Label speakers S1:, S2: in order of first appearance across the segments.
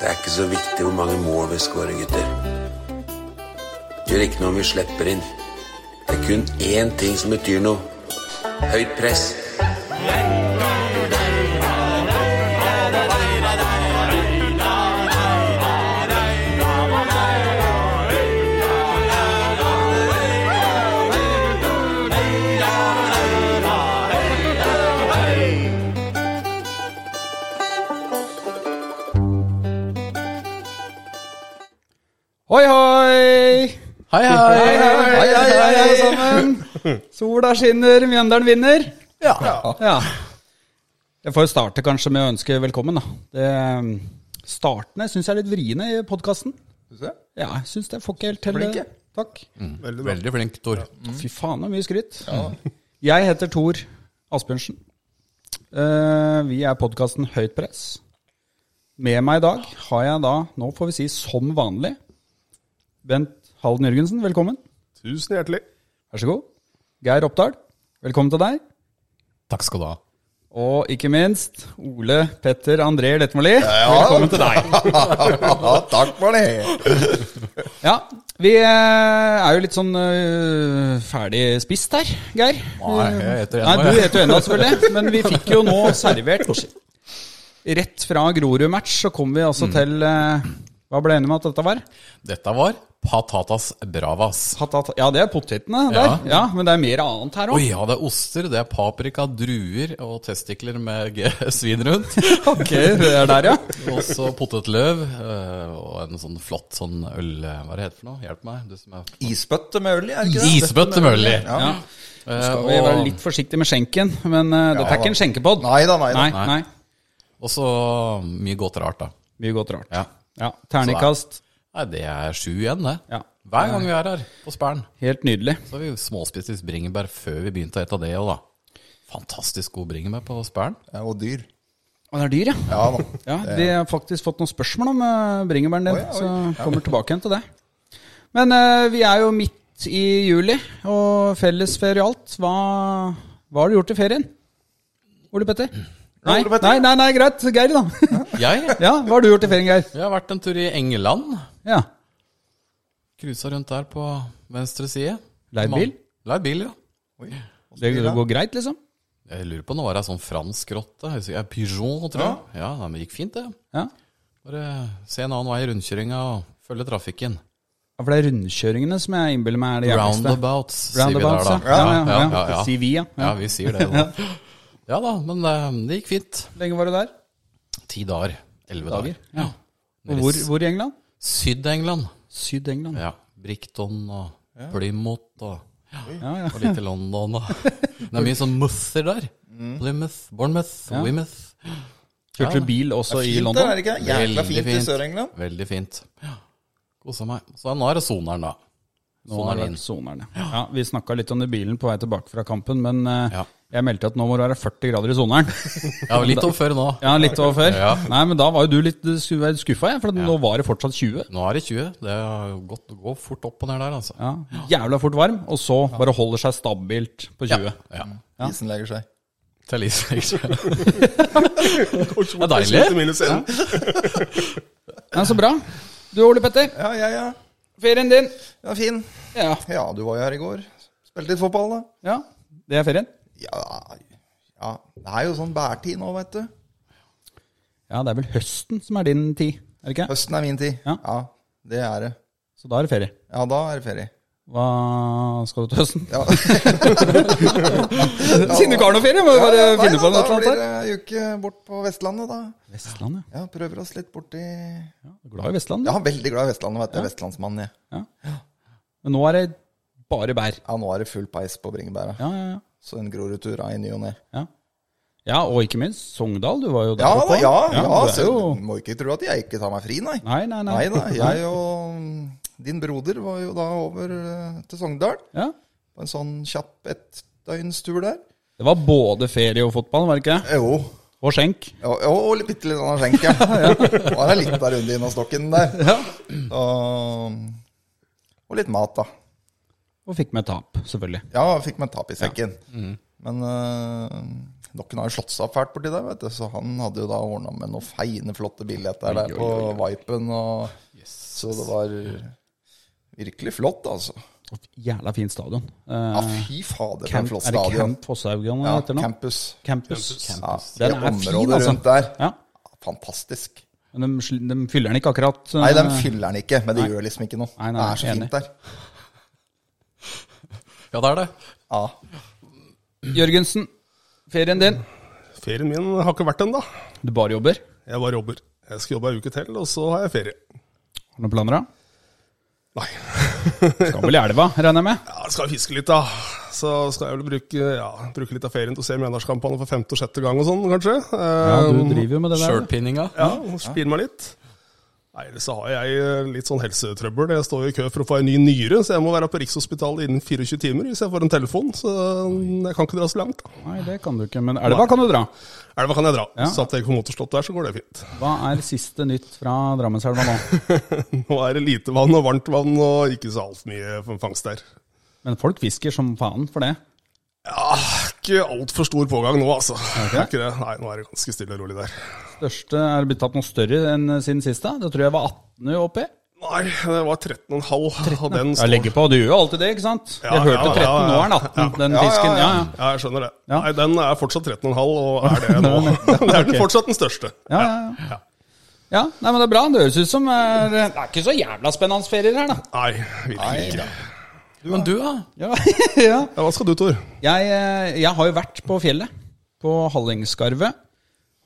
S1: Det er ikke så viktig hvor mange mål vi skårer, gutter. Det gjør ikke noe om vi slipper inn. Det er kun én ting som betyr noe. Høyt press.
S2: Hoi, hoi!
S3: Hei, hei, hei, hei, hei, hei, alle sammen.
S2: Sola skinner, Mjøndalen vinner.
S3: Ja.
S2: Ja. Jeg får jo starte kanskje med å ønske velkommen, da. Det, startene syns jeg er litt vriene i podkasten.
S4: Synes jeg.
S2: Ja, jeg syns det får ikke helt til.
S4: Flinke.
S2: Takk.
S4: Veldig bra.
S3: Veldig flink, Tor.
S2: Fy faen, det er mye skryt. Jeg heter Tor Asbjørnsen. Eh, vi er podkasten Høyt press. Med meg i dag har jeg da, nå får vi si som vanlig, Bent Halden Jørgensen, velkommen.
S4: Tusen hjertelig.
S2: Vær så god. Geir Oppdal, velkommen til deg.
S3: Takk skal du ha.
S2: Og ikke minst Ole Petter André Lettmoli, velkommen til deg.
S4: Ja, takk for det.
S2: Ja, Vi eh, er jo litt sånn eh, ferdig spist her, Geir. Eh,
S3: Nei, jeg heter
S2: Nei,
S3: Enma,
S2: du
S3: jeg.
S2: heter jo ennå, selvfølgelig. Men vi fikk jo nå servert Rett fra Grorud-match så kom vi
S3: Mm.
S2: altså til eh, Hva ble jeg enig med at dette var?
S3: Dette var Patatas Bravas.
S2: Patata- Ja, det er potetene der.
S3: Ja.
S2: Ja, Men det er mer annet her
S3: Oi,
S2: òg.
S3: ja, det er oster, det er paprika, druer og testikler med g- svin rundt.
S2: Ok, det er der, ja.
S3: Og så potetløv eh, og en sånn flott sånn øl... Hva er det heter for noe? Hjelp meg. Du som er
S4: Isbøtte med øl i, er det ikke det?
S3: Isbøtte med øl i.
S4: Ja.
S2: ja.
S3: Eh,
S2: Skal vi være
S3: og-
S2: litt forsiktige med skjenken, men eh, dette er ikke en skjenkepod.
S4: Nei da, nei da.
S2: Nei,
S3: Nei.
S2: nei.
S3: Og så mye godt rart, da.
S2: Mye godt rart.
S3: Ja.
S2: Ja, Terningkast.
S3: Nei, det er sju igjen, det.
S2: Ja.
S3: Hver gang vi er her på Spern.
S2: Helt nydelig.
S3: Så har vi småspist litt bringebær før vi begynte å ete det òg, da. Fantastisk god bringebær på Spern.
S4: Ja, og dyr.
S2: Og det er dyr, ja.
S4: Ja da.
S2: ja vi har faktisk fått noen spørsmål om eh, bringebæren din,
S4: Oi, oi.
S2: så kommer tilbake igjen til det. Men eh, vi er jo midt i juli, og fellesferie og alt. Hva, hva har du gjort i ferien? Ole Petter? Nei,
S4: Ole Petter.
S2: nei, nei, nei greit. Geir, da.
S3: Jeg?
S2: ja, Hva har du gjort i ferien, Geir?
S3: Jeg har vært en tur i England.
S2: Ja.
S3: Cruisa rundt der på venstre side.
S2: Leid
S3: Man-
S2: bil?
S3: Leid bil, ja.
S4: Oi.
S2: Det går greit, liksom?
S3: Jeg lurer på, nå var det ei sånn fransk rotte. Jeg husker- ja, Pigeon, tror jeg. Ja, nei, men det gikk fint, det.
S2: Ja.
S3: Bare se en annen vei i rundkjøringa og følge trafikken.
S2: Ja, For det er rundkjøringene som jeg innbiller meg er det jævligste.
S3: Roundabouts, sier vi der,
S2: Roundabouts,
S3: da.
S2: ja. Ja, ja,
S3: ja, ja.
S2: Sier vi, ja.
S3: Ja, vi sier det. Da. Ja da, men eh, det gikk fint.
S2: Hvor lenge var du der?
S3: Ti dager. Elleve
S2: Dager,
S3: dager. Ja.
S2: Og hvor, hvor i England?
S3: Syd-England.
S2: Syd-England.
S3: Ja. Brighton og Plymouth og,
S2: Ja, ja.
S3: og litt i London og Det er mye sånn Mouther der.
S4: Mm.
S3: Plymouth, Bournemouth, Weymouth.
S2: Kjørte du bil også i
S4: Fint der,
S2: London?
S4: er det ikke? det? Jækla fint i Sør-England.
S3: Veldig fint. Ja. Kosa meg. Så nå er det soneren, da.
S2: Nå har det
S3: Soneren
S2: vært
S3: inn.
S2: sonerne. Ja, vi snakka litt om det i bilen på vei tilbake fra kampen, men eh,
S3: Ja.
S2: jeg meldte at nå må det være 40 grader i soneren.
S3: Ja, litt om før nå.
S2: Ja, litt over før.
S3: Ja.
S2: Nei, men da var jo du litt skuffa, jeg, for nå var det fortsatt 20.
S3: Nå er det 20. Det er godt å gå fort opp og ned der, altså.
S2: Ja, Jævla fort varm, og så bare holder seg stabilt på 20.
S3: Ja.
S4: Isen legger seg.
S3: Til Isfjell. Det er deilig.
S2: Ja, så bra. Du Ole Petter,
S4: Ja, ja, ja.
S2: ferien din.
S4: Ja, fin.
S2: Ja.
S4: Ja, du var jo her i går. Spilte litt fotball, da.
S2: ja. Det er ferien?
S4: Ja, ja. Det er jo sånn bærtid nå, vet du.
S2: Ja, det er vel høsten som er din tid, er det ikke?
S4: Høsten er min tid.
S2: Ja.
S4: Ja, det er det.
S2: Så da er det ferie.
S4: Ja, da er det ferie.
S2: Hva skal du til høsten?
S4: Ja.
S2: Siden du ikke har noe ferie, må du bare
S4: Ja, nei
S2: finne på
S4: da,
S2: noe.
S4: Da
S2: eller
S4: blir det
S2: annet.
S4: ei uke bort på Vestlandet, da.
S2: Vestlandet,
S4: Ja, Prøver oss litt borti Ja,
S2: ja. Glad i Vestlandet.
S4: veldig glad i Vestlandet, vet du. Vestlandsmann, jeg.
S2: Men nå er det bare bær.
S4: Ja, nå er det full peis på bringebæra.
S2: Ja, ja, ja.
S4: Så en Grorud-tur er i ny og ne.
S2: ja. ja, og ikke minst Sogndal. Du var jo der
S4: Ja, da,
S2: oppe.
S4: ja, ja,
S2: det er
S4: så
S2: jo-
S4: du må ikke tro at jeg ikke tar meg fri, nei.
S2: Nei, nei, nei.
S4: Nei da. Jeg og mm, din broder var jo da over eh, til Sogndal
S2: Ja.
S4: på en sånn kjapp ettdøgnstur der.
S2: Det var både ferie og fotball, var det ikke?
S4: Jo.
S2: Og skjenk.
S4: Og, og, og bitte litt av skjenk, ja. Var det litt av runde innom stokken der. Og, og litt mat, da.
S2: Og fikk med tap, selvfølgelig. Mm.
S4: Ja, jeg fikk meg tap i sekken. Men øh, Noen har jo slått seg opp fælt borti der, vet du. Så han hadde jo da ordna med noen feine, flotte billetter der
S3: Oi, oi,
S4: på
S3: oi,
S4: Vipen. Og, Så det var virkelig flott, altså.
S2: Jævla fin stadion. Eh,
S4: Ja, fy fader, for
S2: Camp,
S4: en flott
S2: er det
S4: stadion.
S2: Camp Fossehaugan
S4: Ja,
S2: det heter nå?
S4: campus.
S2: Campus.
S4: Ja,
S2: Den
S4: det
S2: er fin,
S4: området
S2: altså.
S4: rundt der.
S2: Ja.
S4: Fantastisk.
S2: Men de, sl- de fyller den ikke akkurat. eh,
S4: Nei, den fyller den ikke, men det gjør liksom ikke noe.
S2: Nei, nei,
S4: det er så
S2: enig.
S4: fint der.
S3: Ja, det er det.
S4: Ja.
S2: Jørgensen, ferien din.
S5: Ferien min har ikke vært ennå.
S2: Du bare jobber.
S5: Jeg bare jobber. Jeg skal jobbe ei uke til, og så har jeg ferie.
S2: Har du noen planer, da?
S5: Nei.
S2: Skal vel i elva, regner jeg med?
S5: Ja, skal jeg fiske litt, da. Så skal jeg vel bruke, ja, bruke litt av ferien til å se Mjøndalskampene for femte og sjette gang og sånn, kanskje.
S2: Ja,
S5: Eh,
S2: du driver jo med det der. du.
S3: Shirtpinninga.
S5: ja, og spille meg litt. Nei, Ellers så har jeg eh, litt sånn helsetrøbbel. Jeg står i kø for å få en ny nyre, så jeg må være på Rikshospitalet innen 24 timer hvis jeg får en telefon. Så jeg kan ikke dra så langt. da.
S2: Nei, det kan du ikke. Men elva kan du dra.
S5: Elva kan jeg dra.
S2: Ja.
S5: Satt jeg på motorstopp der, så går det fint.
S2: Hva er siste nytt fra Drammenselva nå?
S5: Nå er det lite vann og varmt vann og ikke så altfor mye fangst der.
S2: Men folk fisker som faen for det.
S5: Ja, Ah, ikke altfor stor pågang nå, altså.
S2: det?
S5: Det er ikke det. Nei, nå er det ganske stille og rolig der.
S2: Største er det blitt tatt noe større enn eh, siden siste. Det tror jeg var 18 oppi.
S5: Nei, det var 13,5, og den
S2: Jeg legger på, du gjør jo alltid det, ikke sant?
S5: Ja,
S2: jeg hørte
S5: ja,
S2: 13,
S5: ja, ja.
S2: nå er den 18, den
S4: Ja, ja,
S2: fisken. Ja, ja.
S5: Ja, jeg skjønner det.
S2: Ja.
S5: Nei, den er fortsatt 13,5, og er det nå. Det er den fortsatt den største.
S2: Ja, ja, ja. ja nei, men det er bra. Det høres ut som eh, Det er ikke så jævla spennende ferier her, da.
S5: Nei, virkelig ikke.
S3: Men du, da?
S2: Ja, ja.
S5: Ja, hva skal du, Tor?
S2: Jeg, eh, jeg har jo vært på fjellet, på Hallingskarvet,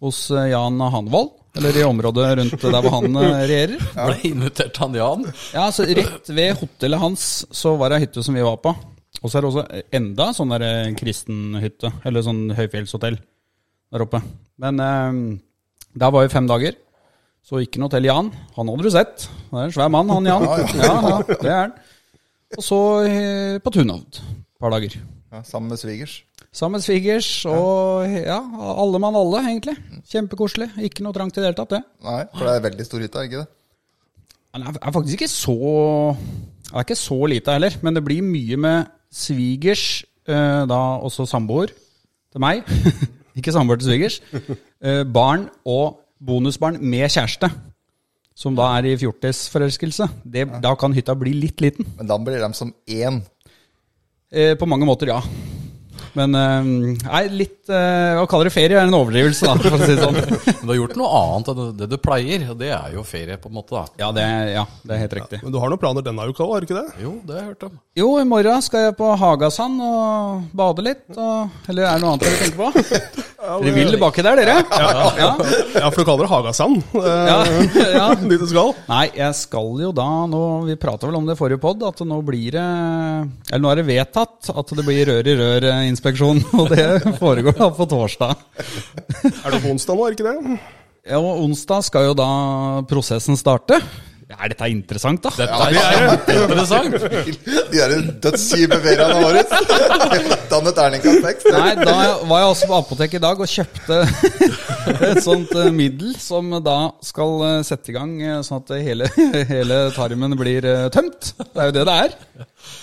S2: hos eh, Jan Hanvold. Eller i området rundt der hvor han eh, regjerer.
S3: Ble invitert han Jan?
S2: Ja, så Rett ved hotellet hans så var det ei hytte som vi var på. Og så er det også enda sånn der eh, kristen hytte, eller sånn høyfjellshotell der oppe. Men eh, der var vi fem dager. Så gikk han til Jan. Han hadde du sett. Han er en svær mann, han Jan. Ja, ja, det er han. Og så eh, på Tunhovd et par dager.
S4: ja, Sammen med svigers.
S2: Sammen med svigers og ja, alle mann alle, egentlig. Kjempekoselig. Ikke noe trangt i det hele tatt, det.
S4: Nei, for det er veldig stor hytte, er det ikke det?
S2: Den er, er faktisk ikke så Den er ikke så lita heller, men det blir mye med svigers, eh, da også samboer til meg. ikke samboer til svigers. Eh, barn og bonusbarn med kjæreste, som da er i fjortisforelskelse. Det- Da kan hytta bli litt liten.
S4: Men da blir de som én.
S2: Eh, på mange måter, ja. Men eh, nei, litt eh, Å kalle det ferie er en overdrivelse, da, for å si det sånn.
S3: Men du har gjort noe annet enn det du pleier, og det er jo ferie, på en måte. da
S2: Ja, det, ja, det er helt riktig.
S5: Men du har noen planer denne uka òg, har du ikke det?
S3: Jo, det har jeg hørt om.
S2: Jo, i morgen skal jeg på Hagasand og bade litt. Og, eller er det noe annet dere tenker på? Dere vil tilbake der, dere? Ja, ja.
S5: Ja, for du kaller det Hagasand.
S2: ja,
S5: Eh,
S2: ja.
S5: Dit du skal.
S2: Nei, jeg skal jo da nå Vi prata vel om det i forrige pod, at nå blir det Eller nå er det vedtatt at det blir rør i rør-inspeksjon. Og det foregår da på torsdag.
S5: Er det på onsdag nå, er det ikke det?
S2: Ja, og onsdag skal jo da prosessen starte. Er dette interessant, da?
S3: Dette er kjempeinteressant!
S4: De der dødskjipe feriene våre. Danne terningkast seks.
S2: Nei, da var jeg også på apoteket i dag og kjøpte et sånt eh, middel som da skal eh, sette i gang eh, sånn at hele, hele tarmen blir eh, tømt. Det er jo det det er.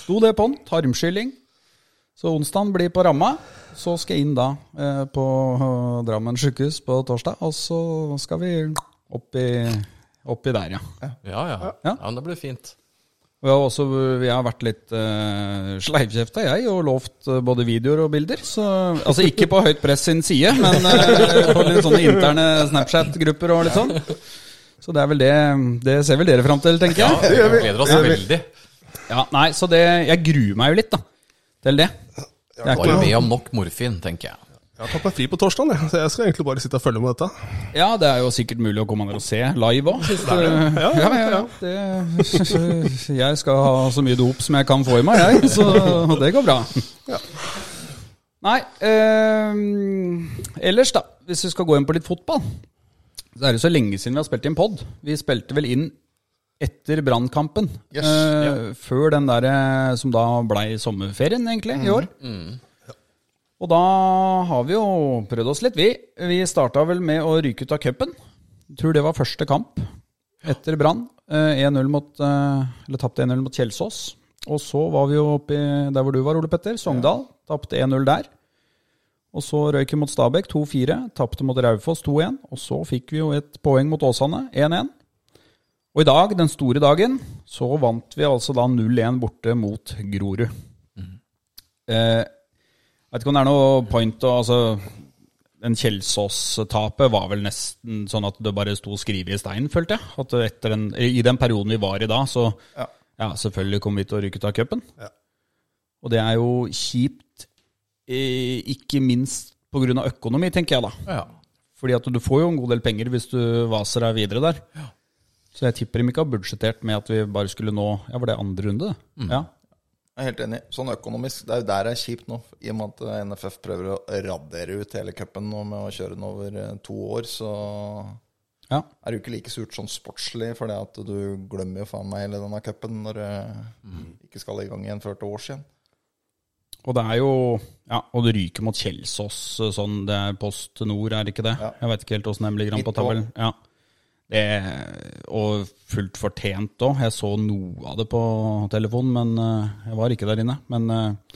S2: Sto det på den. Tarmskylling. Så onsdagen blir på ramma. Så skal jeg inn da eh, på eh, Drammen sjukehus på torsdag, og så skal vi opp i, opp i der, ja.
S3: Ja, ja. ja, men det blir fint.
S2: Og jeg har også jeg har vært litt uh, sleivkjefta, jeg, og lovt eh, både videoer og bilder. Så, altså ikke på høyt press sin side, men eh, på litt sånne interne Snapchat-grupper og litt sånn. Så det er vel det Det ser vel dere fram til, tenker jeg.
S3: Vi gleder oss veldig.
S2: Ja, nei, så det Jeg gruer meg jo litt, da. Til det. Det er
S3: Du har
S2: ikke
S3: med
S2: noe
S3: om nok morfin, tenker jeg.
S5: Jeg har tatt meg fri på torsdag, jeg, så jeg skal egentlig bare sitte og følge med dette.
S2: Ja, det er jo sikkert mulig å komme ned og se live òg. Ja, ja, ja. Det, jeg skal ha så mye dop som jeg kan få i meg, jeg. Så det går bra. Nei, eh, ellers da, hvis vi skal gå inn på litt fotball, så er det så lenge siden vi har spilt inn pod. Vi spilte vel inn etter Brannkampen.
S4: Yes,
S2: eh, Før den derre som da blei sommerferien, egentlig, i år. Og da har vi jo prøvd oss litt, vi. Vi starta vel med å ryke ut av cupen. Tror det var første kamp etter Brann. Eh, 1-0 mot eh, Eller tapte 1-0 mot Kjelsås. Og så var vi jo oppe i der hvor du var, Ole Petter. Sogndal. Tapte 1-0 der. Og så røyk vi mot Stabæk 2-4, tapte mot Raufoss 2-1. Og så fikk vi jo et poeng mot Åsane 1-1. Og i dag, den store dagen, så vant vi altså da 0-1 borte mot Grorud. Eh, jeg vet ikke om det er noe point å altså, Den Kjelsås-tapet var vel nesten sånn at det bare sto skrevet i steinen, følte jeg. At etter den, I den perioden vi var i da, så ja. selvfølgelig kom vi til å ryke ut av cupen. Og det er jo kjipt, eh, ikke minst pga. økonomi, tenker jeg da.
S3: Ja.
S2: Fordi at du får jo en god del penger hvis du vaser deg videre der. Så jeg tipper de ikke har budsjettert med at vi bare skulle nå Ja, var det andre runde? Ja.
S4: Jeg er helt enig. Sånn økonomisk, det er jo der det er kjipt nå. I og med at eh, NFF prøver å radere ut hele cupen nå med å kjøre den over eh, to år, så
S2: ja.
S4: er det jo ikke like surt sånn sportslig, for det at du glemmer jo faen meg hele denne cupen når du ikke skal i gang igjen før til års igjen.
S2: Og det er jo Ja, og det ryker mot Kjelsås, sånn det er Post Nord, er det ikke det? Jeg veit ikke helt åssen den ligger an på
S4: Midt på.
S2: tabellen. Ja. Det, og fullt fortjent òg. Jeg så noe av det på telefonen, men eh, jeg var ikke der inne. Men eh,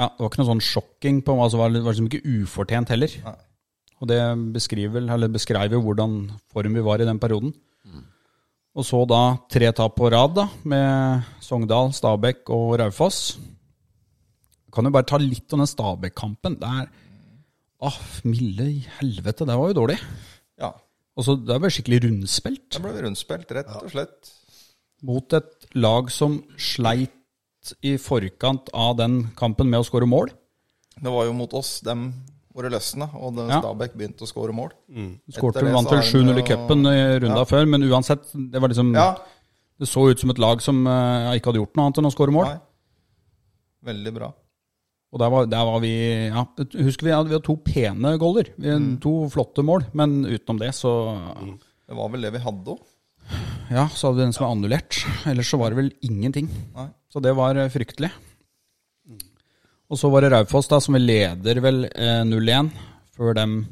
S2: ja, det var ikke noe sånn sjokking på altså, Det var- det var liksom ikke ufortjent heller. Og det beskriver, vel- eller beskrev jo hvordan form vi var i den perioden. Og så da tre tap på rad, da, med Sogndal, Stabæk og Raufoss kan jo bare ta litt om den Stabæk-kampen. Det er Åh, milde i helvete, det var jo dårlig.
S4: Ja.
S2: Og så Det er bare skikkelig rundspilt
S4: Da ble vi rundspilt, rett og slett.
S2: mot et lag som sleit i forkant av den kampen med å skåre mål.
S4: Det var jo mot oss, dem våre løsne, og det-
S2: Ja.
S4: Stabæk begynte å skåre mål.
S2: Skårte
S4: Etter det
S2: vant
S4: så
S2: vel
S4: har de
S2: 7-0 i
S4: jo-
S2: cupen i runda før, men uansett, det var liksom
S4: Ja,
S2: Det så ut som et lag som eh, ikke hadde gjort noe annet enn å skåre mål.
S4: nei. Veldig bra.
S2: Og der var, der var vi ja, Husker vi hadde, vi hadde to pene goller. Vi hadde
S4: Mm.
S2: To flotte mål, men utenom det så
S4: Det var vel det vi hadde òg.
S2: Ja, så hadde vi den som er annullert. Ellers så var det vel ingenting.
S4: Nei.
S2: Så det var eh, fryktelig. Og så var det Raufoss, da, som vi leder vel eh, 0-1 før dem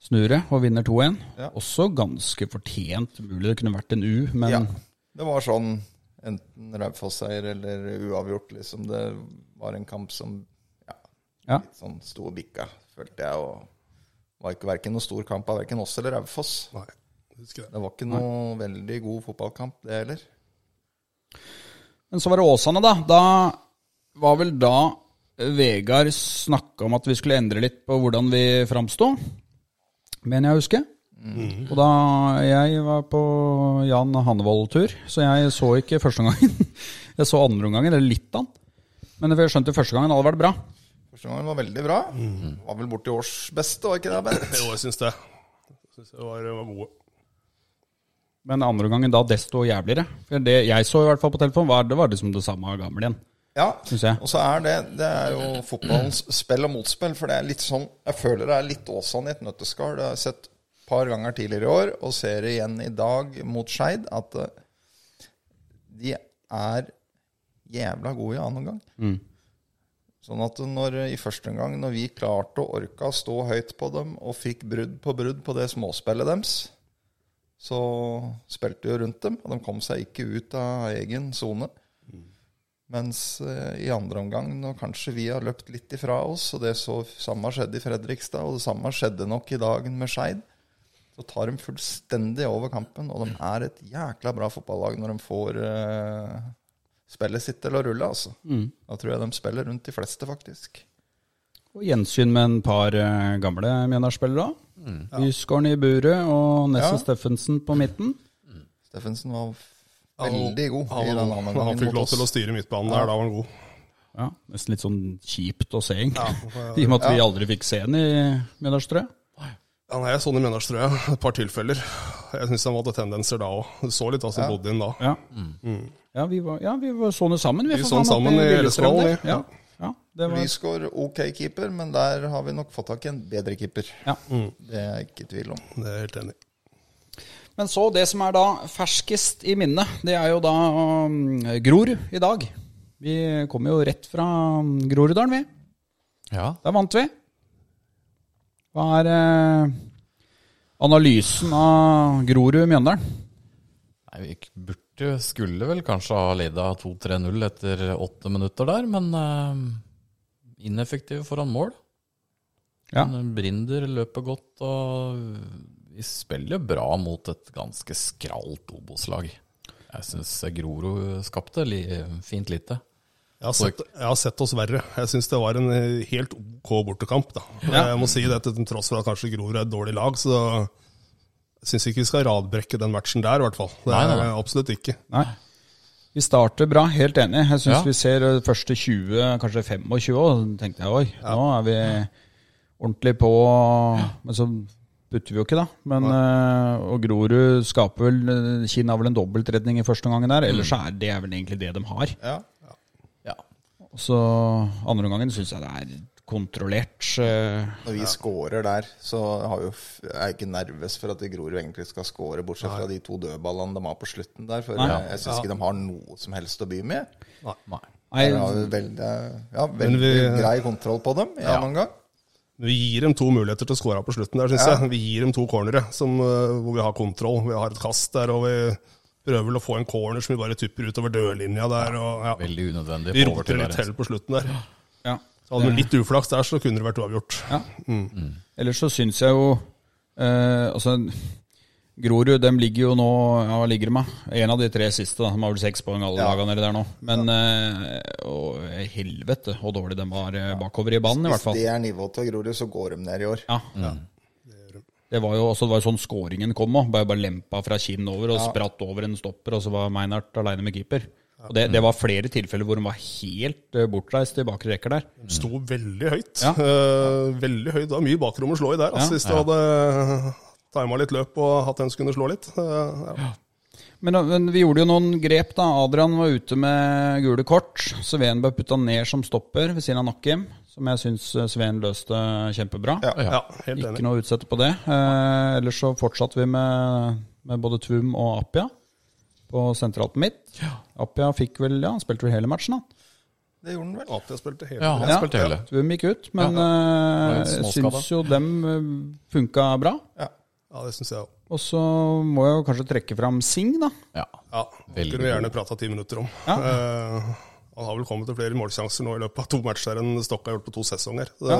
S2: snur det og vinner 2-1.
S4: Ja.
S2: Også ganske fortjent. Mulig det kunne vært en U, men
S4: Ja. Det var sånn enten Raufoss-seier eller uavgjort, liksom. Det var en kamp som ja,
S2: Ja.
S4: litt sånn sto og bikka, følte jeg. Og var ikke verken noe stor kamp av verken oss eller Raufoss.
S5: Nei, husker det.
S4: Det var ikke noe veldig god fotballkamp, det heller.
S2: Men så var det Åsane, da. Da var vel da Vegard snakka om at vi skulle endre litt på hvordan vi framsto, mener jeg å huske. Og da jeg var på Jan Hannevold-tur, så jeg så ikke første omgangen. Jeg så andre omgangen, eller litt av den. Men jeg skjønte første gangen hadde vært bra.
S4: Første gangen var veldig bra. Var vel borti års beste, var ikke det, Bent?
S5: Jo, jeg syns det. Jeg syns det var, var gode.
S2: Men andre gangen da desto jævligere. For det jeg så i hvert fall på telefon, var, det var liksom det samme gamle igjen.
S4: Ja,
S2: Synes jeg.
S4: og så er det Det er jo fotballens spill og motspill, for det er litt sånn Jeg føler det er litt Åsan i et nøtteskall. Det har jeg sett et par ganger tidligere i år, og ser det igjen i dag mot Skeid, at eh, de er jævla gode i annen omgang.
S2: Mm.
S4: Sånn at når, eh, i første omgang, når vi klarte og orka å stå høyt på dem og fikk brudd på brudd på det småspillet deres, så spilte vi jo rundt dem, og de kom seg ikke ut av egen sone. Mens eh, i andre omgang, når kanskje vi har løpt litt ifra oss, og det så samme skjedde i Fredrikstad, og det samme skjedde nok i dagen med Skeid, så tar de fullstendig over kampen, og de er et jækla bra fotballag når de får eh, spillet sitt til å rulle, altså. Da tror jeg de spiller rundt de fleste, faktisk.
S2: Og gjensyn med en par eh, gamle Mjøndalsspillere. Mm. Lysgården i buret og Nessen
S4: Ja.
S2: Steffensen på midten.
S4: Steffensen var f-
S5: Ja, han-
S4: veldig god i
S5: Han,
S4: den andre
S5: han,
S4: gangen
S5: fikk
S4: mot
S5: lov
S4: oss.
S5: til å styre midtbanen der, da var han god.
S2: Ja, Nesten litt sånn kjipt å se, egentlig.
S5: for-
S2: I og med at vi aldri fikk se den i Mjøndalstrøya.
S5: Ja, nei, jeg så den i Mjøndalstrøya et par tilfeller. Jeg syns han hadde tendenser da òg. Du så litt av sin bodde inn da.
S2: Ja. Ja, vi var, ja, vi var så den sammen.
S5: Mm. Vi
S2: for
S5: så den
S2: faen, oppe
S5: sammen i
S2: Lillestrøm
S5: Ellestrøm,
S2: der.
S5: vi.
S2: Ja. ja, det var
S4: Lysgård, ok keeper, men der har vi nok fått tak i en bedre keeper.
S2: ja.
S5: Mm.
S4: Det er jeg ikke i tvil om.
S5: Det er jeg helt enig i.
S2: Men så, det som er da ferskest i minnet, det er jo da um, Grorud i dag. Vi kommer jo rett fra um, Groruddalen, vi.
S3: ja.
S2: Der vant vi. Hva er eh, analysen av Grorud-Mjøndalen?
S3: Nei, vi k- burde, skulle vel kanskje ha leda 2-3-0 etter åtte minutter der, men eh, ineffektive foran mål.
S2: Ja.
S3: Men Brinder løper godt, og vi spiller bra mot et ganske skralt Obos-lag. Jeg syns Grorud skapte li fint lite.
S5: Jeg har, sett, jeg har sett oss verre. Jeg syns det var en eh, helt OK bortekamp. da. Jeg må si det til tross for at kanskje Grorud er et dårlig lag, så syns ikke vi skal radbrekke den matchen der, i hvert fall. Det
S3: Nei,
S5: er
S3: nei, nei.
S5: absolutt ikke.
S2: Nei. Vi starter bra, helt enig. Jeg syns
S3: Ja.
S2: vi ser eh, første 20, kanskje 25 år, tenkte jeg oi, Nå er vi ordentlig på Men så putter vi jo ikke, da. Men, eh, og Grorud skaper vel eh, Kinn har vel en dobbeltredning i første omgang der.
S4: Mm.
S2: Ellers så er det vel egentlig det de har.
S4: Ja.
S3: Ja.
S2: Og Så andre omgangen syns jeg det er kontrollert. eh,
S4: Når vi scorer der, så har jo, f- jeg er jeg ikke nervøs for at Grorud egentlig skal score, bortsett fra de to dødballene de har på slutten der. For jeg, jeg syns ikke de har noe som helst å by med.
S3: Nei.
S2: Nei,
S4: Der har vi veldig, ja, veldig
S5: vi-
S4: grei kontroll på dem i annen omgang.
S5: Men Vi gir dem to muligheter til å score på slutten der, syns jeg. Vi gir dem to cornere som, eh, hvor vi har kontroll. Vi har et kast der, og vi prøver vel å få en corner som vi bare tupper utover dørlinja der. Og, ja.
S3: Veldig unødvendig.
S5: Vi
S3: på overtid
S5: roter litt
S3: der.
S5: til på slutten der.
S2: ja.
S5: Så hadde vi litt uflaks der, så kunne det vært uavgjort.
S2: Ja. Ellers så syns jeg jo eh, Altså, Grorud dem ligger jo nå Ja, hva ligger de med? En av de tre siste. da De har vel seks poeng alle lagene nedi der nå. Men eh, å, helvete hvor dårlig de var eh, bakover i banen, i hvert
S4: Hvis
S2: fall.
S4: det er nivået til Grorud, så går de ned i år.
S2: Ja. Det var jo også, det var jo sånn scoringen kom òg. Bare, bare lempa fra kinn over og spratt over en stopper, og så var Meinhardt aleine med keeper. Og det, det var flere tilfeller hvor de var helt eh, bortreist i bakre rekker der.
S5: Sto veldig høyt.
S2: Ja.
S5: Eh, veldig høyt. Det var mye bakrom å slå i der, altså, hvis du hadde tima litt løp og hatt en som kunne slå litt. Eh, ja.
S2: Men, men vi gjorde jo noen grep, da. Adrian var ute med gule kort. Sveen ble putta ned som stopper ved siden av Nakkim, som jeg syns Sveen løste kjempebra.
S4: Ja,
S5: ja. helt
S2: Ikke
S5: enig.
S2: noe å utsette på det. Eh, ellers så fortsatte vi med, med både Tvum og Appia på sentralt midt. Appia fikk vel, ja, han spilte vel hele matchen, da.
S4: Det gjorde den vel.
S5: At jeg spilte helt
S3: Ja, han
S2: Ja.
S3: spilte hele.
S2: Tvum gikk ut, men
S3: var
S2: eh,
S3: en
S2: jeg
S3: småskade.
S2: syns jo dem eh, funka bra.
S4: Ja.
S5: Ja, det syns jeg òg.
S2: Og så må jeg jo kanskje trekke fram Singh, da.
S3: Ja.
S5: Ja,
S3: Veldig
S5: kunne vi gjerne prata ti minutter om. Eh, han har vel kommet til flere målsjanser nå i løpet av to matcher enn Stokke har gjort på to sesonger. Det,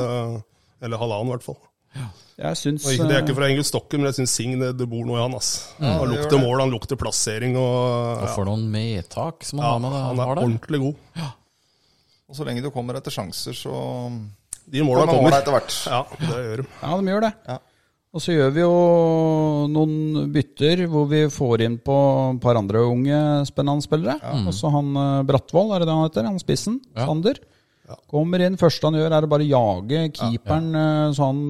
S5: Eller halvannen, i hvert fall.
S2: Jeg syns
S5: Og ikke, det er ikke fra Ingrid Stokke, men jeg syns Singh det, det bor noe i han. ass. han
S4: det gjør
S5: lukter
S4: det.
S5: mål, han lukter plassering og
S3: Og for noen medtak som han
S5: ja,
S3: har med det.
S5: Han er
S3: Har det.
S5: ordentlig god.
S4: Og så lenge du kommer etter sjanser, så
S5: De måla
S4: Kommer
S5: kommer.
S4: måla etter hvert.
S5: Ja, det gjør de.
S2: Ja, de gjør det.
S4: Ja.
S2: Og så gjør vi jo noen bytter hvor vi får inn på et par andre unge spennende spillere. Også han eh, Brattvoll, er det det han heter? Han spissen.
S3: Ja.
S2: Sander. Kommer inn, første han gjør er å bare jage keeperen eh, så han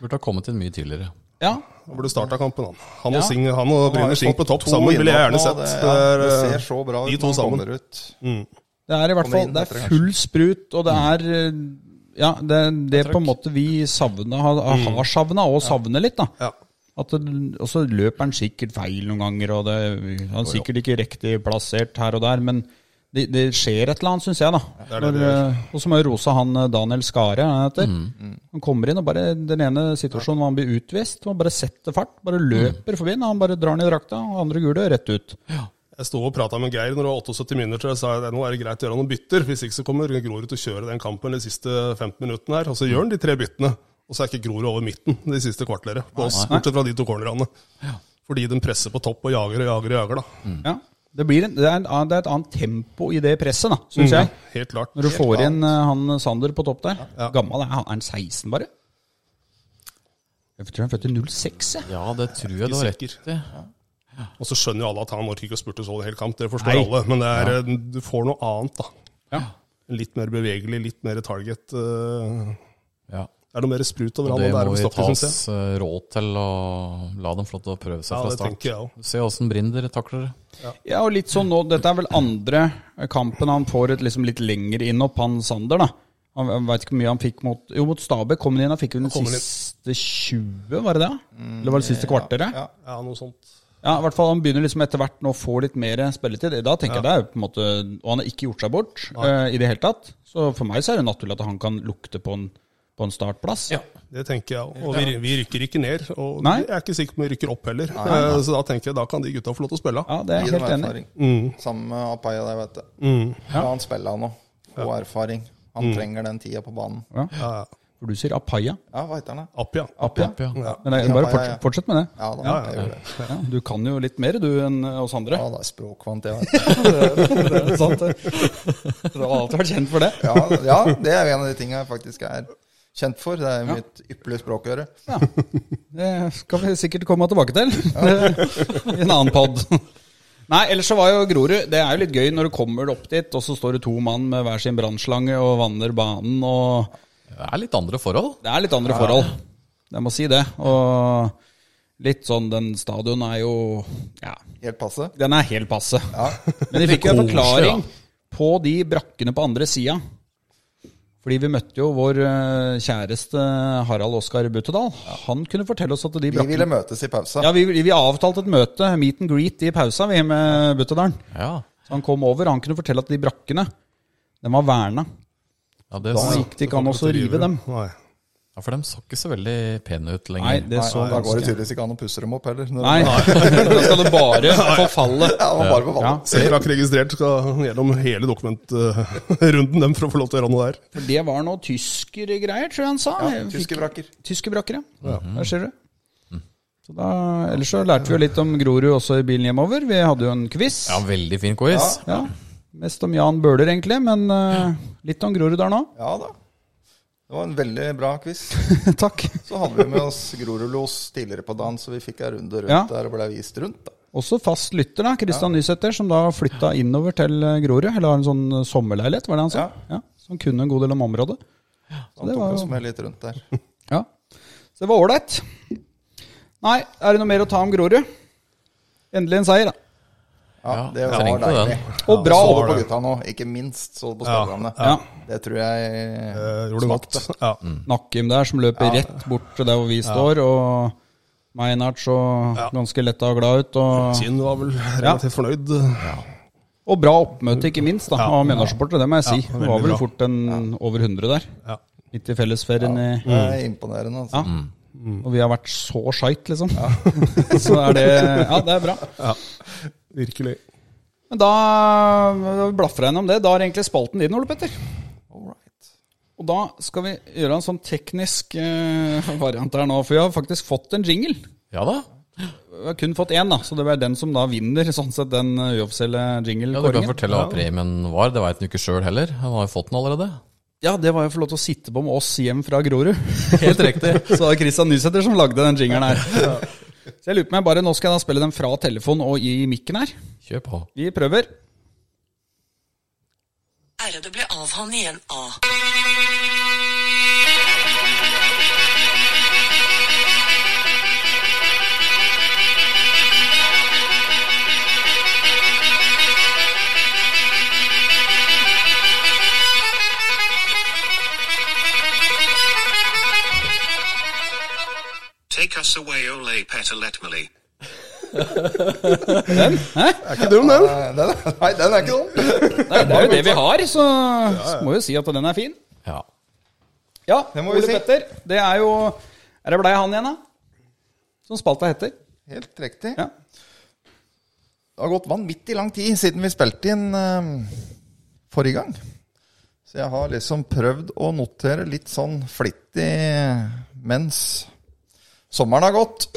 S3: Burde ha kommet inn mye tidligere.
S2: Ja.
S5: Han burde starta kampen, han. Han
S2: Ja.
S5: og, Singh, han
S4: Han
S5: og
S4: har
S5: Bryner
S4: jo
S5: Singh på
S4: fått
S5: topp
S4: to
S5: sammen ville jeg gjerne
S4: innhopp
S5: sett.
S4: nå, Det, ja, det
S5: Det er,
S4: ser så bra ut
S5: de to
S4: når han
S5: sammen.
S4: kommer ut.
S2: Det er i hvert
S4: Kommer
S2: fall
S4: inn
S2: det
S4: etter,
S2: er
S4: kanskje.
S2: full sprut, og det er eh, Ja, det, det på en måte vi savna, har, har savna, og savner litt, da.
S5: eh, Ja.
S2: At det, og så løper han sikkert feil noen ganger, og det, han er sikkert ikke riktig plassert her og der, men det, det skjer et eller annet, syns jeg, da.
S5: det er det det Mm.
S2: Når, eh, og så må jeg rose han eh, Daniel Skare, han heter. Han kommer inn, og bare den ene situasjonen hvor han blir utvist, og bare setter fart, bare
S5: Mm.
S2: løper forbi, og han bare drar ned drakta, og andre gule rett ut.
S5: Jeg sto og prata med Geir når det var 78 minutter, og jeg sa at nå er det greit å gjøre noen bytter. Hvis ikke så kommer Grorud til å kjøre den kampen de siste 15 minuttene her. Og så gjør han de tre byttene. Og så er ikke Grorud over midten de siste kvarteret på oss, bortsett fra de to cornerne. Fordi de presser på topp og jager og jager og jager, da.
S2: Ja. Det, blir en, det, er en, annen- det er et annet tempo i det presset, da, syns
S5: Mm.
S2: jeg.
S5: Helt klart.
S2: Når du får inn eh, han Sander på topp der. Gammel er han? Er han 16, bare? Jeg tror han er født i 06, jeg.
S3: Ja, det tror jeg du har rett i.
S5: sikker. Og så skjønner jo alle at han orker ikke å spurte så en hel kamp, det forstår
S2: Nei.
S5: alle. Men det er, eh, du får noe annet, da.
S2: Ja.
S5: Litt mer bevegelig, litt mer target. eh,
S3: Ja.
S5: Det er noe mer sprut over
S3: Og
S5: han
S3: det
S5: enn det er
S3: må
S5: over
S3: vi
S5: Stokke,
S3: tas
S5: syns jeg.
S3: eh, råd til og la dem få lov til å prøve seg
S5: Ja,
S3: fra
S5: det tenker jeg
S3: start.
S5: også.
S3: Se åssen Brinder takler det.
S2: Ja, og litt sånn nå Dette er vel andre kampen han får et liksom litt lengre inn opp, han Sander, da. Han, jeg vet ikke hvor mye han fikk mot Jo, mot Stabæk kom han inn og fikk vel den
S5: kom han inn.
S2: siste 20, var det det? Eller var det siste kvarteret?
S4: ja.
S5: Ja, noe sånt.
S2: Ja, i hvert fall han begynner liksom etter hvert nå å få litt mer spilletid. Da tenker jeg det er jo på en måte Og han har ikke gjort seg bort eh, i det hele tatt. Så for meg så er det naturlig at han kan lukte på en, på en startplass.
S5: Det tenker jeg òg. Og vi, vi rykker ikke ned. Og
S2: Nei.
S5: jeg er ikke sikker på om vi rykker opp heller. Eh, Så da tenker jeg da kan de gutta få lov til å spille.
S2: Ja, det er
S4: Gi
S2: jeg
S4: dem
S2: helt enig i.
S4: erfaring. Sammen med Apaya der, vet du. La han spille, han òg. Og erfaring. Han trenger den tida på banen.
S5: Ja, ja.
S2: For For du sier Apaya.
S4: Ja, hva heter den? da?
S5: Appia.
S2: Appia.
S3: Opp, ja.
S4: Ja.
S2: Men det, er bare
S4: Apaya,
S2: forts-
S4: ja.
S2: fortsett med det.
S4: Ja, da,
S5: Ja, ja,
S4: jeg gjorde det.
S2: Ja, du kan jo litt mer du enn oss andre.
S4: Ja, det er språkvant, ja.
S2: Det er sant. Du har alltid vært kjent for det.
S4: Ja, ja, det er jo en av de tingene jeg faktisk er kjent for. Det er mitt ypperlige språkøre.
S2: Ja. Det skal vi sikkert komme tilbake til i en annen pod. Nei, ellers så var jo Grorud Det er jo litt gøy når du kommer opp dit, og så står det to mann med hver sin brannslange og vanner banen, og
S3: Det er litt andre forhold.
S2: det er litt andre forhold. Jeg må si det. Og litt sånn Den stadion er jo Ja,
S4: Helt passe.
S2: den er helt passe.
S4: Ja.
S2: Men de fikk jo en
S3: Koselig,
S2: forklaring
S3: da.
S2: på de brakkene på andre sida. Fordi vi møtte jo vår eh, kjæreste Harald Oskar Buttedal. Han kunne fortelle oss at de
S4: Vi ville
S2: brakkene
S4: møtes i pausa.
S2: ja, vi, vi avtalte et møte, meet and greet, i pausa vi med Buttedalen.
S3: Ja,
S2: Så han kom over, og han kunne fortelle at de brakkene, den var verna.
S3: ja, det,
S2: Da
S3: så,
S2: gikk det ikke an å så rive dem.
S5: Nei.
S3: ja For dem så ikke så veldig pene ut
S2: Nei,
S3: lenger.
S2: det
S4: Nei,
S2: så
S4: da går det
S2: ganske
S4: tydeligvis ikke an å pusse dem opp heller.
S2: Nei, da skal det bare forfalle.
S4: Ja, det var bare på
S2: Ja,
S4: vannet.
S5: Selvrak registrert skal gjennom hele dokumentrunden dem for å få lov til å gjøre noe der.
S2: for det var noe tyskergreier, tror jeg han sa.
S4: Ja, tyske vrakker.
S2: Tyskerbrakker, ja. Mhm. Mm. Der ser du. Så da, ellers så lærte vi jo litt om Grorud også i bilen hjemover. Vi hadde jo en quiz.
S3: Ja, veldig fin quiz.
S2: Ja, Mest om Jan Bøhler, egentlig, men eh, litt om Grorud der nå.
S4: Ja da. Det var en veldig bra quiz.
S2: Takk.
S4: Så hadde vi med oss Grorudlos tidligere på dagen, så vi fikk en runde rundt
S2: Ja.
S4: der og ble vist rundt. da.
S2: Også fast lytter, da, Kristian Nysæter, som da flytta innover til eh, Grorud. Eller har en sånn eh, sommerleilighet, var det han sa? Ja. Som kunne en god del om området.
S4: Så han
S2: det
S4: tok
S2: var jo-
S4: oss med litt rundt der.
S2: Ja. Så det var ålreit. Nei, er det noe mer å ta om Grorud? Endelig en seier, da.
S4: Ja,
S3: Ja,
S4: det var
S3: trengte
S4: deilig.
S3: den.
S2: Og bra
S4: så
S2: over-
S4: det på gutta nå, ikke minst så det på Stavramene.
S2: Ja.
S4: Det tror jeg
S5: Eh, gjorde det godt. Ja.
S2: Nakkim der som løper rett bort til der hvor vi står, og Meinhardt så ganske letta og glad ut. Og,
S5: Kinn var vel relativt fornøyd.
S2: og bra oppmøte, ikke minst, da, av Mjøndalssupportere. Det må jeg si.
S5: Ja,
S2: det var
S5: veldig
S2: vel
S5: bra.
S2: fort en over 100 der.
S5: Ja. Mm.
S2: Midt i fellesferien i
S4: Det er imponerende. Altså.
S2: Ja. Og vi har vært så skeit, liksom. så er det Ja, det er bra.
S5: Virkelig.
S2: Men da da blaffer jeg gjennom det. Da er egentlig spalten din, Ole Petter.
S4: All right.
S2: Og da skal vi gjøre en sånn teknisk eh, variant her nå, for vi har faktisk fått en jingle.
S3: Ja da.
S2: Vi har kun fått én, da, så det er den som da vinner, sånn sett, den eh, uoffisielle
S3: Ja, Du kan
S2: jingle-kåringen.
S3: fortelle hva premien var. Det veit han jo ikke sjøl heller. Han har jo fått den allerede.
S2: Ja, det var jo å få lov til å sitte på med oss hjem fra Grorud.
S3: Helt riktig.
S2: Så det var Christian Nysæter som lagde den jingelen her. Så jeg lurer på meg bare, Nå skal jeg da spille den fra telefon og i mikken her.
S3: Kjør på.
S2: Vi prøver.
S6: Ære det ble av han i en A.
S7: Take us away, Ole Petaletmali.
S4: Er ikke dum, den. den er- Nei, den er ikke dum.
S2: Nei, det er jo det vi har, så må jo si at den er fin.
S3: Ja.
S2: Ja,
S4: Det må vi
S2: Ole
S4: si.
S2: Petter. Det er jo Er det blei han igjen, da? Som spalta heter.
S4: Helt riktig.
S2: Ja.
S4: Det har gått vanvittig lang tid siden vi spilte inn eh, forrige gang. Så jeg har liksom prøvd å notere litt sånn flittig mens sommeren har gått.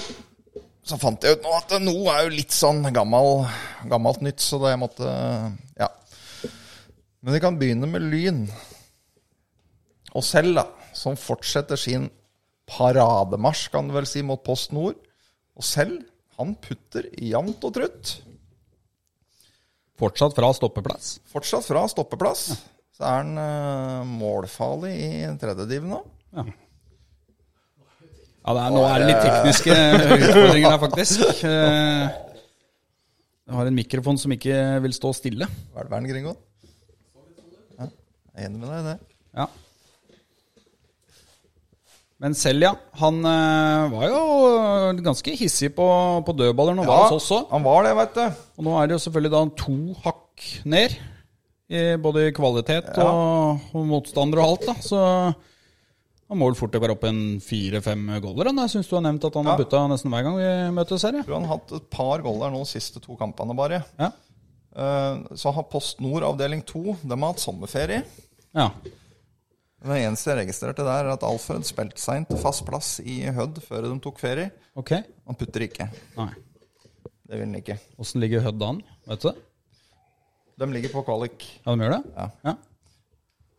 S4: Så fant jeg ut nå at nå er jo litt sånn gammel, gammelt nytt, så da jeg måtte Ja. Men vi kan begynne med Lyn. Og selv, da, som fortsetter sin parademarsj, kan du vel si, mot Post Nord. Og selv, han putter jevnt og trutt.
S2: Fortsatt fra stoppeplass.
S4: Fortsatt fra stoppeplass. Så er han eh, målfarlig i tredjediv nå.
S2: Ja, det er, Nå er det litt tekniske utfordringer her, faktisk. Eh, Jeg har en mikrofon som ikke vil stå stille.
S4: Hva er det verden, Gringo? Ja, jeg er enig med deg i det.
S2: Ja. Men Selja, han eh, var jo ganske hissig på, på dødballer nå, var hos oss også.
S4: han var det, veit du.
S2: Og nå er det jo selvfølgelig da to hakk ned, i både i kvalitet og, og motstander og alt, da. Så han må vel fort være oppe en fire-fem goaler. han. Jeg syns du har nevnt at han har butta nesten hver gang vi møtes her. Ja.
S4: Tror han har hatt et par goller der nå de siste to kampene, bare.
S2: Ja.
S4: Eh, så har Post Nord avdeling 2 de har hatt sommerferie.
S2: ja.
S4: Det eneste jeg registrerte der, er at Alfred spilte seg inn til fast plass i Hødd før de tok ferie.
S2: Ok?
S4: Han putter ikke.
S2: Nei.
S4: Det vil han ikke.
S2: Åssen ligger Hødd an? Vet du det?
S4: De ligger på kvalik.
S2: Ja, de gjør det?
S4: Ja.
S2: Ja,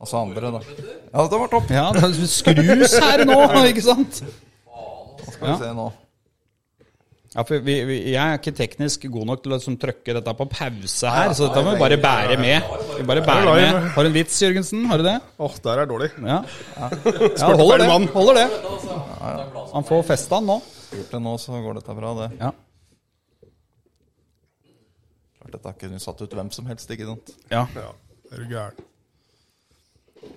S4: Altså andre, da. Ja, dette var topp.
S2: ja det er skrus her nå, ikke sant?
S4: Skal vi
S2: Ja.
S4: se nå.
S2: Ja, for vi, vi, jeg er ikke teknisk god nok til å liksom, trykke dette på pause her, så dette må vi bare bære med. Vi bare bærer med. Har du en vits, Jørgensen? Har du det?
S5: Åh, der er dårlig.
S2: Ja. ja holder, det. holder det. Han får festa han nå.
S4: Gjort det nå, så går dette bra, det.
S2: Ja.
S4: Klart dette har ikke hun satt ut hvem som helst, ikke sant.
S2: ja.
S5: Ja, er du gæren.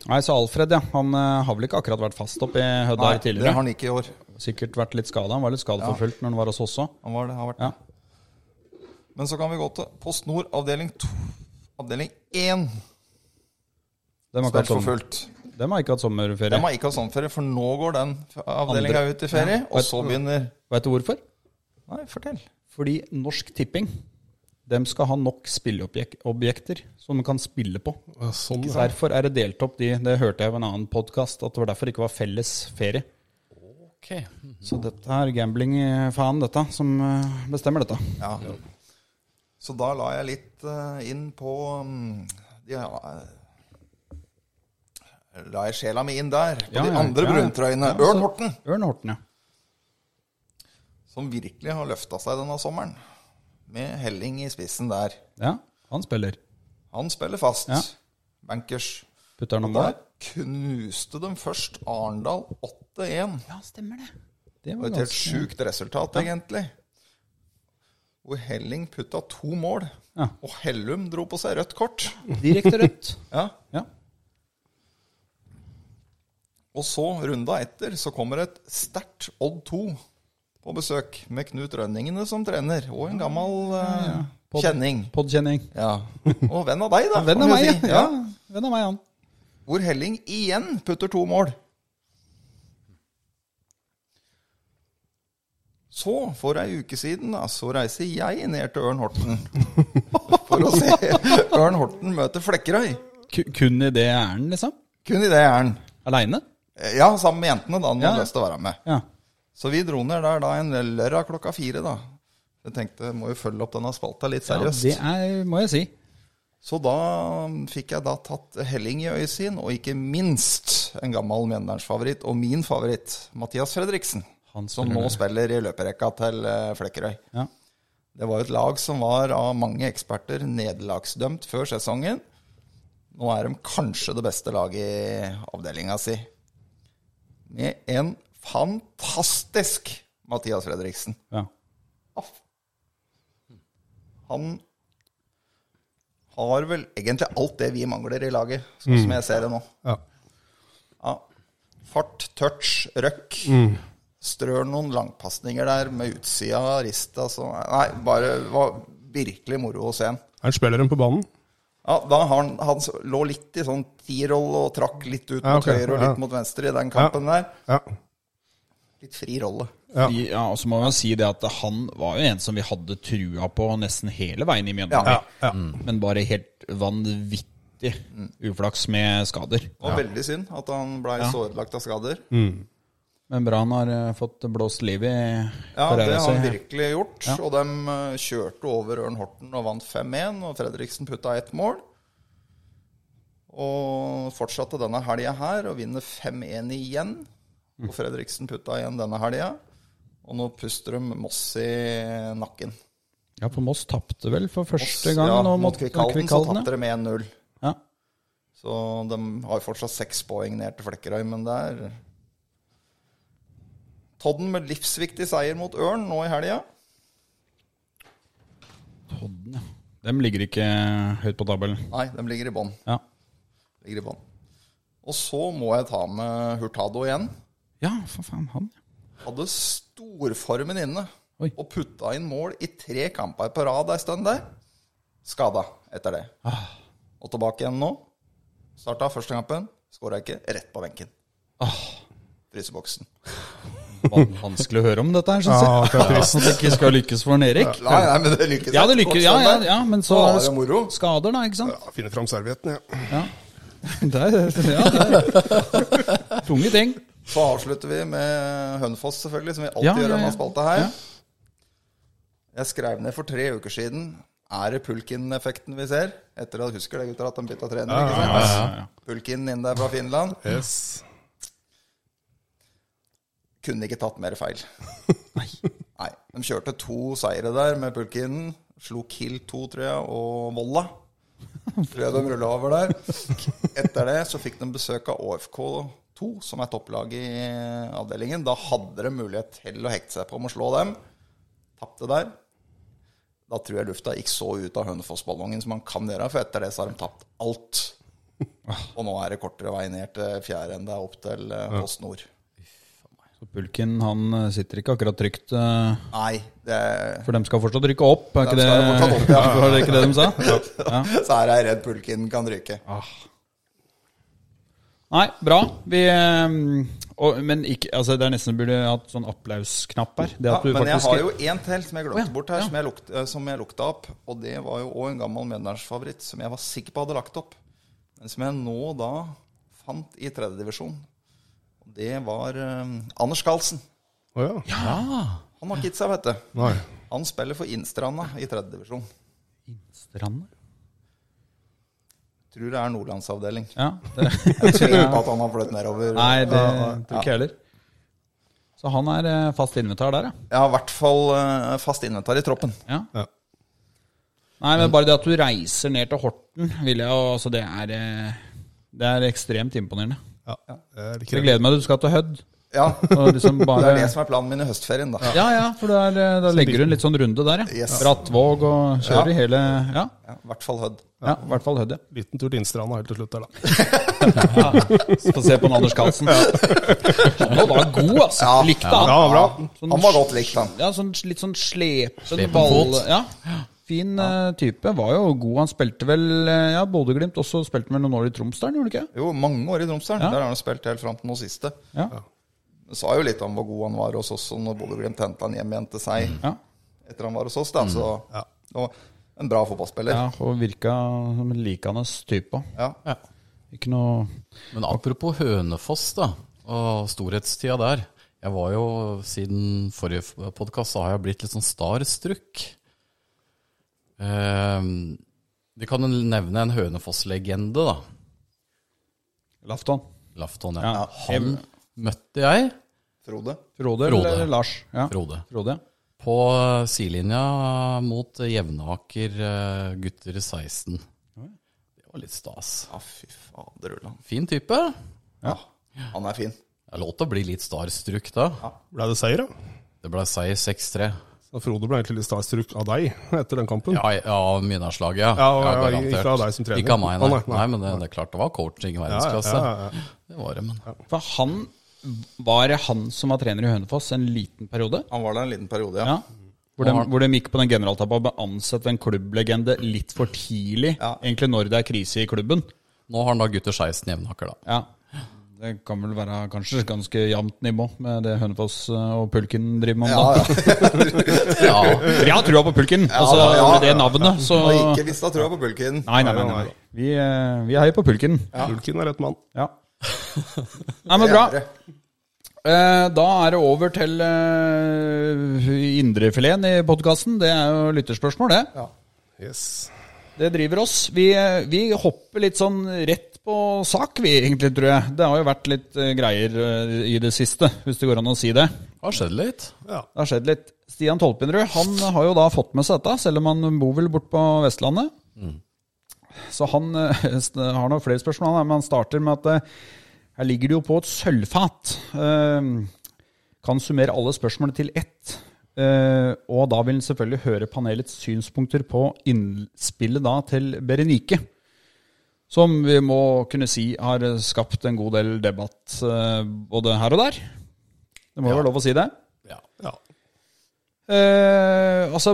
S2: Nei, så Alfred, ja. Han eh, har vel ikke akkurat vært fast oppe i Høddar
S4: det har
S2: tidligere?
S4: han ikke i år.
S2: Sikkert vært litt skada. Han var litt skadeforfulgt når han var hos oss også.
S4: Han var det, har vært
S2: Ja.
S4: Men så kan vi gå til Post Nord avdeling 2. Avdeling 1
S2: Dem har ikke hatt
S4: spilt for
S2: sommer-
S4: fullt.
S2: dem har ikke hatt sommerferie.
S4: De har ikke hatt sommerferie, for nå går den avdelinga
S2: Andre.
S4: ut i ferie.
S2: Ja.
S4: Og så begynner
S2: Vet du hvorfor?
S4: Nei, fortell.
S2: Fordi Norsk Tipping dem skal ha nok spilleobjekter som de kan spille på.
S5: Ja, Sånn,
S2: Så
S5: ja.
S2: Derfor er det delt opp de Det hørte jeg av en annen podkast, at det var derfor det ikke var felles ferie.
S3: Ok.
S2: Så dette er gambling-faen, dette, som eh, bestemmer dette.
S4: Ja. Så da la jeg litt eh, inn på um, ja, eh, La jeg sjela mi inn der, på
S2: Ja,
S4: de
S2: ja,
S4: andre
S2: ja.
S4: bruntrøyene. Ørn Horten,
S2: Ørn Horten, ja.
S4: som virkelig har løfta seg denne sommeren. Med Helling i spissen der.
S2: ja. Han spiller.
S4: Han spiller fast.
S2: Ja.
S4: Bankers.
S2: Putter han noen
S4: Der
S2: mål?
S4: knuste de først Arendal 8-1.
S2: Ja, stemmer det. Det
S4: Det var
S2: var
S4: et helt
S2: ganske
S4: sjukt resultat, egentlig. Hvor Helling putta to mål,
S2: Ja.
S4: og Hellum dro på seg rødt kort.
S2: Direkte rødt.
S4: Ja.
S2: Ja.
S4: Og så, runda etter, så kommer et sterkt Odd 2 på besøk, med Knut Rønningene som trener, og en gammel eh,
S2: Pod-
S4: kjenning.
S2: Podkjenning.
S4: Ja. Og venn av deg, da.
S2: Venn
S4: kan
S2: av
S4: du
S2: meg,
S4: si.
S2: ja. Venn av meg, han.
S4: Hvor Helling igjen putter to mål. Så, for ei uke siden, da, så reiser jeg ned til Ørn Horten for å se Ørn Horten møte Flekkerøy.
S2: Ku- Kun i det æren, liksom?
S4: Kun i det er han.
S2: Aleine?
S4: Ja, sammen med jentene, da. Han
S2: Ja.
S4: hadde lyst til å være med.
S2: Ja.
S4: Så vi dro ned der da en lørdag klokka fire, da. Jeg tenkte må jo følge opp denne spalta litt
S2: ja.
S4: seriøst.
S2: Det er, må jeg si.
S4: Så da fikk jeg da tatt Helling i øyet sin, og ikke minst en gammel Mjøndalens-favoritt, og min favoritt, Mathias Fredriksen.
S2: Han
S4: som
S2: spiller
S4: nå
S2: der.
S4: spiller i løperekka til eh, Flekkerøy.
S2: Ja.
S4: Det var jo et lag som var av mange eksperter nederlagsdømt før sesongen. Nå er de kanskje det beste laget i avdelinga si. Med en fantastisk Mathias Fredriksen.
S2: ja.
S4: Han har vel egentlig alt det vi mangler i laget, sånn
S5: Mm.
S4: som jeg ser det nå.
S5: Ja.
S4: Ja. Fart, touch, røkk.
S5: Mm.
S4: Strør noen langpasninger der med utsida av rist. Altså. Nei, bare det var virkelig moro å se han.
S5: Er det spilleren på banen?
S4: Ja, da har han, han så- lå litt i sånn tiroll og trakk litt ut mot
S5: Ja, ok,
S4: høyre og litt
S5: ja.
S4: mot venstre i den kampen der.
S5: Ja.
S4: Litt fri rolle.
S5: Ja.
S2: De, ja, og så må man si det at han var jo en som vi hadde trua på nesten hele veien i
S4: Ja.
S2: Mjøndalen. Men bare helt vanvittig
S4: Mm.
S2: uflaks med skader.
S4: Og veldig synd at han blei så ødelagt av skader.
S2: Men bra han har eh, fått blåst liv i
S4: Ja, det
S2: karrieren
S4: har han
S2: sin.
S4: virkelig gjort. Og de eh, kjørte over Ørn Horten og vant 5-1, og Fredriksen putta ett mål. Og fortsatte denne helga her og vinner 5-1 igjen. Og Fredriksen putta igjen denne helga. Og nå puster de Moss i nakken.
S2: Ja, for Moss tapte vel for første gang
S4: Ja,
S2: nå
S4: mot Kvikalden så
S2: Kvikalden, ja.
S4: tapte de 1-0.
S2: Ja.
S4: Så de har fortsatt seks poeng ned til Flekkerøy, men det er Todden med livsviktig seier mot Ørn nå i helga.
S2: Podden, ja. Dem ligger ikke eh, høyt på tabellen.
S4: Nei, de ligger i bånn.
S2: Ja.
S4: ligger i bånn. Og så må jeg ta med Hurtado igjen.
S2: ja, for faen, han.
S4: Hadde storformen inne
S2: Oi.
S4: og putta inn mål i tre kamper på rad ei stund der. Skada etter det.
S2: Ah.
S4: Og tilbake igjen nå. Starta første kampen, skåra ikke. Rett på benken.
S2: Ah.
S4: Fryseboksen.
S2: Van- Vanskelig å høre om dette her, syns jeg.
S5: Ja, det er trist.
S2: At det ikke skal lykkes for en Erik.
S4: Nei, nei, men det lykkes.
S2: Ja, det lykkes. Ja, ja, ja, men så
S4: Da
S2: er
S4: er det moro.
S2: skader, da, ikke sant?
S5: Ja, finne fram servietten, ja.
S2: Det er, ja, det er. Tunge ting.
S4: Så avslutter vi med Hønefoss, selvfølgelig, som vi alltid
S2: Ja,
S4: gjør i
S2: ja,
S4: denne
S2: ja.
S4: spalta her.
S2: Ja.
S4: Jeg skrev ned for tre uker siden Er det Pulkin-effekten vi ser? Etter at husker det, gutter, at de bytta trener. ikke sant? Pulkin inn der fra Finland.
S5: Yes.
S4: Kunne ikke tatt mer feil. Nei. De kjørte to seire der med Pulkinen. Slo Kill 2, tror jeg, og Volla. Tror jeg de rulla over der. Etter det så fikk de besøk av ÅFK2, som er topplag i avdelingen. Da hadde de mulighet til å hekte seg på om å slå dem. Tapte der. Da tror jeg lufta gikk så ut av Hønefoss-ballongen som man kan gjøre, for etter det så har de tapt alt. Og nå er det kortere vei ned til fjerde enn det er opp til eh, Post Nord.
S2: Så Pulken han eh, sitter ikke akkurat trygt, eh,
S4: Nei, det er
S2: for dem skal fortsatt rykke opp. Er ikke
S4: Dem
S2: det,
S4: skal fortsatt opp, ja.
S2: var det ikke det de sa? Ah.
S4: Så her er jeg redd pulken kan ryke.
S2: Nei, bra. Vi, eh, og, men ikke, altså, det er nesten burde hatt sånn applausknapp her. Det
S4: Ja,
S2: at du
S4: men jeg
S2: faktisk-
S4: har jo en til som
S2: Å,
S4: jeg
S2: ja,
S4: glemte bort her,
S2: ja.
S4: som jeg, lukta, eh, som jeg lukta opp. Og det var jo òg en gammel medlemsfavoritt som jeg var sikker på hadde lagt opp. Men som jeg nå da fant i tredjedivisjon. Det var eh, Anders Carlsen.
S5: Å ja.
S4: Han har ikke gitt seg, vet du.
S5: Nei.
S4: Han spiller for Innstranda i tredjedivisjon.
S2: Strand?
S4: Tror det er Nordlandsavdeling.
S2: Ja, det,
S4: Jeg tror ikke at han har flyttet nedover.
S2: nei, det
S4: Ja,
S2: tror ikke jeg heller. Så han er eh, fast invitar der, ja.
S4: Jeg har i hvert fall eh, fast inventar i troppen.
S2: ja.
S5: Ja.
S2: Nei, men bare det at du reiser ned til Horten, vil jeg jo Altså, det er eh, Det er ekstremt imponerende.
S5: Ja. Det er
S2: Så
S5: ikke
S2: jeg gleder meg til du skal til Hødd.
S4: Ja,
S2: Og liksom
S4: Det
S2: bare
S4: er det som er planen min i høstferien, da.
S2: Ja, ja, for da er- da legger du en litt sånn runde der, ja.
S4: Yes.
S2: Brattvåg og kjører i hele Ja,
S4: Ja, I hvert fall Hødd.
S2: ja i hvert fall Hødd, ja.
S5: Liten tur til Innstranda helt til slutt der, da.
S2: Få se på en Anders Carlsen. Han var god, altså.
S4: Ja.
S2: Likte
S5: Ja,
S2: han.
S5: bra.
S2: Sånn,
S4: Han var godt likt, han.
S2: Ja, sånn, litt sånn slepen
S3: Slepen
S2: ball...
S3: fot.
S2: Ja. Fin eh, type. Var jo god. Han spilte vel eh, Ja, Bodø-Glimt også spilte han vel noen år i Tromsdalen, gjorde han ikke?
S4: Jo, mange år i Tromsdalen.
S2: Ja.
S4: Der har han spilt helt fram til nå siste.
S2: Ja.
S4: Sa jo litt om hvor god han var hos oss, og når Bodø-Glimt henta han hjem igjen til seg
S2: Mm. Ja. Mm.
S4: etter han var hos oss. Da. Så
S5: Ja.
S4: og en bra fotballspiller.
S2: ja, og virka som en likende type.
S4: Ja.
S2: Ikke noe
S3: Men apropos Hønefoss da, og storhetstida der. Jeg var jo, siden forrige podkast, så har jeg blitt litt sånn starstruck. Eh, vi kan nevne en Hønefoss-legende, da.
S2: Lafton.
S3: Lafton, ja.
S2: Ja.
S3: Han møtte jeg,
S4: Frode.
S2: Frode,
S3: Frode.
S2: eller Lars? Ja.
S3: Frode,
S2: Frode.
S3: på sidelinja mot Jevnaker eh, gutter 16. Det var litt stas.
S4: Ja, fy fader, Ulland.
S3: Fin type.
S4: Ja. Han er fin.
S3: Det er lov til å bli litt starstruck da.
S5: Ble det seier, da?
S3: Det ble seier 6-3.
S5: Så Frode ble egentlig litt starstruck av deg etter den kampen.
S3: Ja, ja Midnardslaget, ja.
S5: Ja, og- ja,
S3: garantert.
S5: ikke av deg som trener.
S3: Ikke av meg, nei.
S5: Å,
S3: nei,
S5: nei, nei.
S3: men det, det er klart det var coaching i verdensklasse.
S5: Ja, ja, ja, ja.
S3: Det var det, men
S2: For han var det han som var trener i Hønefoss en liten periode.
S4: Han var der en liten periode, ja.
S2: Ja. Hvor, de, hvor de gikk på den generaltabba og ansatte en klubblegende litt for tidlig.
S4: Ja.
S2: Egentlig når det er krise i klubben.
S3: nå har han da gutter 16 jevnaker, da.
S2: Ja. Det kan vel være kanskje ganske jevnt nivå med det Hønefoss eh, og Pulken driver med om
S4: Ja,
S2: dagen.
S4: ja.
S3: Ja,
S2: For jeg har trua på Pulken! altså,
S4: ja, ja.
S2: med det navnet, så
S4: Og ikke hvis du har trua på Bulkin.
S2: Nei, nei, nei. nei. Vi, eh, vi heier på Pulken.
S5: Ulkin er rett mann.
S2: Ja. Nei, men bra. Eh, Da er det over til eh, indrefileten i podkasten. Det er jo lytterspørsmål, det.
S5: Yes.
S2: Det driver oss. Vi, eh, vi hopper litt sånn rett på sak, vi egentlig, tror jeg. Det har jo vært litt eh, greier eh, i det siste, hvis det går an å si det.
S3: det har skjedd litt.
S5: Ja.
S2: Det har skjedd litt. Stian Tolpenrud han har jo da fått med seg dette, selv om han bor vel borte på Vestlandet. Så han eh, st- har nok flere spørsmål, han, men han starter med at eh, her ligger det jo på et sølvfat. Eh, Kan summere alle spørsmålene til ett. Eh, Og da vil han selvfølgelig høre panelets synspunkter på innspillet da til Berenike. Som vi må kunne si har skapt en god del debatt eh, både her og der. Det må jo være lov å si det.
S3: Ja.
S5: ja.
S2: Eh, altså,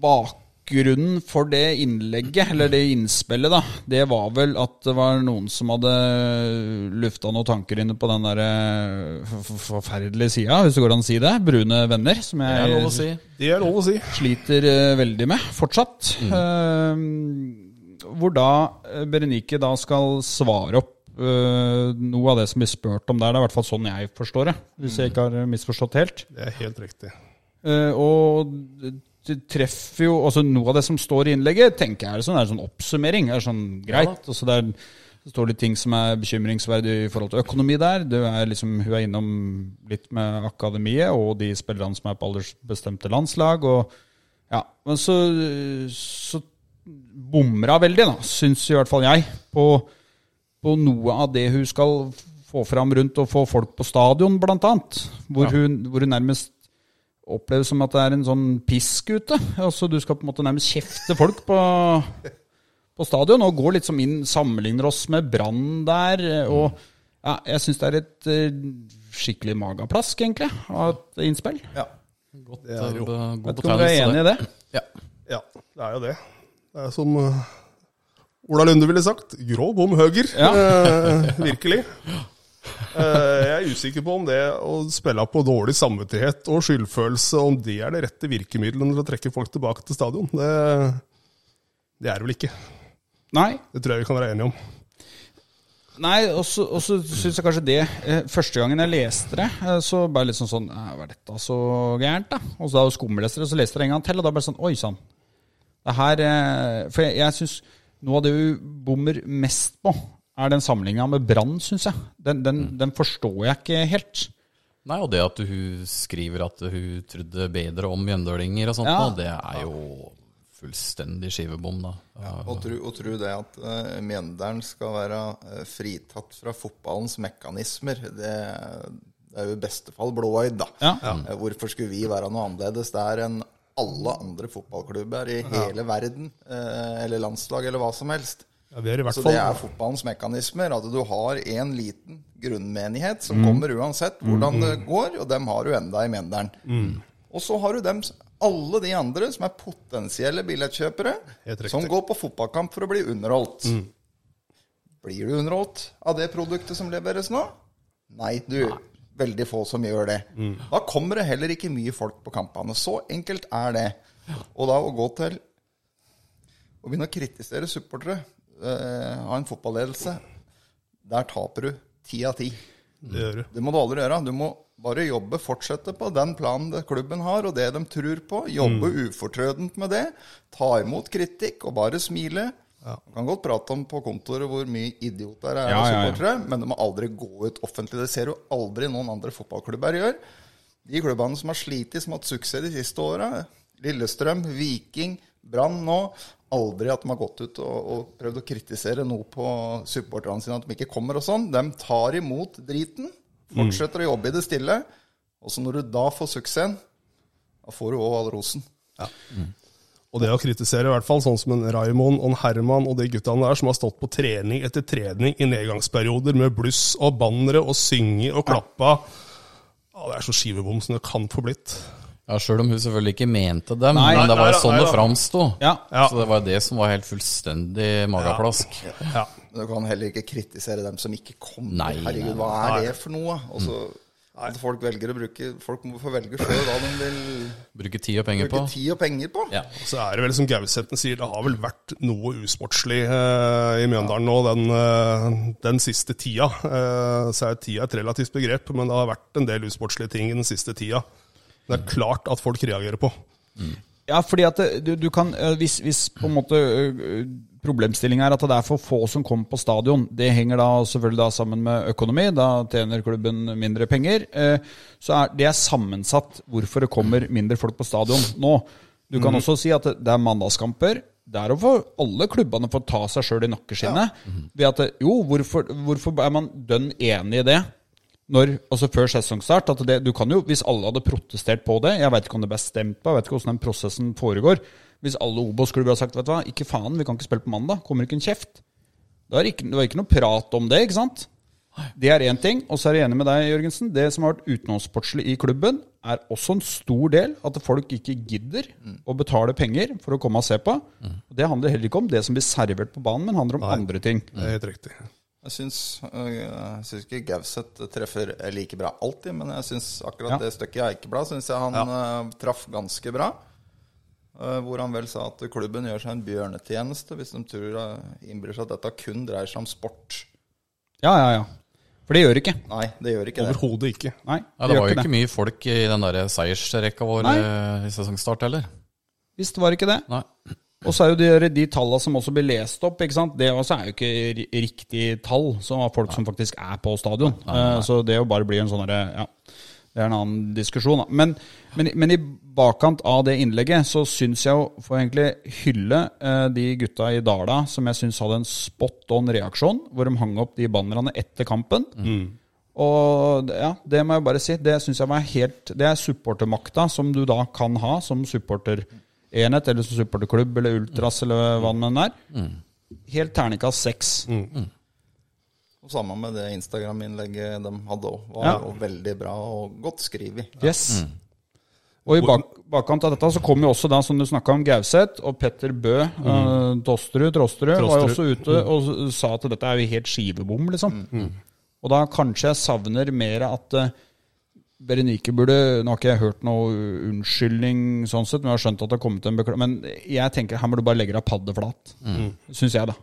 S2: bakgrunnen for det innlegget, eller det innspillet, da, det var vel at det var noen som hadde lufta noen tanker inne på den der eh, f- f- forferdelige sida, hvis det går an å si det. Brune venner, som
S3: Det er
S2: jeg
S3: lov å si.
S5: Det er lov å si.
S3: Mm.
S2: sliter eh, veldig med fortsatt. Eh, hvor da eh, Berenike da skal svare opp eh, noe av det som blir spurt om der. Det er i hvert fall sånn jeg forstår det, hvis
S3: Mm.
S2: jeg ikke har misforstått helt.
S5: Det er helt riktig.
S2: Eh, og det treffer jo altså Noe av det som står i innlegget, tenker jeg er sånn, er sånn oppsummering. er sånn greit, og så det er, så står det ting som er bekymringsverdig i forhold til økonomi der. Det er liksom, hun er innom litt med akademiet og de spillerne som er på aldersbestemte landslag. og ja, Men så, så bommer hun veldig, da, syns i hvert fall jeg, på, på noe av det hun skal få fram rundt å få folk på stadion, blant annet. Hvor, hun, hvor hun nærmest oppleves som at det er en sånn pisk ute. Altså, du skal på en måte nærmest kjefte folk på, på stadion, og går litt som inn, sammenligner oss med Brann der. og ja, Jeg syns det er et eh, skikkelig magaplask, egentlig, av et innspill.
S4: Ja.
S3: Godt,
S5: Det er jo-
S3: eh, god
S2: Vet ikke om du er
S3: betegnelse,
S2: enig i det?
S3: Ja.
S5: Ja, det er jo det. Det er som eh, Ola Lunde ville sagt, grå bom høger. Eh, virkelig. Eh, jeg er usikker på om det å spille på dårlig samvittighet og skyldfølelse, om det er det rette virkemidlet til å trekke folk tilbake til stadion. Det, det er det vel ikke.
S2: Nei.
S5: Det tror jeg vi kan være enige om.
S2: Nei, og så og så syns jeg kanskje det eh, Første gangen jeg leste det, eh, så bare litt sånn sånn «Æ, Hva er dette så gærent, da? Og så da skumleste det, så leste jeg det en gang til, og da bare sånn Oi sann. Det her eh, For jeg, jeg syns noe av det hun bommer mest på, er den sammenligninga med Brann, syns jeg. Den, den, den forstår jeg ikke helt.
S3: Nei, og det at hun skriver at hun trodde bedre om mjøndølinger og sånt,
S2: Ja.
S3: nå, det er jo fullstendig skivebom, da.
S4: Og tro, og tro det at uh, Mjøndalen skal være eh, fritatt fra fotballens mekanismer, det, det er jo i beste fall blåøyd, da.
S2: Ja.
S4: Eh, Hvorfor skulle vi være noe annerledes der enn alle andre fotballklubber i hele verden, eh, eller landslag, eller hva som helst?
S5: Ja, vi er i hvert
S4: Så
S5: fall
S4: det er fotballens mekanismer. At du har en liten grunnmenighet
S5: Mm.
S4: som kommer uansett hvordan det går, og dem har du enda i Mjøndalen.
S5: Mm.
S4: Og så har du dem, s- alle de andre som er potensielle billettkjøpere,
S5: Helt riktig. Mm.
S4: som går på fotballkamp for å bli underholdt. Blir du underholdt av det produktet som leveres nå? Nei, du. Veldig få som gjør det.
S5: Mm.
S4: Da kommer det heller ikke mye folk på kampene. Så enkelt er det. Og da å gå til å begynne å kritisere supportere eh, av en fotballedelse, der taper du ti av ti.
S5: det gjør du.
S4: Det må du aldri gjøre. Du må bare jobbe, fortsette på den planen det- klubben har, og det de tror på. Jobbe ufortrødent med det. Ta imot kritikk, og bare smile. Du Kan godt prate om på kontoret hvor mye idioter det er
S2: Ja,
S4: av
S2: ja, ja.
S4: supportere, men det må aldri gå ut offentlig. Det ser du aldri noen andre fotballklubber gjør. De klubbene som har slitt, som har hatt suksess de siste åra, Lillestrøm, Viking, Brann nå Aldri at de har gått ut og, og prøvd å kritisere noe på supporterne sine, at de ikke kommer og sånn. De tar imot driten,
S2: Mm.
S4: fortsetter å jobbe i det stille. Og så når du da får suksessen, da får du òg all rosen.
S5: Og det å kritisere, i hvert fall sånn som en Raymond og en Herman og de guttene der som har stått på trening etter trening i nedgangsperioder med bluss og bannere og synge og klappa. Ja, det er så skivebom som det kan få blitt.
S3: Ja, Sjøl om hun selvfølgelig ikke mente dem,
S2: Nei.
S3: men det
S5: Nei
S3: var
S5: da,
S3: jo sånn
S5: nei
S3: det
S5: da.
S3: framsto.
S2: Ja.
S5: Ja.
S3: Så det var det som var helt fullstendig mageplask.
S5: Ja.
S4: Men du kan heller ikke kritisere dem som ikke kommer.
S3: Nei, Mm.
S4: Herregud, hva er det for noe? Og så at folk velger å bruke Folk må få velge sjøl hva de vil
S3: Bruke tid og penger på.
S4: bruke tid og penger på.
S3: Ja.
S5: Og Så er det vel som Gausethten sier, det har vel vært noe usportslig eh, i Mjøndalen nå den, eh, den siste tida. Eh, så er tida et relativt begrep, men det har vært en del usportslige ting i den siste tida. Det er klart at folk reagerer på.
S2: Ja, fordi at det- du, du kan eh, Hvis, hvis på en måte eh, problemstillinga er at det er for få som kommer på stadion, det henger da selvfølgelig da sammen med økonomi, da tjener klubben mindre penger. eh, Så er det er sammensatt hvorfor det kommer mindre folk på stadion nå. Du kan også si at det er mandagskamper. Der får alle klubbene få ta seg sjøl i nakkeskinnet. Ved at det- jo, hvorfor, hvorfor er man dønn enig i det? når, altså før sesongstart at det, du kan jo, Hvis alle hadde protestert på det Jeg vet ikke om det ble stemt på, jeg vet ikke hvordan den prosessen foregår. Hvis alle Obos-klubber hadde sagt vet du hva, ikke faen, vi kan ikke spille på mandag, kommer ikke en kjeft. Det var ikke, det var ikke noe prat om det, ikke sant? Det er én ting. Og så er jeg enig med deg, Jørgensen. Det som har vært utenomsportslig i klubben, er også en stor del at folk ikke gidder å betale penger for å komme og se på. Og det handler heller ikke om det som blir servert på banen, men handler om andre ting.
S5: Det er helt riktig.
S4: Jeg syns, øh, jeg syns ikke Gauseth treffer like bra alltid, men jeg syns akkurat
S2: Ja.
S4: det stykket i Eikeblad syns jeg han øh, traff ganske bra. eh, hvor han vel sa at klubben gjør seg en bjørnetjeneste hvis de tror eh, innbiller seg at dette kun dreier seg om sport.
S2: Ja, ja, ja. For det gjør det ikke.
S4: Nei, det gjør ikke det.
S5: Overhodet ikke.
S2: Nei,
S3: Ja,
S2: det
S3: det
S2: gjør
S3: var jo
S2: ikke
S3: ikke
S2: det.
S3: mye folk i den der seiersrekka vår
S2: Nei.
S3: eh, i sesongstart heller.
S2: Visst var det ikke det.
S3: Nei.
S2: Og så er jo de, de tallene som også blir lest opp, ikke sant? det også er jo ikke ri- riktig tall som av folk som faktisk er på stadion. Eh, Så det å bare bli en sånn derre Ja, det er en annen diskusjon, da. Men, men, men i bakkant av det innlegget så syns jeg jo får jeg egentlig hylle eh, de gutta i Dala som jeg syns hadde en spot on reaksjon, hvor de hang opp de bannerne etter kampen. Og det- ja, det må jeg bare si. Det synes jeg var helt Det er supportermakta som du da kan ha som supporterenhet, eller som supporterklubb, eller ultras, eller hva det enn er. Helt terningkast seks.
S4: Og Samme med det Instagram-innlegget de hadde òg. Var
S2: Ja.
S4: jo veldig bra og godt skrevet.
S2: Yes. Og i bak, bakkant av dette så kom jo også da, som du snakka om, Gauseth og Petter Bø. eh, Tosterud, Trosterud, var jo også ute og s- sa at dette er jo helt skivebom, liksom. Og da kanskje jeg savner mer at eh, Berenike burde Nå har ikke jeg hørt noe unnskyldning sånn sett, men jeg har skjønt at det har kommet en beklagelse. Men jeg tenker her må du bare legge deg paddeflat. Syns jeg, da.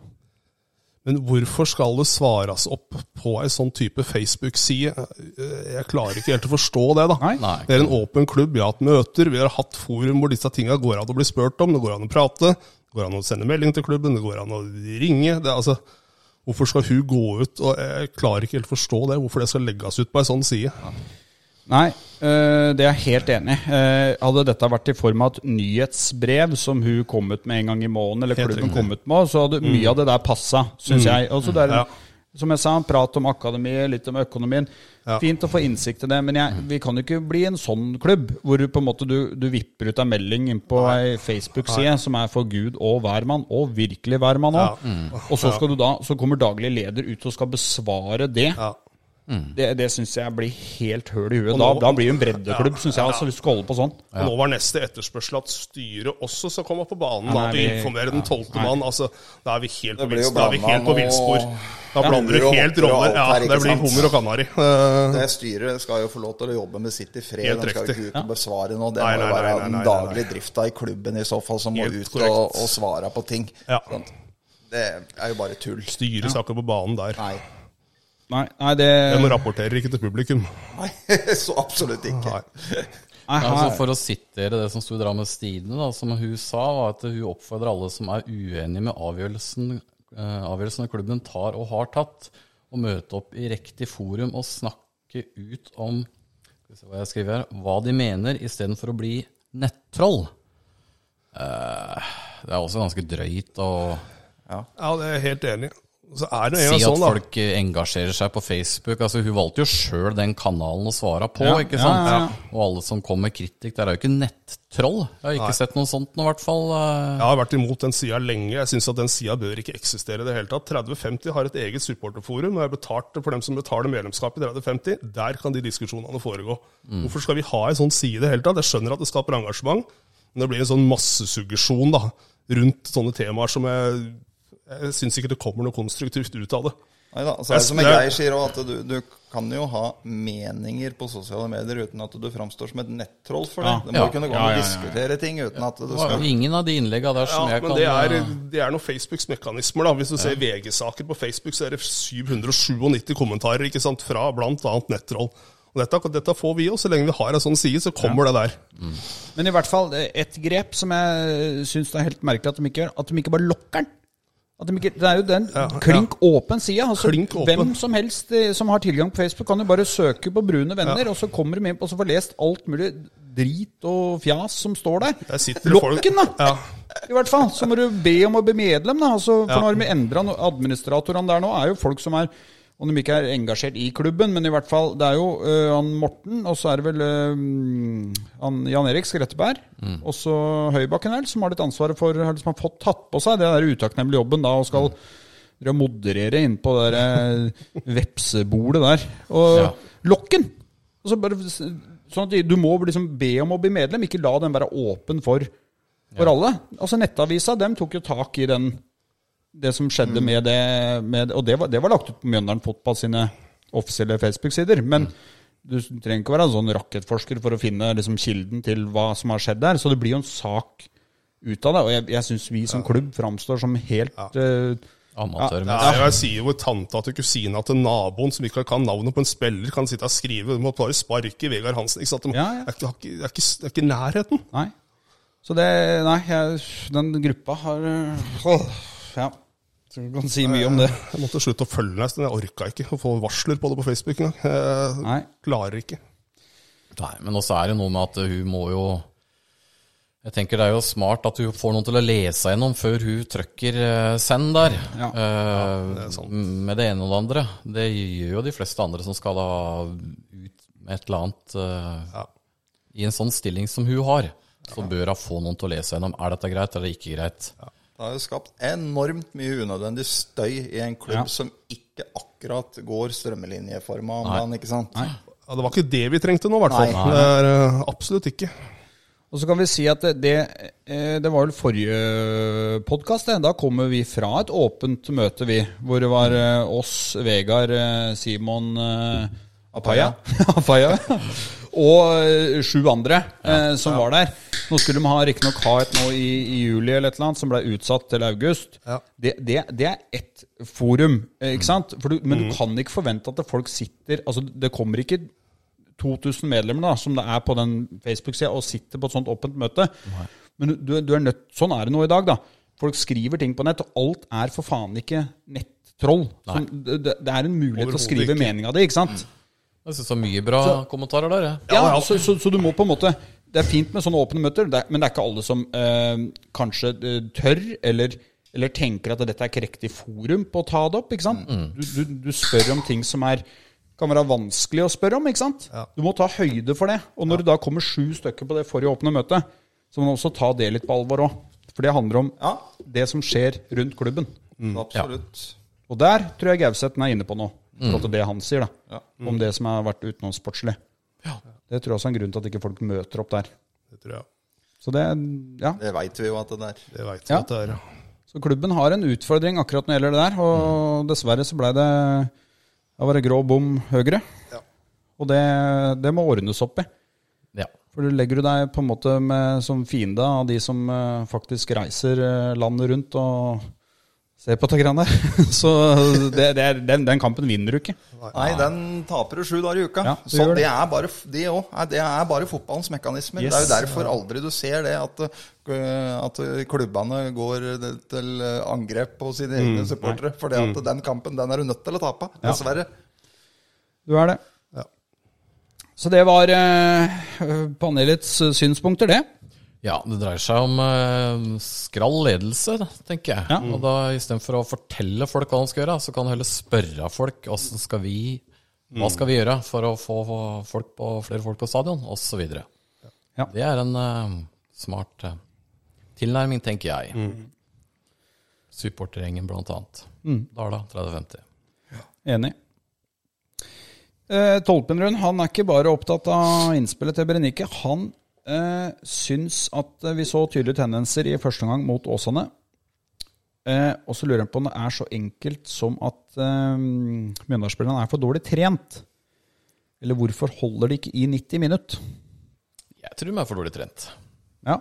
S5: Men hvorfor skal det svares opp på ei sånn type Facebook-side? Jeg klarer ikke helt å forstå det, da.
S2: Nei.
S3: Nei.
S5: Det er en åpen klubb, vi har hatt møter, vi har hatt forum hvor disse tinga går an å bli spurt om, det går an å prate, det går an å sende melding til klubben, det går an å ringe. Det, er altså, hvorfor skal hun gå ut? Og jeg klarer ikke helt å forstå det, hvorfor det skal legges ut på ei sånn side.
S2: Nei, øh, det er jeg helt enig i. Eh, Hadde dette vært i form av et nyhetsbrev som hun kom ut med en gang i måneden, eller
S5: Helt
S2: klubben
S5: riktig. Mm.
S2: kom ut med, så hadde mye av det der passa, syns jeg. Også det er,
S5: Ja.
S2: Som jeg sa, prat om akademiet, litt om økonomien. Fint å få innsikt i det, men jeg, vi kan jo ikke bli en sånn klubb hvor du på en måte du, du vipper ut en melding inn på ei Facebook-side som er for Gud og hvermann, og virkelig hvermann òg.
S5: Mm.
S2: Og så, skal du da, så kommer daglig leder ut og skal besvare det.
S5: Ja.
S2: Det, det syns jeg blir helt høl i huet.
S5: Og
S2: Da,
S5: nå-
S2: da blir det en breddeklubb, synes jeg, altså, hvis du skal holde på sånn.
S5: Og Nå var neste etterspørsel at styret også skal komme på banen da,
S2: Nei,
S5: og
S2: vi-
S5: informere den tolvte mann. Altså, da er vi helt på
S4: blir jo
S5: villspor. Da er vi
S4: blanda
S5: helt på
S4: nå-
S5: villspor. Da
S4: Ja.
S5: blander du
S4: Hummer og
S5: helt
S4: hopper og
S5: roller.
S4: alt
S5: Ja,
S4: her, ikke
S5: det blir
S4: sant?
S5: hummer og kanari. Eh,
S4: Det styret skal jo få lov til å jobbe med sitt i fred.
S5: Helt
S4: De skal jo
S5: riktig.
S4: ikke ut og besvare noe. Det
S5: Nei,
S4: må
S5: nei,
S4: jo være
S5: nei, nei, nei,
S4: den
S5: nei.
S4: daglige drifta i klubben i så fall som må
S5: Helt
S4: ut og, og
S5: korrekt.
S4: svare på ting.
S5: Ja.
S4: Sant? Det er jo bare tull.
S5: Styret skal ikke på banen der.
S4: Nei.
S2: Nei, nei det
S5: Den rapporterer ikke til publikum.
S4: nei. Så absolutt ikke.
S5: Nei.
S2: nei,
S3: Ja, altså
S2: her,
S3: for å sitere det som sto i Drammens Tidende, da, som hun sa, var at hun oppfordrer alle som er uenige med avgjørelsen, eh, avgjørelsen klubben tar og har tatt, å møte opp i riktig forum og snakke ut om skal vi se hva jeg skriver her, hva de mener, istedenfor å bli nettroll. Eh, det er også ganske drøyt å
S5: Ja, det er jeg helt enig. i. Så er det
S3: si
S5: en gang
S3: at
S5: sånn, da.
S3: folk eh, engasjerer seg på Facebook. Altså, hun valgte jo sjøl den kanalen å svare på,
S2: Ja,
S3: ikke
S2: ja,
S3: sant?
S2: ja, ja.
S3: Og alle som kom med kritikk, der er jo ikke nettroll. Jeg har ikke sett noe sånt nå, i hvert fall. eh.
S5: Jeg har vært imot den sida lenge. Jeg syns at den sida bør ikke eksistere i det hele tatt. 3050 har et eget supporterforum, og jeg betalte for dem som betaler medlemskap i 3050. Der kan de diskusjonene foregå. Hvorfor skal vi ha ei sånn side i det hele tatt? Jeg skjønner at det skaper engasjement, men det blir en sånn massesuggesjon da, rundt sånne temaer som jeg jeg syns ikke det kommer noe konstruktivt ut av det.
S4: Neida, så er det som
S5: Jeg-
S4: Geir sier også, at du, du kan jo ha meninger på sosiale medier uten at du framstår som et nettroll for det.
S2: Ja.
S4: Det må jo
S3: Ja.
S4: kunne gå
S2: Ja, ja,
S4: an å
S2: ja, ja.
S4: diskutere ting uten at du
S3: Det var
S4: skal
S3: jo ingen av de innlegga der
S5: Ja,
S3: som jeg
S5: men
S3: kan
S5: det er,
S3: eh,
S5: det er noen Facebooks mekanismer, da. Hvis du ser VG-saker på Facebook, så er det 797 kommentarer ikke sant, fra bl.a. nettroll. Og dette, dette får vi jo, så lenge vi har en sånn side, så kommer det der.
S2: men i hvert fall eh, et grep som jeg syns det er helt merkelig at de ikke gjør, at de ikke bare lokker den. At de ikke, det er jo den klink åpen sida. Altså,
S5: Klink åpen.
S2: hvem som helst eh, som har tilgang på Facebook, kan jo bare søke på Brune venner, og så kommer de inn og så får lest alt mulig drit og fjas som står der.
S5: der sitter det
S2: Lokk
S5: folk-
S2: den, da!
S5: Ja.
S2: I hvert fall, så må du be om å bli medlem, da. Altså, for nå har vi endra no administratorene der nå, er jo folk som er om de ikke er engasjert i klubben, men i hvert fall Det er jo øh, han Morten, og så er det vel øh, han Jan Erik Skretteberg, og så Høybakken her, som har litt ansvaret for Har liksom har fått tatt på seg det der utakknemlige jobben da, og skal drive og moderere innpå det der øh, vepsebolet der. Og
S3: Ja.
S2: lokken! Og så bare, s- sånn at du må liksom be om å bli medlem, ikke la den være åpen for, for alle. Altså Nettavisa dem tok jo tak i den, det som skjedde med det med, Og det var, det var lagt ut på Mjøndalen Fotball sine offisielle Facebook-sider. Men du trenger ikke å være en sånn rakettforsker for å finne liksom, kilden til hva som har skjedd der. Så det blir jo en sak ut av det. Og jeg, jeg syns vi som klubb framstår som helt eh,
S5: Ja,
S3: Amatørmessig.
S5: jeg sier jo tanta til kusina til naboen som ikke kan navnet på en spiller, kan sitte og skrive. Du må bare sparke Vegard Hansen. Ikke sant? De,
S2: Ja, ja.
S5: Er, ikke- har ikke, er, ikke, er ikke i nærheten.
S2: Nei. Så det Nei, jeg, den gruppa har øh, Ja. Så du kan si mye om det.
S5: Jeg måtte slutte å følge deg en stund. Jeg orka ikke å få varsler på det på Facebook engang. Jeg
S2: Nei.
S5: klarer ikke.
S3: Nei, men også er det noe med at hun må jo Jeg tenker det er jo smart at hun får noen til å lese gjennom før hun trykker eh, send der.
S2: Ja.
S3: Eh,
S5: det er sant.
S3: Med det ene og det andre. Det gjør jo de fleste andre som skal da ut med et eller annet eh,
S5: Ja.
S3: i en sånn stilling som hun har. Så bør hun få noen til å lese gjennom. Er dette greit eller ikke greit?
S4: Det har jo skapt enormt mye unødvendig støy i en klubb
S2: Ja.
S4: som ikke akkurat går strømmelinjeforma om dagen, ikke sant?
S5: Ja, det var ikke det vi trengte nå, i hvert fall.
S4: Nei.
S5: Det er, eh, absolutt ikke.
S2: Og så kan vi si at det, det, eh, det var vel forrige podkast, det. Da kommer vi fra et åpent møte, vi. Hvor det var eh, oss, Vegard, eh, Simon eh, Apaya, Apaya og eh, sju andre eh, som var der. Nå skulle de ha riktignok ha et nå i, i juli eller et eller annet, som ble utsatt til august.
S5: Ja.
S2: Det, det, det er ett forum, eh, ikke sant? For du, men du kan ikke forvente at folk sitter Altså, det kommer ikke 2000 medlemmer da, som det er på den Facebook-sida, og sitter på et sånt åpent møte. Men du, du er nødt, sånn er det nå i dag, da. Folk skriver ting på nett, og alt er for faen ikke nettroll. Som, det, det det er en mulighet til å
S5: Overhodet
S2: skrive
S5: ikke.
S2: meninga di, ikke sant?
S3: Jeg syns det er mye bra kommentarer der. jeg.
S2: Ja, Så, så, så du må på en måte Det er fint med sånne åpne møter, det er, men det er ikke alle som eh, kanskje eh, tør, eller, eller tenker at dette er ikke riktig forum på å ta det opp. ikke sant? Du, du, du spør om ting som er kan være vanskelig å spørre om. ikke sant? Du må ta høyde for det. Og når det da kommer sju stykker på det forrige åpne møtet, så må du også ta det litt på alvor òg. For det handler om
S4: Ja.
S2: det som skjer rundt klubben.
S4: Absolutt.
S2: Og der tror jeg Gauseten er inne på noe, i forhold til det han sier, da. Om det som har vært utenomsportslig. Det tror jeg også er en grunn til at ikke folk møter opp der.
S5: Det tror jeg.
S2: Så det, ja.
S4: Det veit vi jo at det er.
S5: Det veit vi
S2: Ja.
S5: at det er. ja.
S2: Så klubben har en utfordring akkurat når det gjelder det der, og dessverre så blei det Da var det grå bom høyre. Og det, det må ordnes opp i.
S3: Ja.
S2: For du legger du deg på en måte med, som fiende av de som eh, faktisk reiser eh, landet rundt og ser på det greiene der. Så det, det er, den, den kampen vinner du ikke.
S4: Nei, den taper du sju dager i uka.
S2: Ja, det
S4: så
S2: gjør
S4: det.
S2: det.
S4: er bare, f- det òg. Nei, Det er bare fotballens mekanismer.
S2: Yes.
S4: Det er jo derfor aldri du ser det, at, øh, at klubbene går til angrep på sine
S2: Mm.
S4: egne supportere. For at den kampen den er du nødt til å tape, dessverre.
S2: Du er det.
S5: Ja.
S2: Så det var eh, panelets eh, synspunkter, det.
S3: Ja, det dreier seg om eh, skrall ledelse, da, tenker jeg.
S2: Ja.
S3: Og da istedenfor å fortelle folk hva de skal gjøre, så kan du heller spørre folk hvordan skal vi
S2: Mm.
S3: hva skal vi gjøre for å få få folk på, flere folk på stadion, osv.
S2: Ja.
S3: Det er en eh, smart eh, tilnærming, tenker jeg.
S2: Mm.
S3: Supportergjengen, blant annet. Dala 3050.
S2: Enig. Eh, Tolpenrund han er ikke bare opptatt av innspillet til Berenike. Han eh, syns at eh, vi så tydelige tendenser i første omgang mot Åsane. Eh, og så lurer han på om det er så enkelt som at eh, Mjøndalsspillerne er for dårlig trent. Eller hvorfor holder de ikke i 90 minutt?
S3: Jeg tror de er for dårlig trent.
S2: Ja,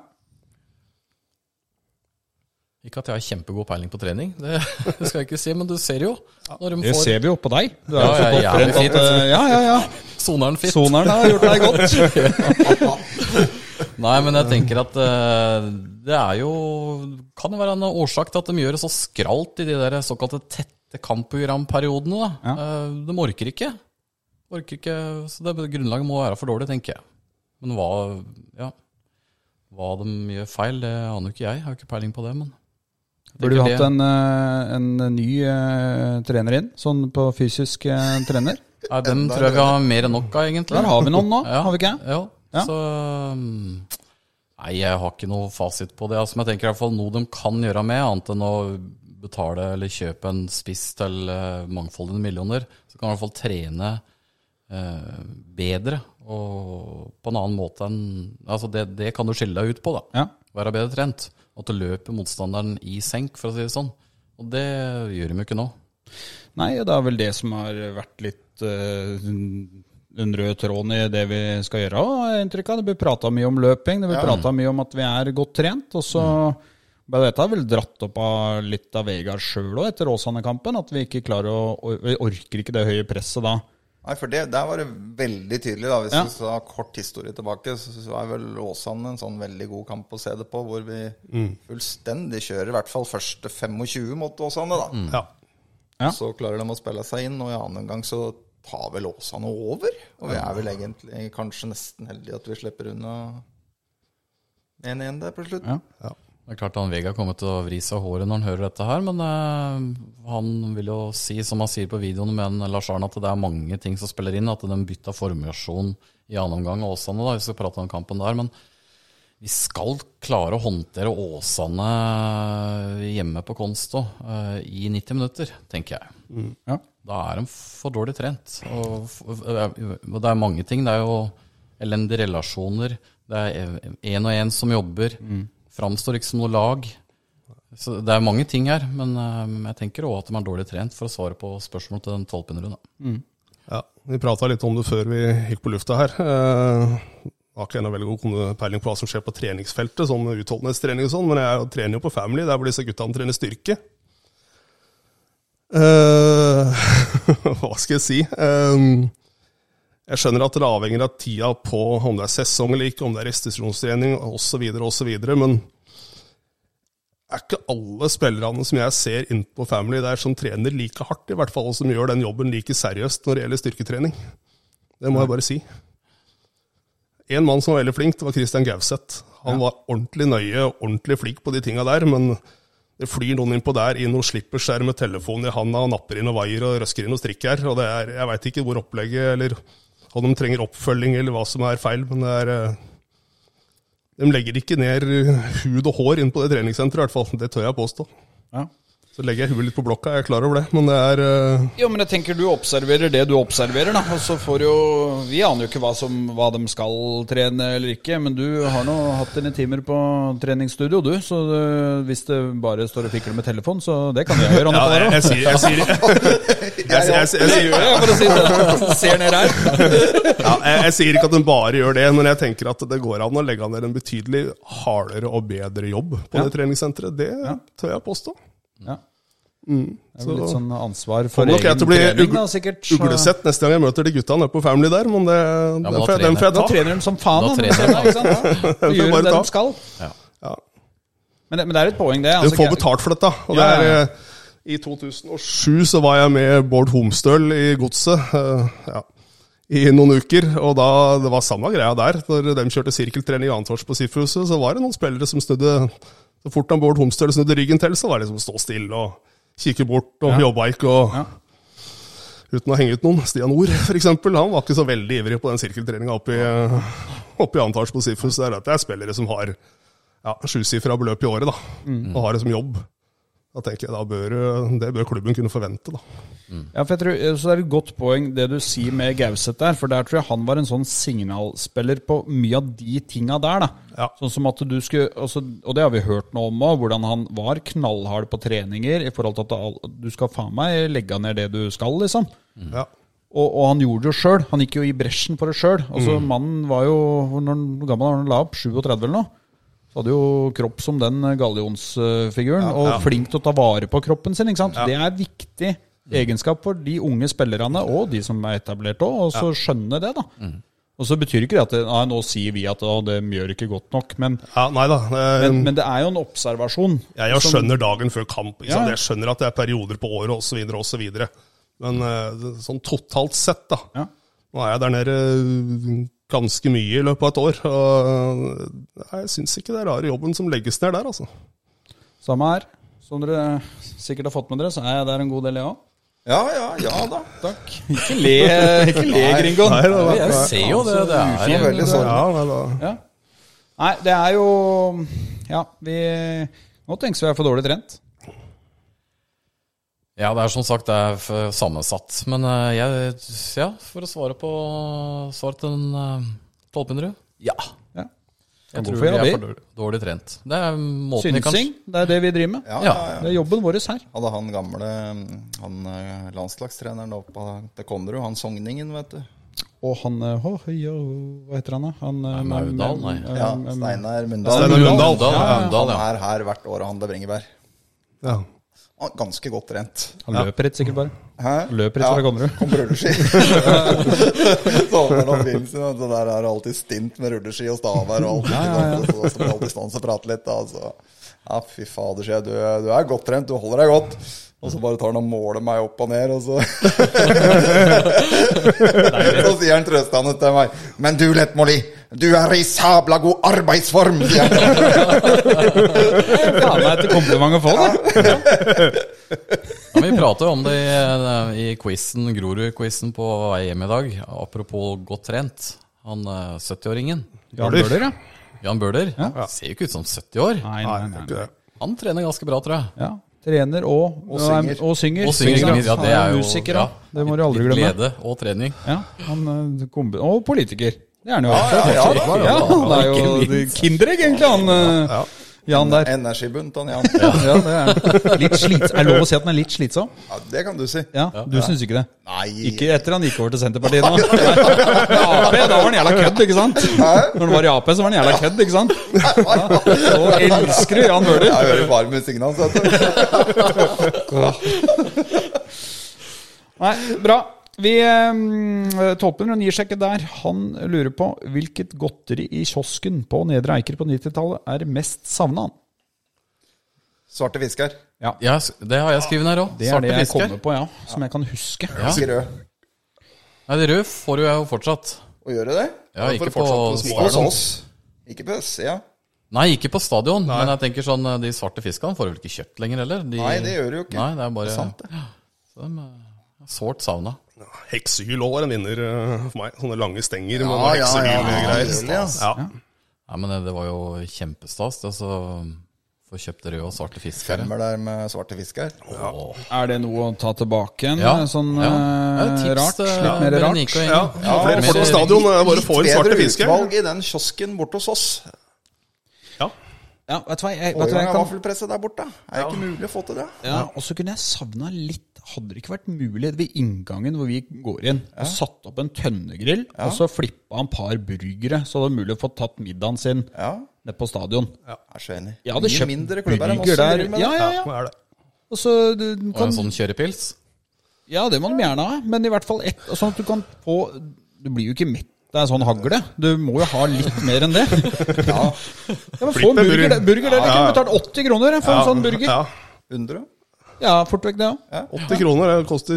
S3: Ikke at jeg har kjempegod peiling på trening, det skal jeg ikke si, men du ser jo. Når de
S2: Det
S3: får
S2: ser vi jo på deg. Du er
S3: Ja,
S2: jo så
S3: jeg er
S2: godt trent
S3: jævlig
S2: at eh, Ja, ja, ja.
S3: soneren fit.
S2: Soneren har gjort deg godt.
S3: Nei, men jeg tenker at eh, det er jo Kan jo være en årsak til at de gjør det så skralt i de der såkalte tette kampprogramperiodene. da. Eh, De orker ikke. Orker ikke, Så det grunnlaget må være for dårlig, tenker jeg. Men hva ja, hva de gjør feil, det aner jo ikke jeg. Jeg har jo ikke peiling på det, men
S2: Burde du
S3: tenker
S2: hatt
S3: det-
S2: en, eh, en ny eh, trener inn, sånn på fysisk eh, trener?
S3: Nei, Dem tror jeg vi har mer enn nok av, egentlig.
S2: Der har vi noen nå, har vi ikke?
S3: Ja.
S2: Ja.
S3: Så um, Nei, jeg har ikke noe fasit på det. Altså, men jeg tenker i hvert fall noe de kan gjøre med, annet enn å betale eller kjøpe en spiss til eh, mangfoldige millioner. Så kan man i hvert fall trene eh, bedre og på en annen måte enn Altså, det, det kan du skille deg ut på, da.
S2: Ja.
S3: Være bedre trent. At du løper motstanderen i senk, for å si det sånn. Og det gjør de jo ikke nå.
S2: Nei, det er vel det som har vært litt eh, den røde tråden i det vi skal gjøre. Og jeg har inntrykk av det blir prata mye om løping, det blir prata mye om at vi er godt trent. Og så ble dette vel dratt opp av litt av Vegard sjøl òg, etter Åsane-kampen. At vi ikke klarer å Vi orker ikke det høye presset da.
S4: Nei, for det, Der var det veldig tydelig. da Hvis
S2: Ja.
S4: vi skal ha kort historie tilbake, så så er vel Åsane en sånn veldig god kamp å se det på, hvor vi fullstendig kjører i hvert fall første 25 mot Åsane. da
S5: Mm. Ja.
S2: Ja.
S4: Så klarer de å spille seg inn, og i annen omgang så tar vel Åsane over. Og vi er vel egentlig kanskje nesten heldige at vi slipper unna 1-1 der på slutt.
S2: Ja.
S3: Det er klart han Vega kommer til å vri seg i håret når han hører dette her, men eh, han vil jo si, som han sier på videoen med en Lars Arne, at det er mange ting som spiller inn. At de bytta formasjon i annen omgang av Åsane, da, vi skal prate om kampen der. Men vi skal klare å håndtere Åsane hjemme på Konsto eh, i 90 minutter, tenker jeg.
S2: Ja.
S3: Da er de for dårlig trent. Og, f- og det er mange ting. Det er jo elendige relasjoner. Det er én og én som jobber. Framstår ikke som noe lag. Så det er mange ting her. Men eh, jeg tenker òg at de er dårlig trent, for å svare på spørsmål til den tolvpinneren.
S5: Ja, Vi prata litt om det før vi gikk på lufta her. Eh, Jeg har ikke ennå veldig god kon- peiling på hva som skjer på treningsfeltet, sånn utholdenhetstrening og sånn, men jeg trener jo på Family, der hvor disse guttene trener styrke. Eh, hva skal jeg si? Eh, jeg skjønner at det avhenger av tida på om det er sesong eller ikke, om det er restitusjonstrening osv., osv., men er ikke alle spillerne som jeg ser inne på Family der, som trener like hardt, i hvert fall, og som gjør den jobben like seriøst når det gjelder styrketrening. Det må jeg bare si. En mann som var veldig flink, det var Christian Gauseth. Han var ordentlig nøye og ordentlig flink på de tinga der, men det flyr noen innpå der i noen slipperskjær med telefonen i handa og napper inn og vaier og røsker inn og strikker her. Og det er, jeg veit ikke hvor opplegget eller om de trenger oppfølging eller hva som er feil, men det er eh, de legger ikke ned hud og hår inn på det treningssenteret, i hvert fall. Det tør jeg påstå.
S2: Ja.
S5: Så legger jeg huet litt på blokka, jeg er klar over det. Men det er eh,
S2: Jo, men jeg tenker du observerer det du observerer, da. Og så får jo Vi aner jo ikke hva, som, hva de skal trene eller ikke, men du har nå hatt dine timer på treningsstudio, du. Så du- hvis det bare står og fikler med telefon, så det kan jeg gjøre.
S5: ja, jeg,
S2: Anne-Klara.
S5: jeg sier jeg sier, jeg, sier- jeg, sier- jeg,
S2: Det
S5: sier-
S2: gjør jeg, for å si det. Ser ned her.
S5: ja, jeg, jeg sier ikke at de bare gjør det, men jeg tenker at det går an å legge ned en betydelig hardere og bedre jobb på det treningssenteret. Det tør jeg påstå.
S2: Ja. Det er vel litt
S5: Mm. Så-
S2: sånn ansvar for
S5: Får nok jeg
S2: egen
S5: til å bli
S2: trening, da,
S5: ugle-
S2: sikkert. så-
S5: uglesett neste gang jeg møter de gutta nede på Family der, men det,
S3: men
S5: den,
S3: da
S5: får jeg, den får jeg
S2: Da
S5: ta.
S2: trener de som faen,
S3: Da
S2: da.
S3: trener de, da.
S2: Ikke sant? Ja.
S5: får
S2: Og gjør
S5: bare
S2: det
S5: ta.
S2: de skal.
S5: Ja.
S2: Men det, men det er et poeng, det. altså,
S5: Du får
S2: jeg-
S5: betalt for dette. Og
S2: Ja,
S5: det
S2: ja,
S5: er,
S2: ja.
S5: eh, I 2007 så var jeg med Bård Homstøl i Godset eh, ja, i noen uker. Og da, det var samme greia der. Når de kjørte sirkeltrening i Antors på Sifuhuset, så var det noen spillere som snudde Så fort han Bård Homstøl snudde ryggen til, så var det liksom stå stille og kikke bort og jobba ikke. og...
S2: Ja.
S5: Uten å henge ut noen. Stian Ord, f.eks. Han var ikke så veldig ivrig på den sirkeltreninga oppe i, eh, oppe i Antars på Sifus. Det er, at det er spillere som har ja, sjusifra beløp i året, da.
S2: Mm.
S5: Og har det som jobb. Da tenker jeg, da bør, Det bør klubben kunne forvente, da.
S2: Ja, for jeg tror, eh, så Det er et godt poeng det du sier med Gauseth der. For der tror jeg han var en sånn signalspiller på mye av de tinga der. da.
S5: Ja.
S2: Sånn som at du skulle, altså, Og det har vi hørt noe om òg, hvordan han var knallhard på treninger. I forhold til at al- du skal faen meg legge ned det du skal, liksom.
S5: Ja.
S2: Og, og han gjorde det jo sjøl. Han gikk jo i bresjen for det sjøl. Altså, Mannen var jo hvor når, hvor gammel var han la opp? 37 eller noe? Så hadde jo kropp som den eh, gallionsfiguren, og flink til å ta vare på kroppen sin. ikke sant? Det er viktig egenskap for de unge spillerne, og de som er etablert òg, og så skjønne det, da. Og så betyr ikke det at det, nei, nå sier vi at å, det gjør ikke godt nok, men,
S5: ja, nei da. eh,
S2: men, men det er jo en observasjon.
S5: jeg, jeg skjønner dagen før kamp. Ikke
S2: Ja,
S5: sant?
S2: ja.
S5: Jeg skjønner at det er perioder på året osv. osv. Men eh, sånn totalt sett, da.
S2: Ja.
S5: Nå er jeg der nede eh, ganske mye i løpet av et år. Og eh, jeg syns ikke det er rare jobben som legges ned der, altså.
S2: Samme her. Som dere sikkert har fått med dere, så er jeg der en god del, jeg òg.
S4: Ja, ja, ja da.
S2: Takk. Ikke le, ikke le Gringoen.
S5: Nei, det var-
S3: Jeg ser jo det. Det er
S4: Det var veldig sånn.
S5: Ja, nei, da.
S2: Ja. Nei, det er jo Ja, vi Nå tenkes vi er for dårlig trent.
S3: Ja, det er som sagt det er f- sammensatt. Men eh, jeg, ja, for å svare på svaret til den eh, tolvpinneren Ja.
S2: Ja.
S3: Jeg
S2: Hvorfor
S3: tror vi
S2: gjør
S3: er
S2: vi?
S3: for dårlig, dårlig trent. Det er måten vi kan
S2: Synsing, det er det vi driver med.
S4: Ja,
S3: Ja.
S4: ja, ja.
S2: Det er jobben vår her.
S4: Hadde han gamle han eh, landslagstreneren oppe til Konnerud, han Sogningen, vet du.
S2: Og han eh, hå, høy, ja, Hva heter han, da? Han, eh,
S3: Nei,
S2: men-
S3: Aurdal, nei.
S2: men-
S4: Ja,
S2: men-
S4: Steinar Mundal.
S5: Steinar Mundal.
S3: Mundal, ja, Mundal,
S4: Han
S3: ja.
S4: er her hvert år og handler bringebær.
S5: Ja.
S4: Han er Ganske godt trent.
S2: Han løper rett sikkert bare.
S4: Hæ?
S2: Løper rett fra Konnerud.
S4: Kom på rulleski. så han var bilen sin, og så der er det alltid stint med rulleski og staver og alt. ikke sant? Så, så må alltid stå og prate litt. Da, så. Ja, fy fader, sier jeg. Du, du er godt trent, du holder deg godt. Og så bare tar han og måler meg opp og ned, og så Så sier han trøstende til meg. Men du, Lettmoli, du er i sabla god arbeidsform, sier han.
S2: Faen meg et kompliment å få, det.
S3: Ja, men vi prata jo om det i, i quizen, Grorud-quizen på vei hjem i dag. Apropos godt trent. Han eh, 70-åringen,
S2: Jan Bøhler, ja.
S3: Jan Bøhler, ser jo ikke ut som 70 år.
S2: Nei, nei,
S5: Nei, det er
S2: nei.
S5: ikke det.
S3: Han trener ganske bra, tror jeg.
S2: Ja. Trener og, og,
S4: synger.
S2: er- og synger.
S3: Og synger,
S2: Ikke sant?
S3: ja, det
S2: Han
S3: er jo
S2: musiker,
S3: ja,
S2: da. Det må du aldri
S3: litt
S2: glemme.
S3: Glede og trening.
S2: Ja, han, eh, kombi- og politiker. Det er han jo. også.
S4: ja, ja,
S2: ja, han er jo kinderegg, egentlig, han eh, Jan der.
S4: Energibunt, han Jan.
S2: Ja, det er litt slits. Er det lov å si at han er litt slitsom?
S4: Ja, det kan du si.
S2: Ja, Du syns ikke det?
S4: Nei.
S2: Ikke etter han gikk over til Senterpartiet nå. Med Ap, da var han jævla kødd, ikke sant? Når han var i Ap, så var han jævla kødd, ikke sant? Ja, og elsker du Jan Bøhler.
S4: Jeg hører bare musikken hans, vet du.
S2: Nei, bra. Vi eh, Tolpen og Nisjekke der, han lurer på hvilket godteri i kiosken på Nedre Eiker på 90-tallet er mest savna han?
S4: Svarte fisker.
S3: Ja, s- det har jeg skrevet her òg.
S2: Det er det jeg kommer på, ja. Som jeg kan huske.
S3: Ja.
S4: Fisker rød.
S3: Nei, det røde får jo jeg jo fortsatt.
S4: Å gjøre det?
S3: Ja, ikke
S4: for fortsatt
S3: på
S4: små
S3: Sparta.
S4: hos oss. Ikke på Østsida.
S3: Nei, ikke på stadion. Men jeg tenker sånn, de svarte fiskene får du vel ikke kjøpt lenger heller? De,
S4: Nei, det gjør du jo ikke.
S3: Nei, det er bare
S4: sant, det.
S3: Ja, så de er sårt savna.
S5: Heksehyl også var en vinner eh, for meg. Sånne lange stenger
S4: Ja,
S5: med noe
S4: ja, ja,
S5: heksehylgreier.
S4: hyl, ja.
S5: Ja.
S3: Nei, men det, det var jo kjempestas. det, Altså, få kjøpt røde og svarte fiskere.
S4: Femmer der med svarte fisker.
S3: Åh.
S2: Er det noe å ta tilbake igjen?
S3: Ja,
S2: Sånn
S3: ja.
S2: eh,
S3: Ja, tips
S2: rart?
S3: til
S2: Litt mer rart?
S3: Berenike og
S5: Ja,
S3: gjengen.
S5: ja, flere
S3: men-
S5: folk på stadion eh, bare får
S4: Litt
S5: svarte
S4: bedre
S5: fisker.
S4: utvalg i den kiosken borte hos oss.
S5: Ja.
S2: Ja, vet du hva jeg, vet du hva
S4: Årgang
S2: jeg
S4: av
S2: kan
S4: vaffelpresse der borte. Er det ikke mulig å få til det?
S2: ja, Og så kunne jeg savna litt Hadde det ikke vært mulig ved inngangen hvor vi går inn, og satt opp en tønnegrill, og så flippa han par burgere, så det var mulig å få tatt middagen sin
S4: Ja,
S2: nede på stadion.
S4: jeg er så enig.
S2: Jeg hadde
S4: Mye
S2: kjøpt
S4: mindre klubber enn oss.
S2: burger der. Ja, ja,
S5: Ja,
S2: ja.
S5: det er det.
S2: Og så du
S3: Og en
S2: kan,
S3: sånn kjørepils.
S2: ja, det må de gjerne ha, men i hvert fall ett. og Sånn at du kan få Du blir jo ikke mett av en sånn hagle. Du må jo ha litt mer enn det. Ja, men Få en
S5: Flippe
S2: burger,
S5: burger.
S2: burger der. Jeg kunne betalt 80 kroner jeg, for en sånn burger.
S5: Ja.
S4: 100?
S2: Ja, fort vekk det òg.
S5: 80 kroner det koster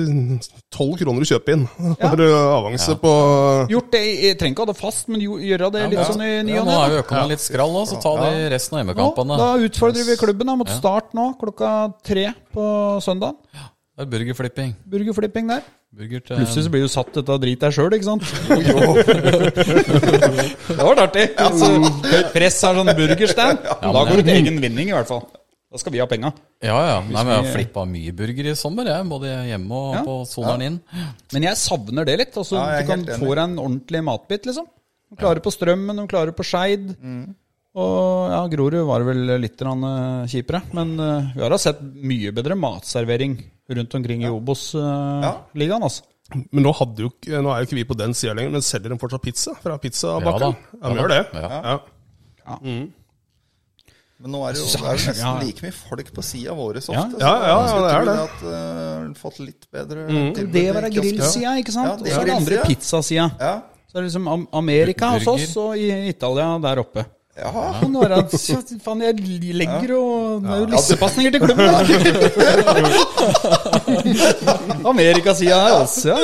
S5: 12 kroner å kjøpe inn. Da har du avanse på
S2: Gjort det, jeg trenger ikke ha det fast, men jo, gjøre det litt sånn i ny
S3: Ja,
S2: og ne.
S3: nå
S2: da.
S3: er jo økonomien litt skrall, også, så ta de resten av
S2: Nå,
S3: hjemmekampene.
S2: Da utfordrer vi klubben da, mot start nå klokka tre på søndag.
S3: Det er burgerflipping.
S2: Burgerflipping der.
S3: Burger til
S2: Plutselig så blir du satt dette drit deg sjøl, ikke sant? det var artig.
S4: altså.
S2: Høyt press har sånn burgerstand. Da går det til egen vinning, i hvert fall. Da skal vi ha penga.
S3: Ja, ja. Nei, men jeg har flippa mye burger i sommer, jeg. Både hjemme og
S2: Ja.
S3: på soneren inn.
S2: Men jeg savner det litt. Altså,
S4: Ja, jeg er
S2: du kan
S4: helt enig.
S2: få deg en ordentlig matbit, liksom. De klarer på strømmen, de klarer på Skeid.
S4: Mm.
S2: Og ja, Grorud var vel litt grann, eh, kjipere. Men eh, vi har da sett mye bedre matservering rundt omkring i Obos-ligaen, altså.
S5: Men nå, hadde jo, ikke- nå er jo ikke vi på den sida lenger, men selger de fortsatt pizza fra pizzabakken?
S3: Ja
S5: Ja, de gjør det.
S3: Ja.
S5: Ja.
S4: Men nå er det jo det er jo nesten like mye folk på sida våre ofte.
S2: Ja.
S4: så
S5: Ja, ja,
S4: jeg
S5: ja, det er
S4: tror At, eh, fått litt bedre tilbud
S2: Mm. Det
S4: i
S2: var da
S4: kiosken.
S2: grillsida, ikke
S4: Ja,
S2: sant?
S4: det
S2: Og så er det andre
S4: grillsida.
S2: pizzasida.
S4: Ja.
S2: Så er det liksom Am- Amerika hos
S3: Burger.
S2: oss, og i Italia der oppe.
S4: Ja.
S2: Kan det være at så- Faen, jeg legger jo Det er jo lissepasninger til klubben! da. Amerikasida her, altså. ja.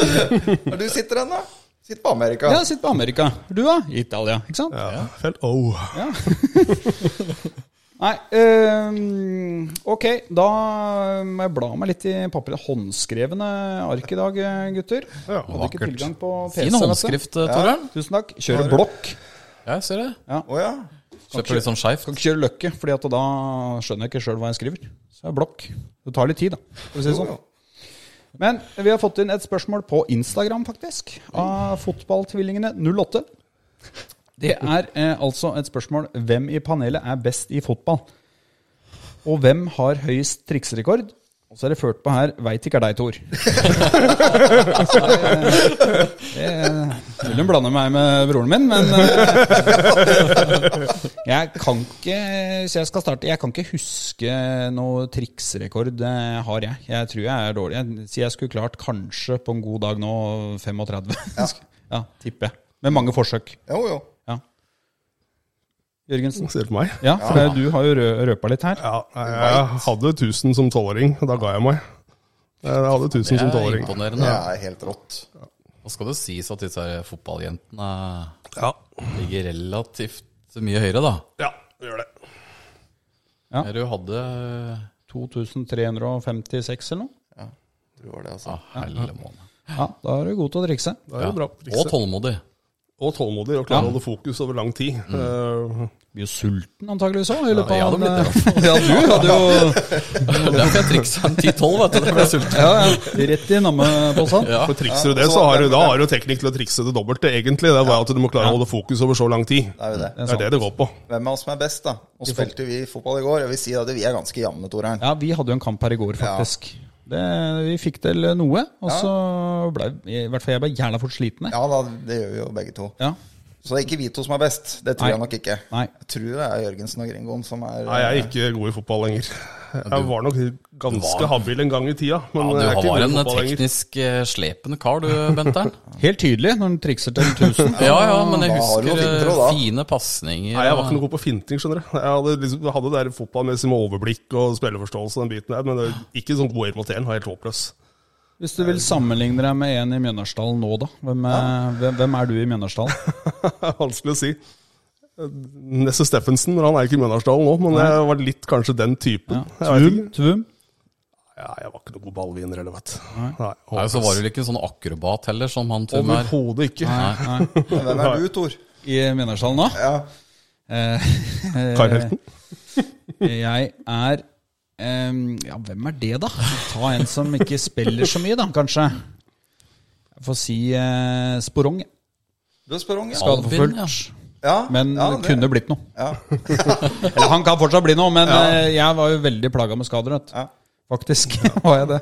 S4: Når du sitter den, da? Sitt på Amerika.
S2: Ja, sitt på Amerika. Du, da? Italia, ikke sant?
S5: Ja. Felt, oh.
S2: Nei, øhm, ok. Da må jeg bla meg litt i papiret. Håndskrevne ark i dag, gutter.
S5: Ja,
S2: Hadde ikke tilgang på PC.
S3: Fin
S2: vet du.
S3: håndskrift, Torørn.
S2: Tusen takk. Kjør en blokk.
S3: Ja, jeg ser det.
S4: Å ja.
S3: Slipper litt sånn skeivt.
S2: Kan ikke kjøre løkke, Fordi at da skjønner jeg ikke sjøl hva jeg skriver. Så er det blokk. Det tar litt tid, da. For å si det sånn. Men vi har fått inn et spørsmål på Instagram, faktisk. Av Fotballtvillingene08. Det er eh, altså et spørsmål hvem i panelet er best i fotball? Og hvem har høyest trikserekord? Og så er det ført på her Veit ikke er deg, Tor. Så eh, det, det, Vil hun blande meg med broren min, men eh, Jeg kan ikke Så jeg skal starte Jeg kan ikke huske noe triksrekord. Det har jeg. Jeg tror jeg er dårlig. Jeg sier jeg skulle klart kanskje på en god dag nå 35. Ja, Tipper jeg. Med mange forsøk.
S4: Jo, jo.
S2: Ja. Jørgensen?
S5: Ser du på meg?
S2: Ja, for det- du har jo rø- røpa litt her.
S5: Ja, nei, jeg hadde 1000 som tolvåring. Da ga jeg meg. Jeg hadde 1000
S3: Det
S5: som
S3: er
S5: tolvåring.
S4: Det
S3: imponerende.
S4: er helt rått.
S3: Nå skal det sies at disse her fotballjentene
S5: Ja,
S3: ligger relativt mye høyere, da.
S5: ja det gjør det.
S2: Ja.
S3: Her Du hadde
S2: 2356 eller noe.
S4: Det var det, altså.
S3: ah, helle måned.
S2: Ja, da er du god til å trikse.
S5: Da er det bra.
S3: Og tålmodig.
S5: Og tålmodig, og klare å holde fokus over lang tid. Eh,
S2: Blir jo sulten antakeligvis òg. Ja,
S3: jeg hadde
S2: ja, du hadde jo
S3: Derfor jeg triksa en 10-12, vet du. Da ble jeg sulten.
S2: Ja, ja. Rett i nammeposen.
S3: Ja.
S5: for trikser du det, så har du, da har du teknikk til å trikse det dobbelte, egentlig. Det er bare at du må klare å holde fokus over så lang tid.
S4: Det er jo det.
S5: Det er det det går på.
S4: Hvem av oss som er best, da? Nå spilte vi fotball i går. Jeg vil si at vi er ganske jevne, Torheim.
S2: Ja, vi hadde jo en kamp her i går, faktisk. Det, vi fikk til noe, og så ble i hvert fall jeg ble jævla fort sliten. jeg.
S4: Ja da, det gjør vi jo begge to.
S2: Ja.
S4: Så det er ikke vi to som er best. Det tror
S2: Nei.
S4: jeg nok ikke.
S2: Nei.
S4: Jeg tror det er Jørgensen og Gringoen som er
S5: Nei, jeg er ikke god i fotball lenger. Jeg var nok ganske
S3: var-
S5: habil en gang i tida, men
S3: Ja,
S5: jeg er
S3: du
S5: ikke
S3: har
S5: god i
S3: en
S5: fotball lenger.
S3: teknisk eh, slepende kar, du, Benter'n.
S2: Helt tydelig når den trikser til 1000.
S3: Ja, ja, men jeg
S4: Da har du noe
S3: husker
S4: filter
S3: eh,
S4: også, da.
S3: fine pasninger.
S5: Nei, jeg var ikke noe god på finting, skjønner du. Jeg hadde, liksom, jeg hadde det der fotballmessig med overblikk og spillerforståelse og den biten der, men det er ikke sånn god irriterende, helt håpløs.
S2: Hvis du vil sammenligne deg med en i Mjøndalsdalen nå, da. Hvem er, hvem, hvem er du i Mjøndalsdalen?
S5: Det er vanskelig å si. Nesse Steffensen, men han er ikke i Møndalsdalen nå, men jeg var litt kanskje den typen. Jeg, vet
S2: Tvum?
S5: ikke.
S2: Tvum?
S5: Ja, jeg var ikke noen god ballvinner, eller vet du. Nei,
S3: Nei, så var du ikke sånn akrobat heller, som han Tum er.
S5: Overhodet ikke.
S4: eh, Hvem er du, Tor?
S2: I Mjøndalsdalen nå?
S4: Ja.
S2: Eh,
S5: Karl Helten.
S2: jeg er em, Ja, hvem er det, da? Ta en som ikke spiller så mye, da, kanskje. Jeg får si eh, Sporong. jeg.
S4: Du er Sperong, ja.
S3: Albin,
S2: Skadeforfulgt.
S4: ja.
S2: Men
S4: ja,
S2: det kunne blitt noe.
S4: Ja.
S2: Eller han kan fortsatt bli noe, men eh, jeg var jo veldig plaga med skader. Vet. du.
S4: Ja.
S2: Faktisk var jeg det.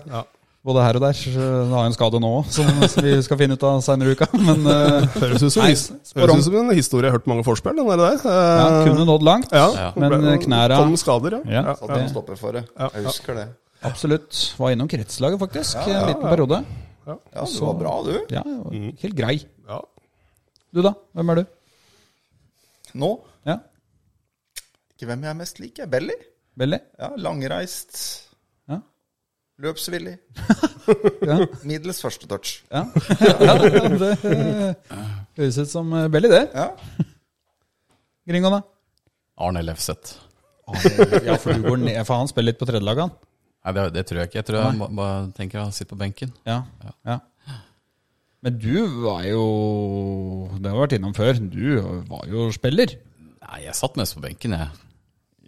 S2: Både her og der. Så jeg har en skade nå òg, som vi skal finne ut av seinere i uka. Men eh,
S5: Høres ut som,
S2: Nei,
S5: his- høres ut som en historie jeg har hørt mange forspill, den der. der.
S2: ja,
S5: Eh,
S2: kunne nådd langt.
S5: ja,
S2: men eh,
S5: ble-
S2: knæra-
S5: Kom med skader, ja.
S2: Ja.
S4: Satt en stopper for det. Jeg husker det.
S2: Absolutt. Var innom kretslaget, faktisk, en liten periode.
S4: Ja, du var bra, du.
S2: Ja, jeg var Helt grei.
S5: ja.
S2: Du, da? Hvem er du?
S4: Nå
S2: Ja,
S4: ikke hvem jeg er mest lik, jeg. Belly.
S2: Belly?
S4: Ja, langreist.
S2: Ja.
S4: Løpsvillig.
S2: Ja.
S4: Middels første touch.
S2: Ja. ja det eh, høres ut som eh, Belly, det.
S4: Ja.
S2: Gringo, da?
S3: Arne Lefseth.
S2: Ja, for du går ned, for han spiller litt på tredjelaget, han.
S3: Nei, det, det tror jeg ikke. Jeg tror jeg ba- bare tenker han sitter på benken.
S2: Ja. ja. Men du var jo Det har vi vært innom før. Du var jo spiller.
S3: Nei, jeg satt mest på benken, jeg.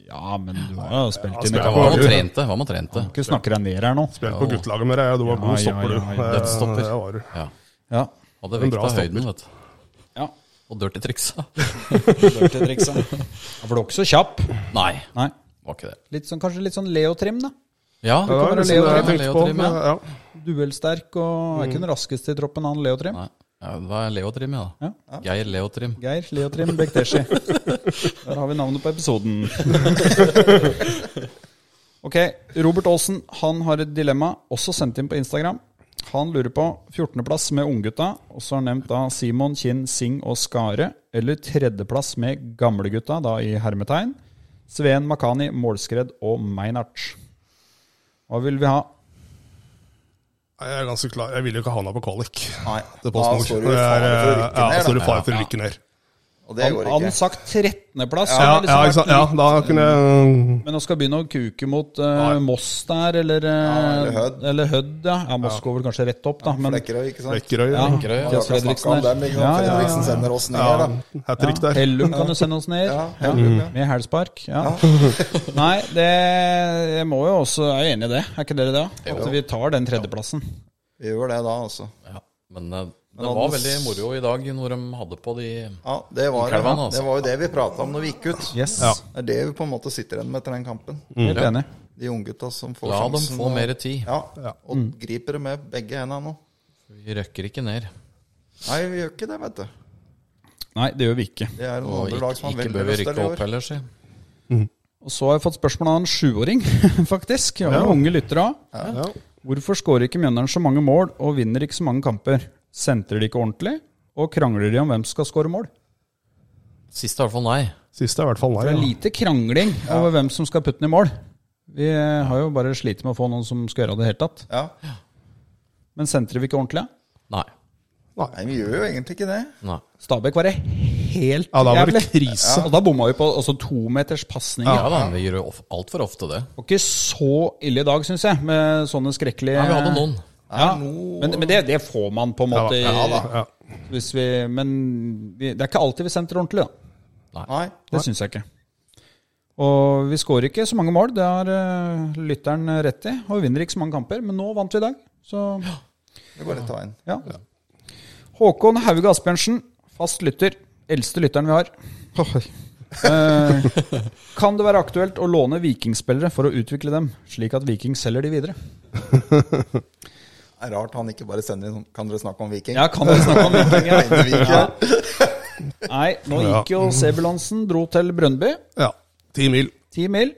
S2: Ja, altså, men du har jo spilt inn i
S5: spiller
S3: Hva
S2: kamp.
S5: på-
S3: man trente. Hva man trente.
S2: Ikke snakke deg ned her nå.
S5: Spilte på guttelaget med deg, ja, du var
S2: Ja,
S5: god
S2: ja,
S5: stopper, du.
S2: ja, ja.
S5: Eh,
S3: Dette stopper.
S5: det var du.
S3: Ja.
S2: Ja.
S3: Hadde
S5: En bra
S3: vekta
S5: stopper.
S3: høyden, vet du.
S2: ja.
S3: Og dirty triksa.
S2: Dirty-triksa. For du er ikke så kjapp.
S3: Nei,
S2: Nei.
S3: var ikke det.
S2: Litt sånn, kanskje litt sånn Leo-trim, da.
S3: Ja,
S5: Det var
S2: være
S5: liksom det jeg
S2: Leo-trim.
S5: tenkte på.
S3: Leo-trim, ja.
S5: men, Ja.
S2: Duellsterk og er ikke den raskeste i troppen, han Leo-trim.
S3: Nei. Ja, det var Leotrim, ja. da. Geir Leotrim.
S2: Geir Leotrim Bekteshi. Der har vi navnet på episoden. Ok, Robert Aasen han har et dilemma, også sendt inn på Instagram. Han lurer på 14.-plass med unggutta, og så har han nevnt da Simon, Kinn, Sing og Skare. Eller tredjeplass med gamlegutta, da i hermetegn. Sveen, Makani, Målskred og Meinert. Hva vil vi ha?
S5: Nei, Jeg er ganske klar. Jeg vil jo ikke ha henne på kvalik.
S4: Nei.
S5: Til
S4: Da
S5: PostNord.
S4: står du
S5: Det
S4: i
S5: er,
S4: fare for å
S5: eh,
S4: rykke
S5: Ja,
S4: ned,
S5: står du
S4: da.
S5: i fare for å rykke ned.
S4: Og det
S2: Han
S4: går
S2: hadde
S4: ikke.
S2: sagt 13.-plass.
S5: Ja,
S2: han har
S5: ja,
S2: liksom
S5: ikke sant? ja, da kunne jeg eh,
S2: Men nå skal begynne å kuke mot eh, Moss der, eller, eh,
S4: eller Hødd.
S2: eller Hødd, ja. ja. Moss går vel kanskje rett opp, da. Men
S4: Flekkerøy, ikke sant?
S5: Flekkerøy. Ja.
S2: Flekkerøy, ja.
S4: Vi har ikke snakket om dem, ikke sant?
S2: Ja, ja, ja.
S4: Fredriksen sender oss ned, da.
S5: Hat trick der.
S2: Hellum kan du sende oss ned.
S4: Ja, Hellum, ja.
S2: Med hælspark. Ja. Nei, det jeg må jo også Jeg er enig i det, er ikke dere det? At vi tar den tredjeplassen.
S4: Vi gjør det da, altså.
S3: Ja. Men eh, det
S4: han-
S3: var veldig moro i dag når de hadde på de
S4: Ja, det var,
S3: Kalvan, altså.
S4: det var jo det vi prata om når vi gikk ut.
S2: Yes.
S5: Ja.
S4: Det er det vi på en måte sitter igjen med etter den kampen.
S2: Helt enig.
S4: De unggutta som får
S3: La dem
S4: sjansen.
S3: få mer tid.
S2: Mm.
S4: Ja, og griper det med begge hendene nå.
S3: Vi røkker ikke ned.
S4: Nei, vi gjør ikke det, vet du.
S2: Nei, det gjør vi ikke.
S4: Det er noen
S3: Og
S4: andre
S3: ikke,
S4: lag som har
S3: ikke
S4: veldig
S3: bør vi
S4: lyst til
S3: rykke
S4: det i
S3: opp
S4: år.
S3: heller, si.
S2: Og så har jeg fått spørsmål av en sjuåring, faktisk. Jeg har jo unge lyttere. av.
S5: Ja.
S2: Hvorfor skårer ikke Mjøndalen så mange mål og vinner ikke så mange kamper? Sentrer de ikke ordentlig? Og krangler de om hvem som skal skåre mål?
S3: Sist er i hvert fall nei.
S5: Siste er i hvert fall
S2: Det
S5: nei.
S2: er
S5: Ja.
S2: lite krangling over hvem som skal putte den i mål. Vi eh, har jo bare slitt med å få noen som skal gjøre det i det hele tatt.
S4: Ja.
S2: Men sentrer vi ikke ordentlig? ja?
S3: Nei.
S4: Nei, vi gjør jo egentlig ikke det.
S3: nei.
S2: Stabæk var det helt
S5: Ja, da var det
S2: jævlig.
S5: krise.
S2: Og da bomma vi på altså, tometers pasninger.
S3: Ja da, vi gjør jo of- altfor ofte det.
S2: Det var ikke så ille i dag, syns jeg, med sånne skrekkelige
S3: Nei, vi hadde noen.
S2: Ja,
S4: Er noe-
S2: Men, men det, det får man på en måte.
S5: Ja da, ja.
S2: Hvis vi, men vi, det er ikke alltid vi sentrer ordentlig, da.
S4: Nei.
S2: Det syns jeg ikke. Og vi skårer ikke så mange mål, det har eh, lytteren rett i. Og vi vinner ikke så mange kamper, men nå vant vi i dag. Så
S4: Det går rett av veien.
S2: ja. Håkon Hauge Asbjørnsen, fast lytter. Eldste lytteren vi har. Eh, kan det være aktuelt å låne vikingspillere for å utvikle dem, slik at Viking selger de videre?
S4: Det er rart han ikke bare sender inn sånn Kan dere snakke om Viking?
S2: Ja, kan dere snakke om Viking? Ja.
S4: Mener Viking.
S2: Ja. Nei, nå gikk jo Sebulonsen, dro til Brøndby.
S5: ja. Ti mil.
S2: Ti mil.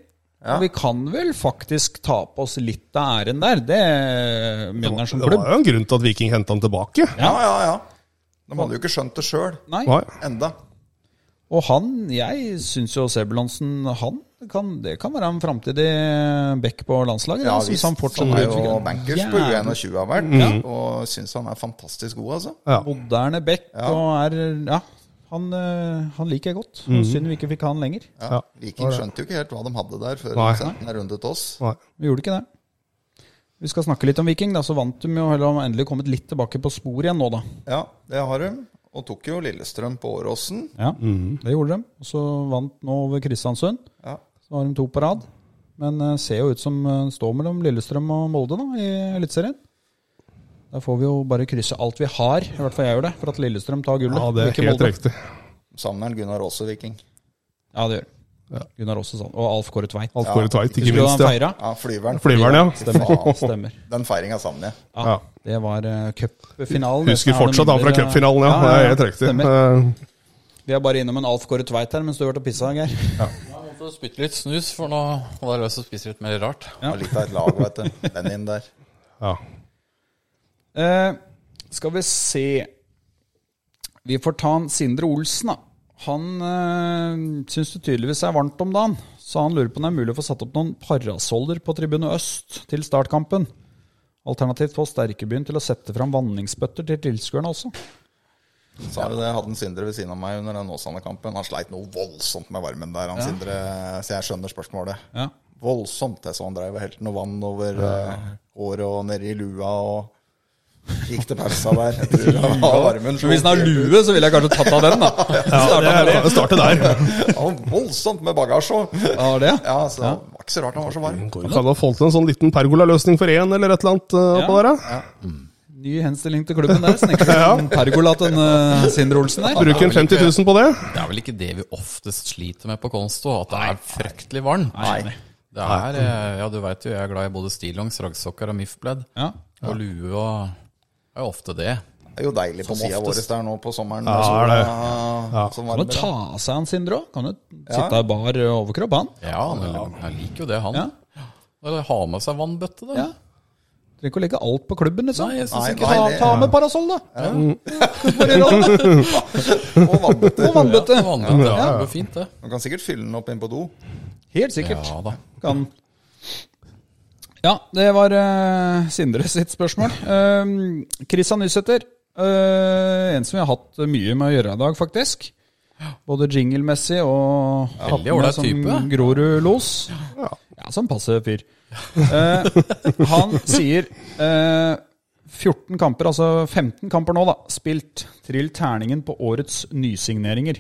S2: Og vi kan vel faktisk ta på oss litt av æren der. Det mener jeg som
S5: Det
S2: klubb.
S5: var jo en grunn til at Viking henta han tilbake.
S4: Ja, ja, ja. De hadde jo ikke skjønt det sjøl
S2: Nei.
S5: Nei.
S4: enda.
S2: Og han, jeg syns jo Sebulonsen han kan, Det kan være en framtidig back på landslaget.
S4: Ja,
S2: da, synes
S4: visst.
S2: han fortsatt
S4: Han er
S2: utvikler.
S4: jo bankers på
S2: Jævlig Mm.
S4: U21 har vært, og syns han er fantastisk god, altså.
S5: Ja.
S2: Moderne back og er Ja, han, eh, han liker jeg godt. Synd vi ikke fikk han lenger.
S5: Ja.
S4: Viking skjønte jo ikke helt hva de hadde der før
S5: Nei.
S4: de sendte den runde til oss.
S5: Nei.
S2: Vi gjorde ikke det. Vi skal snakke litt om Viking. da, Så vant de jo, eller har endelig kommet litt tilbake på sporet igjen nå, da.
S4: Ja, det har de. Og tok jo Lillestrøm på Åråsen.
S2: Ja, det gjorde de. Og så vant nå over Kristiansund.
S4: Ja.
S2: Så har de to på rad. Men eh, ser jo ut som eh, står mellom Lillestrøm og Molde da, i Eliteserien. Der får vi jo bare krysse alt vi har, i hvert fall jeg gjør det, for at Lillestrøm tar gullet.
S5: Ja, det
S2: og
S5: er
S2: ikke
S5: helt
S2: Molde.
S5: riktig.
S4: Savner han Gunnar Aase, Viking.
S2: Ja, det gjør de. Gunnar Aase sånn. Og Alf Kåre Tveit.
S5: Alt går i tveit,
S2: Husker
S5: ikke
S2: du han
S5: minst. Ja.
S2: feira?
S4: Ja, flyveren.
S5: Flyveren, ja.
S2: Stemmer.
S4: Faen.
S2: Stemmer.
S4: Den feiringa savner jeg.
S2: Ja,
S5: Ja.
S2: Det var eh, cupfinalen.
S5: Husker
S2: Nesten er det
S5: fortsatt han fra
S2: mindre-
S5: cupfinalen, ja. Det er helt riktig.
S2: Stemmer.
S5: Eh,
S2: Vi er bare innom en Alf Kåre Tveit her mens du har vært og pissa, Geir.
S3: Jeg måtte spytte litt snus, for nå var det løs å spise litt mer rart.
S2: Ja.
S4: Og Litt av et lag, vet du. Den inn der.
S5: Ja.
S2: Eh, skal vi se Vi får ta han Sindre Olsen, da. Han eh, syns det tydeligvis er varmt om dagen, så han lurer på om det er mulig å få satt opp noen parasoller på Tribune Øst til startkampen. Alternativt få Sterkebyen til å sette fram vanningsbøtter til tilskuerne også.
S4: Så har vi det, jeg hadde en Sindre ved siden av meg under den Åsane-kampen. Han sleit noe voldsomt med varmen der, han Sindre. Så jeg skjønner spørsmålet.
S2: Ja.
S4: Voldsomt. Jeg så han drev og helte noe vann over eh, håret og nedi lua og gikk til pausa der. Jeg tror han var varmen
S2: Men hvis han har lue, så ville jeg kanskje tatt av den, da.
S5: Ja, det er- Starte der.
S4: Han var voldsomt med bagasje òg.
S2: Ja, det.
S4: Ja, så det var ikke så rart han var så varm.
S5: Man Kan du ha fått til en sånn liten pergolaløsning for én, eller et eller annet eh, oppå
S2: Ja.
S5: der? da?
S2: Ny henstilling til klubben der. Snekre en pergola til en, eh, Sindre Olsen der.
S5: Bruke en 50 000 på det?
S3: Det er vel ikke det vi oftest sliter med på Konsto, at det er fryktelig varmt.
S4: Nei.
S3: Det er, eh, ja, du veit jo, jeg er glad i både stillongs, raggsokker og MIF-pledd.
S2: Ja.
S3: Og lue og Det er jo ofte det.
S4: Det er jo deilig på
S3: Som
S4: sida vår
S3: oftest.
S4: der nå på sommeren.
S5: Ja,
S4: Sola,
S5: det er det.
S4: eh, Som
S2: Kan
S4: varmer,
S2: jo ta
S4: da.
S2: av seg han Sindre òg. Kan jo
S4: Ja.
S2: sitte i bar overkropp, han.
S3: Ja, han er- han liker jo det, han.
S2: Ja.
S3: Eller ha med seg vannbøtte, da.
S2: Ja. Trenger ikke å legge alt på klubben, liksom.
S3: Nei, jeg
S4: Nei,
S3: synes ikke
S4: nei,
S2: ta,
S4: det-
S2: ta med parasoll, da. Bare gjør det.
S4: Og vannbøtte.
S2: Og vannbøtte.
S3: Ja, vannbøtte, ja, det går fint, det.
S4: Man kan sikkert fylle den opp inn på do.
S2: Helt sikkert.
S3: Ja da.
S2: Kan. Ja, det var eh, Sindre sitt spørsmål. Eh, Christian Nysæter. eh, en som vi har hatt mye med å gjøre i dag, faktisk. Både jinglemessig og hatt
S3: veldig ålreit
S2: som
S3: type.
S2: Grorud-los. Ja, som passer fyr. Eh, han sier eh, 14 kamper, altså 15 kamper nå, da, spilt. Trill terningen på årets nysigneringer.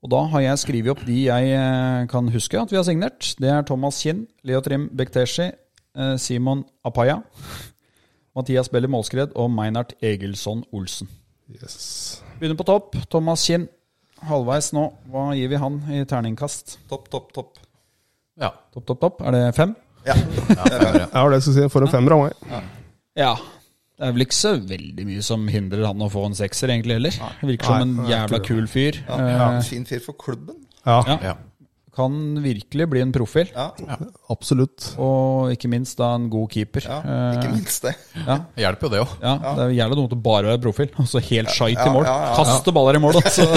S2: Og da har jeg skrevet opp de jeg eh, kan huske at vi har signert. Det er Thomas Kinn, Leo Trim Bekteshi, eh, Simon Apaya, Mathias Belli Målskred og Meinert Egilson Olsen.
S5: Yes.
S2: Begynner på topp. Thomas Kinn, halvveis nå. Hva gir vi han i terningkast?
S4: Topp, topp, topp.
S3: Ja.
S2: Topp, topp, topp. Er det fem?
S4: Ja.
S5: Jeg har det jeg skulle si. For en femmer av meg.
S2: Ja. Det er vel ikke så veldig mye som hindrer han å få en sekser, egentlig heller. Virker som en
S5: Nei, jeg
S2: jævla
S5: tror det.
S2: kul fyr.
S4: Ja,
S2: Eh,
S4: En fin fyr for klubben.
S5: Ja,
S2: Ja. Kan virkelig bli en profil.
S4: Ja,
S5: absolutt.
S2: Og ikke minst da en god keeper.
S4: ja
S2: Eh,
S4: ikke minst det.
S3: Det hjelper jo det òg.
S2: Ja, Det er jævla dumt å bare være profil, og så helt skeit i mål.
S4: ja, ja, ja.
S2: Kaste baller i mål, altså.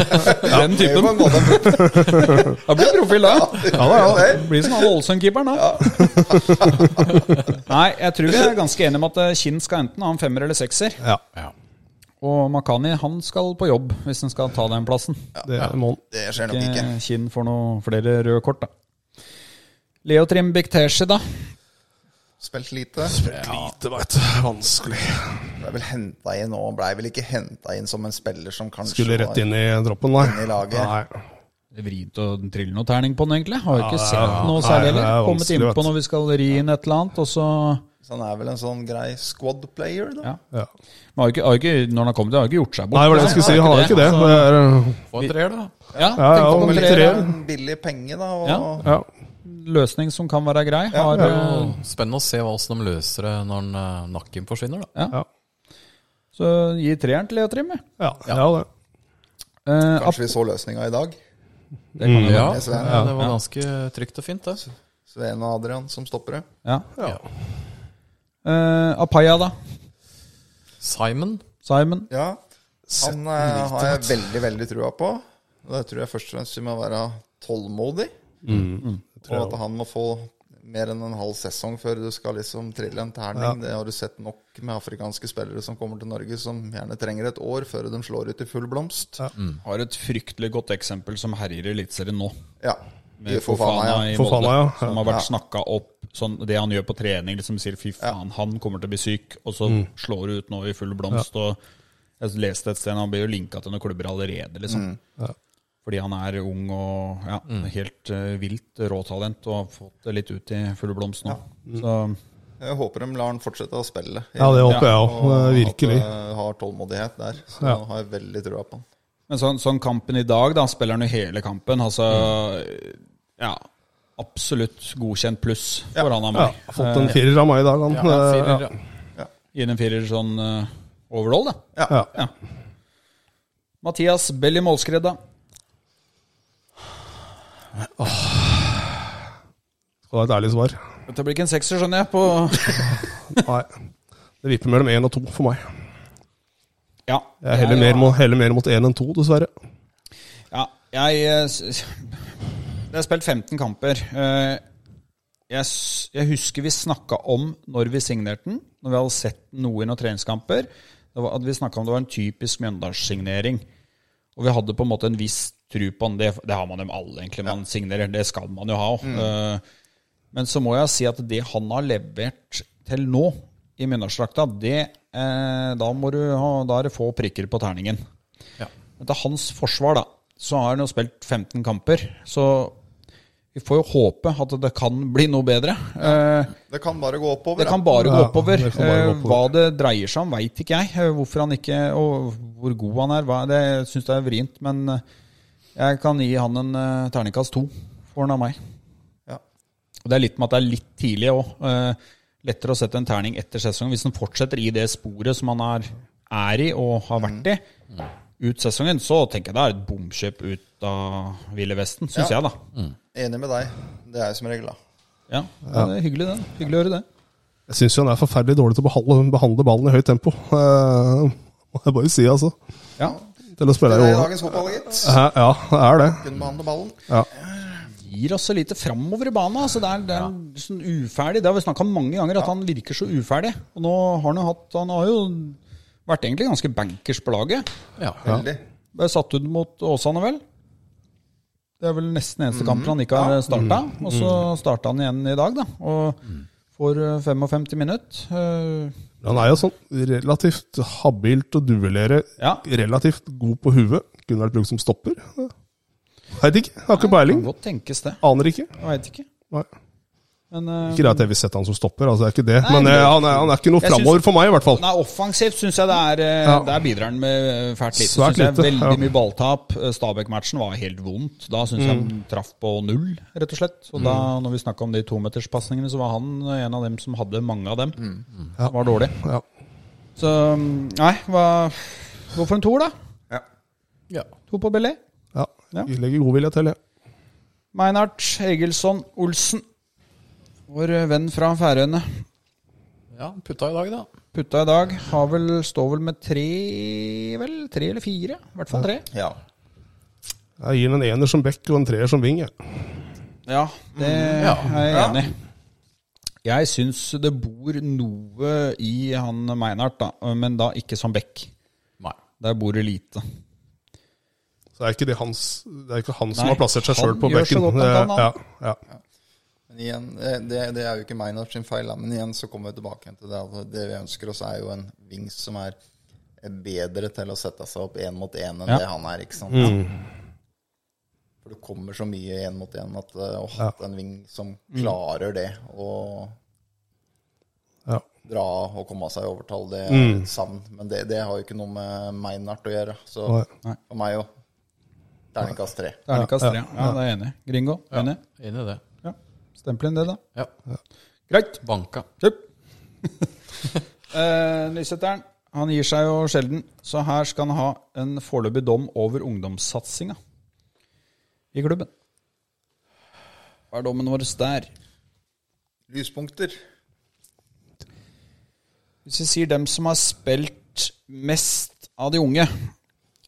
S2: Den
S4: Det var en
S2: typen.
S4: god dag.
S2: Da blir det profil, da.
S4: Ja, ja, ja.
S2: Blir som han Ålesund-keeperen, da. Nei, jeg tror vi er ganske enige om at eh, Kinn skal enten ha en femmer eller sekser.
S5: Ja,
S2: Og Makani han skal på jobb hvis han skal ta den plassen.
S5: det må han.
S4: Det skjer nok ikke.
S2: Ikke Kinn får noen flere røde kort, da. Leo Trim Bekteshi, da.
S4: Spilt lite.
S5: Lite, veit du. Vanskelig.
S4: Ble vel hentet inn nå. Blei vel ikke henta inn som en spiller som kanskje
S5: Skulle rett inn i droppen,
S4: Inn i
S5: nei.
S4: laget.
S5: nei.
S2: Vrient å trille noe terning på den, egentlig. Har jo ikke
S5: Ja,
S2: sett
S5: ja,
S2: noe
S5: nei,
S2: særlig.
S5: det er
S2: eller? Kommet
S5: vanskelig, vet
S2: innpå
S5: du.
S2: når vi skal ri inn et eller annet, og så
S4: Så han er vel en sånn grei squad player, da.
S2: Ja.
S5: Ja.
S2: Men har jo ikke, har jo ikke, når han har kommet, har jo ikke gjort seg bort.
S5: Nei, det var det jeg skulle si. Han er ikke det. Altså- det er,
S3: Få en treer, da.
S2: altså- Ja,
S5: ja, ja,
S2: tenk på
S5: men
S2: den
S5: litt
S2: tre-
S5: treer.
S4: En billig penge, da. Og
S2: Ja.
S5: ja.
S2: løsning som kan være grei. Har, eh,
S3: Og Spennende å se hvordan de løser det når en, eh, Nakken forsvinner, da.
S5: Ja.
S2: Så gi treeren til Leo Trim. jeg.
S5: Ja. ja, det.
S2: Eh, app-
S4: Kanskje vi så løsninga i dag.
S3: Ja,
S4: det er Sven.
S3: ja, det var ganske trygt og fint, det.
S4: Sveen og Adrian som stoppere.
S2: ja.
S5: Ja.
S2: Eh, Apaya, da.
S3: Simon.
S2: Simon.
S4: Ja, han eh, har jeg veldig, veldig trua på. Og Det tror jeg først og fremst vi må være tålmodig. Og at han må få mer enn en halv sesong før du skal liksom trille en terning. Det har du sett nok med afrikanske spillere som kommer til Norge, som gjerne trenger et år før de slår ut i full blomst. Ja.
S2: Har et fryktelig godt eksempel som herjer i Eliteserien nå.
S4: Vi får faen meg, ja.
S2: Eh, i
S5: Fofana,
S2: Molde,
S5: ja.
S2: Som har vært snakka opp sånn, det han gjør på trening. Liksom sier 'fy faen, han kommer til å bli syk', og så
S5: Mm.
S2: slår det ut nå i full blomst. Og jeg leste et sted han blir jo linka til noen klubber allerede, liksom.
S5: Mm.
S2: Fordi han er ung og ja, helt eh, vilt råtalent og har fått det litt ut i full blomst nå.
S5: Mm.
S2: Så
S4: Jeg håper de lar han fortsette å spille.
S5: ja, det håper jeg òg. Virkelig.
S4: At de har tålmodighet der. Så
S5: Ja.
S4: har jeg veldig trua på han.
S2: Men sånn, sånn kampen i dag, da spiller han jo hele kampen. Altså
S5: Mm.
S2: ja, absolutt godkjent pluss for han av
S5: Ja,
S2: meg.
S5: fått en firer av meg i dag, han.
S3: Ja, firer,
S5: Ja,
S3: ja.
S2: Gi den en firer sånn eh, overall, da.
S5: ja.
S2: Mathias Belly Målskred, da.
S5: Skal ha et ærlig svar.
S2: Dette blir ikke en sekser, skjønner jeg. På
S5: Nei. Det vipper mellom én og to for meg.
S2: ja.
S5: Jeg heller mer, mot- heller mer mot én enn to, dessverre.
S2: Ja, jeg eh, s- Det er spilt 15 kamper. Eh, Jeg, s- jeg husker vi snakka om når vi signerte den, når vi hadde sett noe i noen treningskamper, det var, at vi snakka om det var en typisk Mjøndalssignering. Og vi hadde på en måte en viss tru på den. Det, det har man jo med alle, egentlig. Man signerer. Det skal man jo ha. Eh, Men så må jeg si at det han har levert til nå i Mjøndalsdrakta, det eh, da, må du ha, da er det få prikker på terningen. Men Til hans forsvar, da, så har han jo spilt 15 kamper. Så vi får jo håpe at det kan bli noe bedre. Eh,
S4: Det kan bare gå oppover.
S2: det kan
S4: ja.
S2: bare gå
S5: Ja,
S2: oppover.
S5: det kan bare gå
S2: Eh, Hva
S5: oppover.
S2: det dreier seg om, veit ikke jeg. Eh, Hvorfor han ikke Og hvor god han er. Hva, det syns jeg er vrient, men eh, jeg kan gi han en eh, terningkast to. Får han av meg.
S4: Ja.
S2: Og Det er litt med at det er litt tidlig òg. Lettere å sette en terning etter sesongen. Hvis han fortsetter i det sporet som han er, er i og har vært i ut sesongen, så tenker jeg det er et bomkjøp ut av Ville Vesten, syns
S4: Ja.
S2: jeg, da.
S4: Enig med deg. Det er jeg som regel, da.
S2: Ja, Det er hyggelig, det. Hyggelig å høre det.
S5: Jeg syns han er forferdelig dårlig til å behandle, behandle ballen i høyt tempo. Eh, Må jeg bare si, altså.
S2: Ja.
S5: Til å
S4: Det
S5: spille
S4: er
S5: i
S4: i
S5: år.
S4: dagens fotball, gitt.
S5: Ja, ja, det er det.
S4: Kunne behandle ballen.
S2: Gir oss så lite framover i banen. Altså det er, det er sånn uferdig. Det har vi snakka om mange ganger, at han virker så uferdig. Og nå har han jo hatt Han har jo vært egentlig ganske bankers på laget.
S3: Ja.
S4: Veldig.
S2: Ble satt ut mot Åsane, vel? Det er vel nesten eneste kampen han ikke har starta. Og så starta han igjen i dag, da. Og får eh, 55 minutter. Eh,
S5: Han er jo sånn relativt habilt å duellere.
S2: Ja.
S5: Relativt god på huet. Kunne vært brukt som stopper. Veit ikke. Har ikke peiling.
S2: Kan godt tenkes det.
S5: Aner ikke.
S2: Jeg veit ikke.
S5: Nei.
S2: Men eh,
S5: Ikke det at jeg vil sette han som stopper, altså, det er ikke det.
S2: Nei,
S5: Men
S2: men-
S5: eh, han, er, han er ikke noe
S2: Jeg syns-
S5: framover for meg, i hvert fall.
S2: nei, offensivt syns jeg det er eh,
S5: Ja.
S2: Der bidrar han med eh, fælt lite.
S5: Svært
S2: Synes jeg
S5: lite,
S2: Veldig
S5: ja.
S2: mye balltap. Eh, Stabæk-matchen var helt vondt. Da syns
S5: Mm.
S2: jeg han traff på null, rett og slett. Og da når vi snakka om de tometerspasningene, så var han en av dem som hadde mange av dem. Det Var dårlig.
S5: Ja.
S2: Så um, nei, hva Gå for en toer, da.
S3: Ja.
S2: To på Belé.
S5: Ja.
S2: Ja.
S5: Vi legger godvilje til, jeg.
S2: Meinhardt, Egilson, Olsen. Vår venn fra Færøyene.
S3: ja, putta i dag, da.
S2: Putta i dag. Har vel, står vel med tre, vel? Tre eller fire? I hvert fall tre.
S4: Ja.
S5: Jeg gir den en ener som bekk og en treer som ving. Jeg.
S2: Ja, det
S3: ja.
S2: er jeg enig i. Jeg syns det bor noe i han Meinhardt, da, men da ikke som Beck.
S3: Nei.
S2: Der bor det lite.
S5: Så det er ikke det, hans, det er ikke han som
S2: Nei,
S5: har plassert seg
S2: han
S5: sjøl på
S2: gjør så
S5: bekken.
S2: godt han
S5: Det-
S2: kan, han.
S5: ja, ja.
S4: Men igjen, eh, det, det er jo ikke Meinhardt sin feil, da, men igjen så kommer vi tilbake igjen til det. at Det vi ønsker oss, er jo en wings som er eh, bedre til å sette seg opp én mot én enn
S2: Ja.
S4: det han er, ikke sant? For det kommer så mye én mot én at eh, å ha en wing som klarer det å
S5: Ja.
S4: dra og komme seg i overtall, det er et savn. Men det, det har jo ikke noe med Meinhardt å gjøre. Så
S5: Nei.
S4: for meg jo terningkast tre.
S2: Terningkast tre. Ja, det er jeg enig. i. Gringo, enig?
S3: Inn i det.
S2: Ja. Stempel inn det, da.
S3: Ja.
S2: Greit.
S3: Banka.
S2: Kjøp. eh, Nysetteren han gir seg jo sjelden, så her skal han ha en foreløpig dom over ungdomssatsinga i klubben. Hva er dommen vår der?
S4: Lyspunkter.
S2: Hvis vi sier dem som har spilt mest av de unge,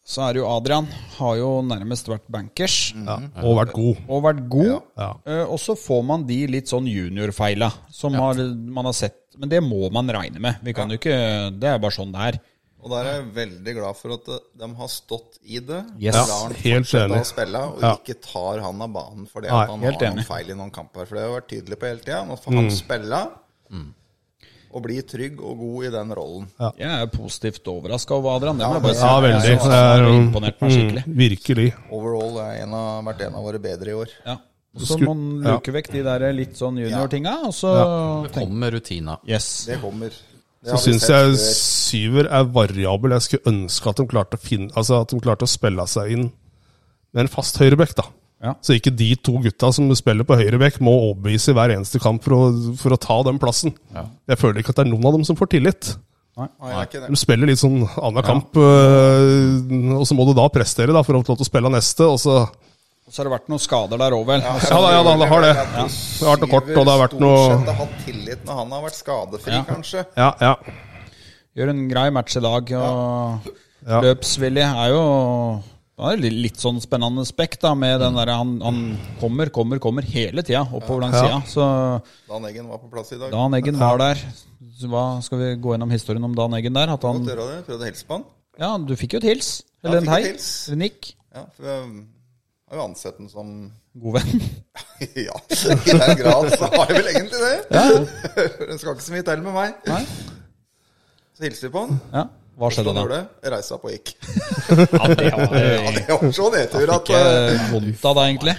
S2: så er det jo Adrian. Har jo nærmest vært bankers
S5: ja. Og vært god.
S2: og vært god.
S5: Ja.
S2: Eh, og så får man de litt sånn juniorfeila som har, man har sett. Men det må man regne med. Vi kan jo ikke Det er bare sånn det er.
S4: Og der er jeg veldig glad for at eh, de har stått i det.
S2: Yes.
S4: Lar han
S5: Helt
S4: fortsette
S5: enig.
S4: Å spille, og
S5: Ja.
S4: ikke tar han av banen fordi
S5: Nei,
S4: at han
S2: helt
S4: har
S2: enig.
S4: noen feil i noen kamper. For det har jeg vært tydelig på hele tida. Nå får
S5: Mm.
S4: han spille og bli trygg og god i den rollen.
S2: Jeg er positivt overraska over Adrian. Det må jeg bare si.
S5: Ja, veldig.
S2: Jeg
S5: Det er,
S2: har
S5: um,
S2: imponert meg skikkelig.
S5: mm, virkelig.
S4: Overall har en av, vært en av våre bedre i år.
S2: Ja. Og Så
S5: Skulle-
S2: må man luke vekk de der litt sånn junior-tinga, og så tenk-
S3: Kom med rutina.
S2: Yes.
S4: Det kommer. Det
S5: Så
S4: har vi
S5: syns
S4: sett
S5: jeg
S4: før.
S5: syver er variabel. Jeg skulle ønske at de klarte å, finne, altså at de klarte å spille seg inn med en fast høyrebekk, da.
S2: Ja.
S5: Så ikke de to gutta som spiller på høyrebekk, må overbevise i hver eneste kamp for å, for å ta den plassen. Jeg føler ikke at det er noen av dem som får tillit.
S4: Nei, jeg er ikke det.
S5: De spiller litt sånn annen kamp, øh, og så må du da prestere da, for å få lov til å spille neste. Og så
S2: Og så har det vært noen skader der òg, vel. Altså, Og så-
S5: Ja da, ja da, det har det. Det har vært noe kort, og det har vært noe
S4: Stort sett har hatt tillit når han har vært skadefri, kanskje.
S5: Ja, ja.
S2: Gjør en grei match i dag. Og
S5: Ja.
S2: løpsvillig er jo han er litt- litt sånn spennende spekk, da, med den
S5: Mm.
S2: derre han, han kommer, kommer, kommer hele tida oppover langs sida. Så
S4: Dan Eggen var på plass i dag.
S2: Dan Eggen var der. Så Hva Skal vi gå gjennom historien om Dan Eggen der? At han
S4: Godt å gjøre det. Prøvde å hilse på han.
S2: Ja, du fikk jo et hils.
S4: Ja,
S2: Eller en
S4: fikk et
S2: hei.
S4: hils.
S2: En nikk.
S4: Ja, for jeg har jo ansett den som
S2: God venn.
S4: Ja, i den grad så har jeg vel egentlig det. Den skal ikke så mye til med meg.
S2: Nei.
S4: Så hilser vi på han.
S2: Ja. Hva skjedde
S4: Han
S2: da?
S4: gjorde det. Jeg reiste seg opp og gikk.
S2: Ja, det var
S4: Ja, det var så nedtur at
S2: ikke
S4: eh,
S2: vondt av deg, egentlig.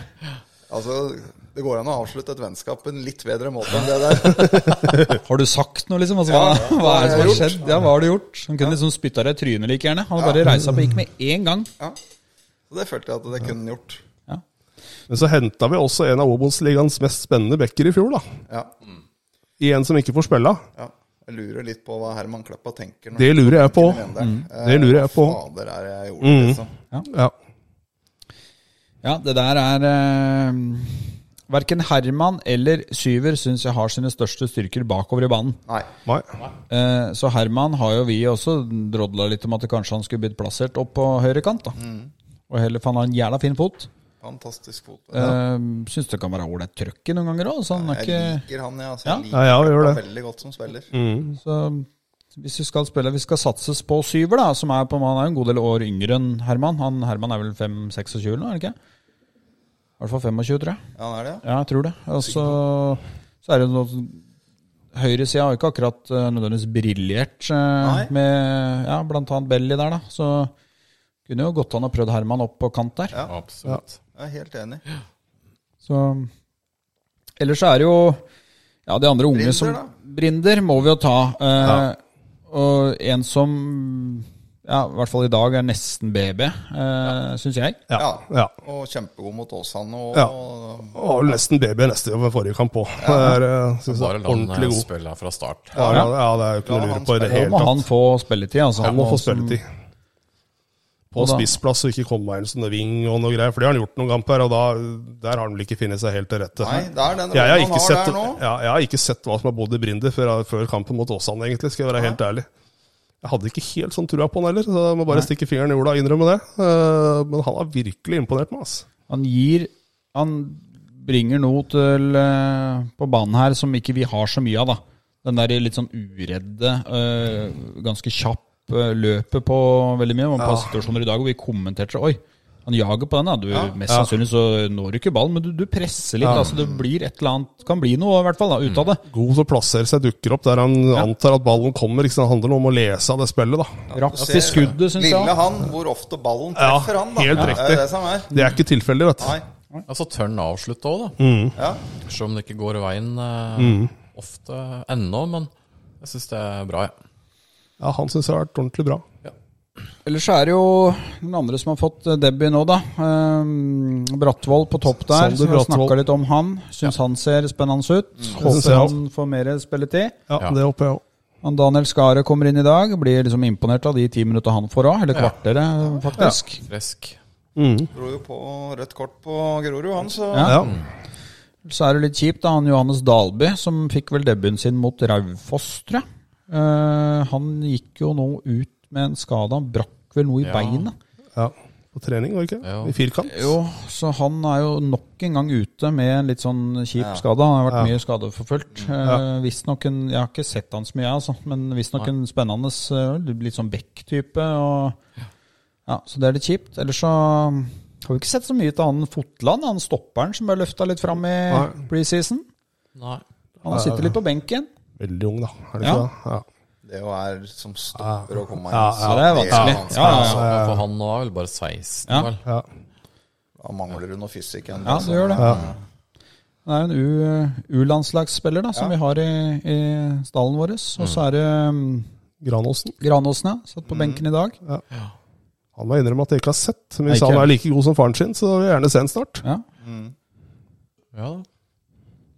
S4: Altså, det går an å avslutte et vennskap på en litt bedre måte enn det der.
S2: Har du sagt noe, liksom? Altså,
S4: Ja,
S2: hva, hva er
S4: ja.
S2: det som har
S4: Hva har jeg
S2: skjedd? Ja, hva har du gjort? Han kunne liksom spytta deg i trynet like gjerne. Han hadde bare reist seg opp og gikk med én gang.
S4: Ja. Så det følte jeg at det kunne han gjort.
S2: Ja.
S5: Men så henta vi også en av Obos-ligaens mest spennende backer i fjor, da.
S4: Ja.
S5: I en som ikke får spille.
S4: ja. Jeg lurer litt på hva Herman Kleppa tenker. når
S5: Det
S4: han
S5: lurer jeg på. Mm.
S4: kommer inn der. Eh,
S5: Det lurer jeg på. Mm.
S4: Fader, er det jeg gjorde, liksom.
S5: Ja.
S2: Ja, det der er eh, Verken Herman eller Syver syns jeg har sine største styrker bakover i banen.
S4: Nei.
S5: Nei.
S2: Eh, så Herman har jo vi også drodla litt om at kanskje han skulle blitt plassert opp på høyre kant. da. Og heller for han har en jævla fin fot.
S4: Fantastisk fot.
S2: Eh, syns det kan være ålreit trøkk i noen ganger òg, så han er
S4: Jeg
S2: ikke
S4: liker han, jeg. Altså, jeg liker
S5: Ja, ja, vi gjør
S4: han
S5: det.
S4: veldig godt som spiller.
S2: Så um, hvis vi skal spille Vi skal satses på syver, da, som er på Han er jo en god del år yngre enn Herman. Han, Herman er vel 5-26 nå, er det ikke? I hvert fall 25, tror jeg.
S4: Ja, han er det, ja.
S2: Ja, jeg tror det. Og så så er det noe Høyresida har jo ikke akkurat eh, nødvendigvis briljert eh,
S4: Nei.
S2: med ja, blant annet Belly der, da. Så kunne jo godt han ha prøvd Herman opp på kant der.
S3: Absolutt.
S4: Jeg er helt enig.
S2: Så Ellers så er det jo ja, de andre unge
S4: Brinder,
S2: som
S4: da.
S2: Brinder må vi jo ta. Eh, Og en som Ja, i hvert fall i dag er nesten BB, eh, syns jeg.
S5: Ja. ja.
S4: Og kjempegod mot Åsane. Og,
S5: Ja.
S4: og,
S5: Og var vel nesten baby neste over forrige kamp òg.
S3: Bare la
S5: eh, Ordentlig
S3: han
S5: god.
S3: spille fra start.
S5: Ja, ja, ja, det er jo ikke
S4: La
S5: noe å
S4: han
S5: lure på i det
S4: spille.
S2: Da
S5: hele
S2: må
S5: tatt.
S2: han få spilletid. Altså.
S5: Han må få
S2: som-
S5: spilletid. På
S2: Og da-
S5: spissplass og ikke komme inn som noe ving og noe greier. For det har han gjort noen kamper, og da, der har han vel ikke funnet seg helt til rette.
S4: Nei, det er den
S5: Jeg har,
S4: rollen
S5: ikke
S4: han har
S5: sett,
S4: der nå.
S5: ja, jeg har ikke sett hva som har bodd i Brinder før, før kampen mot Åsane, egentlig, skal jeg være helt ærlig. Jeg hadde ikke helt sånn trua på han heller, så jeg må bare stikke fingeren i jorda og innrømme det. Eh, Men han har virkelig imponert meg, altså.
S2: Han gir Han bringer noe til, eh, på banen her som ikke vi har så mye av, da. Den der litt sånn uredde, eh, ganske kjapp eh, løpet på veldig mye. Man ja. situasjoner i dag hvor vi kommenterte Oi, han jager på den. Da. Du, Mest sannsynlig så når du ikke ballen, men du, du presser litt. Altså, det blir et eller annet Kan bli noe, i hvert fall, da, ut av det.
S5: God til å plassere seg, dukker opp der han antar at ballen kommer. Ikke sant? Det handler om å lese av det spillet, da.
S2: Raps i skuddet, syns jeg.
S4: Lille
S2: også.
S4: han, hvor ofte ballen
S5: Ja,
S4: treffer han, da.
S5: helt
S4: Det er det
S5: riktig.
S4: som er.
S5: Det er ikke tilfeldig, vet du.
S4: Nei.
S3: Ja, så tør han avslutte òg, da.
S4: Ja.
S3: Selv om det ikke går veien eh, ofte ennå, men jeg syns det er bra, jeg.
S5: Ja, han syns jeg har vært ordentlig bra.
S2: Ellers så er det jo den andre som har fått eh, debut nå, da. Um, Brattvoll på topp der.
S5: Sander
S2: Som vi har
S5: Brattvoll.
S2: snakka litt om han. Syns han ser spennende ut.
S5: synes jeg
S2: Håper
S5: også.
S2: han får mer spilletid.
S5: Ja,
S3: Ja.
S5: Det håper jeg òg.
S2: Han Daniel Skare kommer inn i dag. Blir liksom imponert av de ti minutta han får òg. Eller kvarteret, faktisk.
S3: Frisk.
S4: Dro jo på rødt kort på Grorud, han, så
S2: Ja.
S5: Ja.
S2: Så er det litt kjipt, da. Han Johannes Dalby, som fikk vel debuten sin mot Raufoss, tror jeg. Eh, han gikk jo nå ut med en skade. Han brakk vel noe i
S3: Ja.
S2: beinet.
S5: ja. På trening, var det ikke?
S3: Ja.
S5: I firkant.
S2: Jo, så han er jo nok en gang ute med en litt sånn kjip skade. Han har vært mye skadeforfulgt. Eh, visstnok en Jeg har ikke sett han så mye, jeg, altså, men visstnok en spennende eh, litt sånn Beck-type. Og, ja, så det er litt kjipt. Ellers så mm, har vi ikke sett så mye til han Fotland, han stopperen som ble løfta litt fram i
S5: Nei.
S2: preseason.
S3: Nei.
S2: Han sitter litt på benken.
S5: Veldig ung, da. Er det
S2: Ja.
S5: ikke det? Ja.
S4: Det jo er som stopper å komme inn.
S5: Ja,
S4: så
S5: ja,
S2: Ah. det er vanskelig. Ja, ja,
S4: Eh.
S3: Så,
S4: altså.
S2: ja.
S3: for han nå er vel bare 16,
S2: Ja.
S3: vel.
S5: Ja.
S4: Da mangler du noe fysikk igjen.
S2: ja
S4: altså.
S2: det gjør det. Det er en U- U-landslagsspiller da, som vi har i, i stallen vår. Og så er det um,
S5: Granåsen.
S2: Granåsen, ja. Satt på benken i dag.
S5: Han må innrømme at jeg ikke har sett. Men hvis
S2: Nei, ikke
S5: han er like god som faren sin, så vil jeg gjerne se han snart.
S2: Ja.
S3: Ja, da.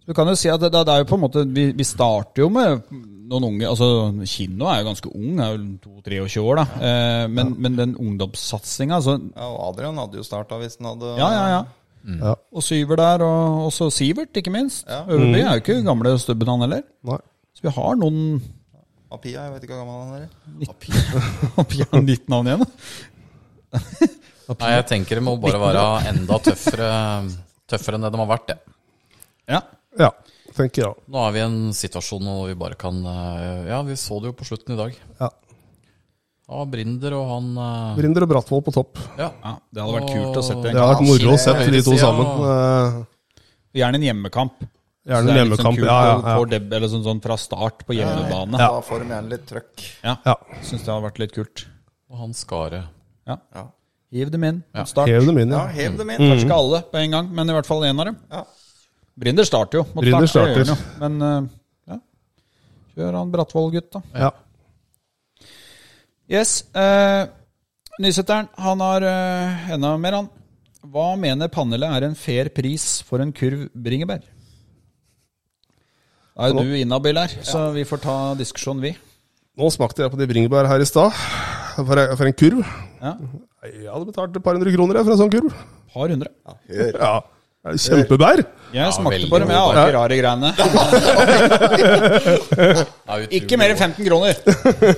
S2: Du kan jo si at det, det er jo på en måte Vi, vi starter jo med noen unge Altså Kino er jo ganske ung, er jo 22-23 år, da. Eh, men, men den ungdomssatsinga, altså
S4: Ja, og Adrian hadde jo starta hvis han hadde
S2: Ja, ja, ja.
S5: Ja.
S2: Og Syver der, og og så Sivert, ikke minst.
S5: Mm.
S2: Øverby er jo ikke gamle stubben, han heller.
S5: Nei.
S2: Så vi har noen
S4: Apia, jeg vet ikke hvor gammel han er.
S2: Vi har nytt navn igjen.
S3: Nei, jeg tenker det må bare være enda tøffere, tøffere enn det de har vært, det.
S2: Ja.
S5: Ja, tenker jeg.
S3: Nå er vi i en situasjon hvor vi bare kan eh, Ja, vi så det jo på slutten i dag.
S5: Ja.
S3: Ja, Brinder og han eh,
S5: Brinder og Brattvoll på topp.
S3: Ja.
S2: ja. Det hadde vært kult å se på
S5: Det
S2: en
S5: har vært moro å
S3: det
S5: se
S3: er
S5: de to
S3: høyresida.
S5: sammen. Eh,
S2: Gjerne en hjemmekamp. Så
S5: Gjerne
S2: det er
S5: en
S2: litt sånn kult
S5: hjemmekamp. Ja,
S2: å
S5: ja,
S2: få deb- Eller sånn, sånn fra start på hjemmebane.
S4: Da får de gjerne litt trøkk.
S5: ja. ja.
S2: Syns det hadde vært litt kult.
S3: og han Skare.
S2: Ja.
S4: Ja.
S2: Hiv dem inn. Start.
S5: Hev dem inn,
S4: Ja,
S5: ja.
S4: hev dem
S5: Mm.
S4: inn.
S2: Ikke alle på en gang, men i hvert fall én av dem.
S4: Ja.
S2: Brinder starter jo. Mot
S5: Brinder
S2: Start, det gjør
S5: starter.
S2: han jo. Men eh, ja. kjør han Brattvoll-gutt, da.
S5: ja.
S2: Yes. eh, Nysetteren, han har eh, enda mer, han. Hva mener panelet er en fair pris for en kurv bringebær? Da er jo du inhabil her, så vi får ta diskusjonen, vi.
S5: Nå smakte jeg på de bringebær her i stad. For, for en kurv.
S2: Ja.
S5: Nei, Jeg hadde betalt et par hundre kroner jeg, for en sånn kurv.
S2: Par hundre.
S5: Ja, det er Kjempebær!
S2: Jeg smakte
S3: veldig
S2: på dem, jeg
S3: god
S2: har ikke rare greiene.
S3: Det er utrolig
S2: Ikke mer enn
S3: godt.
S2: 15 kroner!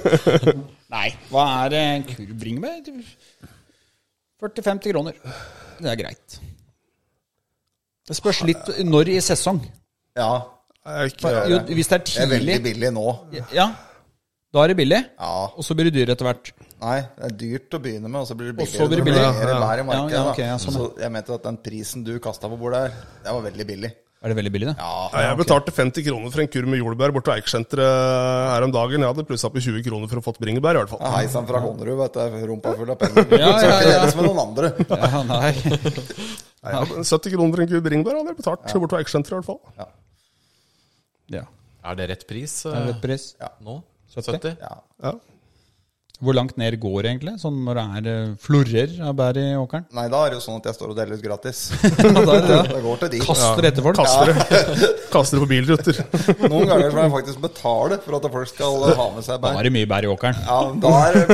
S2: Nei, hva er eh, en kurv bringebær? 40-50 kroner. Det er greit. Det spørs litt når i sesong.
S4: Ja,
S5: Jeg er ikke-
S2: Jo, hvis det er
S4: det er veldig
S2: tidlig,
S4: billig nå.
S2: ja, da er det billig.
S4: Ja.
S2: Og så blir det dyr etter hvert.
S4: Nei, det er dyrt å begynne med, og så blir
S2: Og
S4: det billigere.
S2: så blir det
S4: når
S2: billigere.
S4: mer
S5: Ja, ja.
S4: vær i
S2: Ja,
S4: markedet,
S2: ja,
S4: da.
S2: ok, ja, sånn,
S4: Så jeg mente at den prisen du kasta på bordet her, det var veldig billig.
S2: Er det veldig billig, det?
S4: Ja,
S5: Nei, jeg betalte 50 kroner for en kurv med jordbær borte på Eiksenteret her om dagen. Jeg hadde plussa på 20 kroner for å fått bringebær, i hvert fall.
S4: Hei sann fra Konnerud, vet du. Rumpa full av penger.
S2: Ja,
S4: Så
S2: ja,
S4: ikke
S2: ja.
S4: deles med noen andre.
S2: Ja, nei.
S5: Nei, jeg hadde 70 kroner for en kurv bringebær hadde jeg betalt borte på Eiksenteret, i hvert fall.
S2: Ja.
S3: Er det rett pris
S2: Er det
S3: eh,
S2: rett pris?
S3: nå?
S2: 70?
S3: 70?
S4: Ja.
S5: Ja.
S2: Hvor langt ned går det egentlig? Sånn når det er eh, florer av bær i åkeren?
S4: Nei, da er det jo sånn at jeg står og deler ut gratis.
S2: Da er det
S4: Det
S2: det.
S4: går til de.
S2: Kaster etter folk?
S5: Kaster det, kaster det på bilruter.
S4: Noen ganger må jeg faktisk betale for at folk skal ha med seg
S2: Da
S4: bær.
S2: er det mye bær i åkeren.
S4: Ja, da er det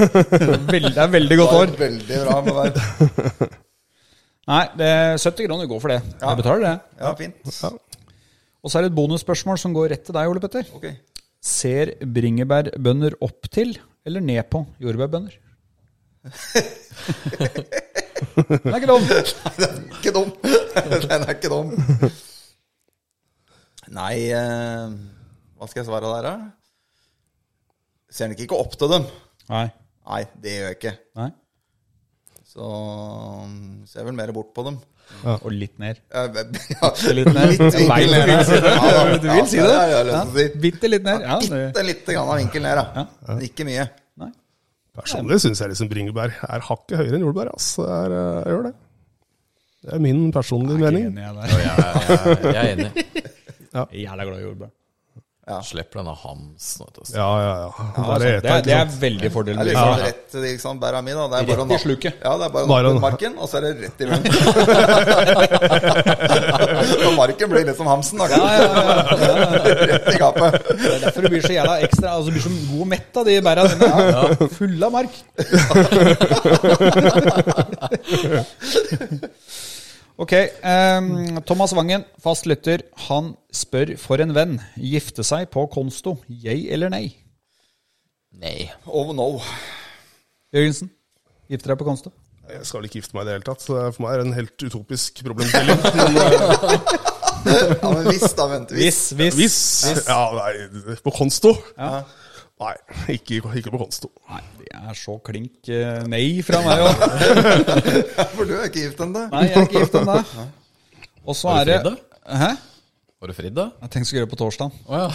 S2: Veldig, det er veldig
S4: da
S2: godt
S4: er
S2: år.
S4: det veldig bra med bær.
S2: Nei, det er 70 kroner går for det. Jeg betaler det.
S4: Ja, fint.
S2: Og så er det et bonusspørsmål som går rett til deg, Ole Petter.
S4: Ok.
S2: Ser bringebærbønder opp til eller ned på jordbærbønder? det er ikke lov.
S4: Ikke dum. Den er ikke dum. Nei, eh, hva skal jeg svare der, da? Ser nok ikke opp til dem.
S2: Nei.
S4: Nei, det gjør jeg ikke.
S2: Nei.
S4: Så mm, ser vel mer bort på dem.
S2: Og litt ned.
S4: Eh, Ja,
S2: litt ned. Jeg vet
S4: vinkel
S2: du vil
S4: ned.
S2: si det.
S4: Ja, da.
S2: Du vil si det.
S4: Ja, det har jeg lyst til å si.
S2: Bitte litt ned. Ja, det,
S4: Bitte lite grann av vinkel ned, da. Men Ikke mye.
S2: nei.
S5: Personlig syns jeg liksom bringebær er hakket høyere enn jordbær. Ass. Det er, eh, jeg gjør det. Det er min personlige mening.
S2: Enig jeg der.
S3: Jeg, jeg er enig.
S2: Jævla glad i jordbær.
S3: Slipper denne hamsen. Vet du.
S5: Ja, ja, ja. Bare
S2: Altså,
S5: liksom-
S2: Det
S5: eter,
S2: er, det
S5: ikke
S2: er
S5: sant?
S2: veldig fordel.
S4: Det er liksom rett til liksom, bæra mi, da. Det er bare
S2: Rett i
S4: å nappe-
S2: sluket.
S4: Ja, det er bare å
S5: Bare
S4: nappe
S5: å-
S4: marken, og så er det rett i munnen. og marken blir litt som hamsen, da.
S2: Ja, ja, ja.
S4: Rett i gapet.
S2: Det er derfor du blir så jævla ekstra Altså du blir så god og mett av de bæra dine. Fulle av mark. ok. ehm, Thomas Wangen, fast lytter, han spør for en venn. Gifte seg på konsto, yay eller nei?
S3: Nei.
S4: Oh no.
S2: Jørgensen, gifte deg på konsto?
S5: Jeg skal vel ikke gifte meg i det hele tatt. så For meg er det en helt utopisk problemstilling. Men,
S4: Ja, men hvis, da. Vent, hvis.
S2: hvis.
S5: Hvis Ja, nei, på Konsto? Nei, ikke, ikke på Konsto.
S2: Nei, det er så klink eh, nei fra meg òg.
S4: For du er ikke gift ennå.
S2: Nei, jeg er ikke gift ennå. Og så
S3: Har
S2: er
S3: du
S2: det
S3: fridd, da?
S2: Hæ?
S3: Har du fridd, da?
S2: Jeg tenkte jeg skulle gjøre det på torsdag.
S3: Å ja.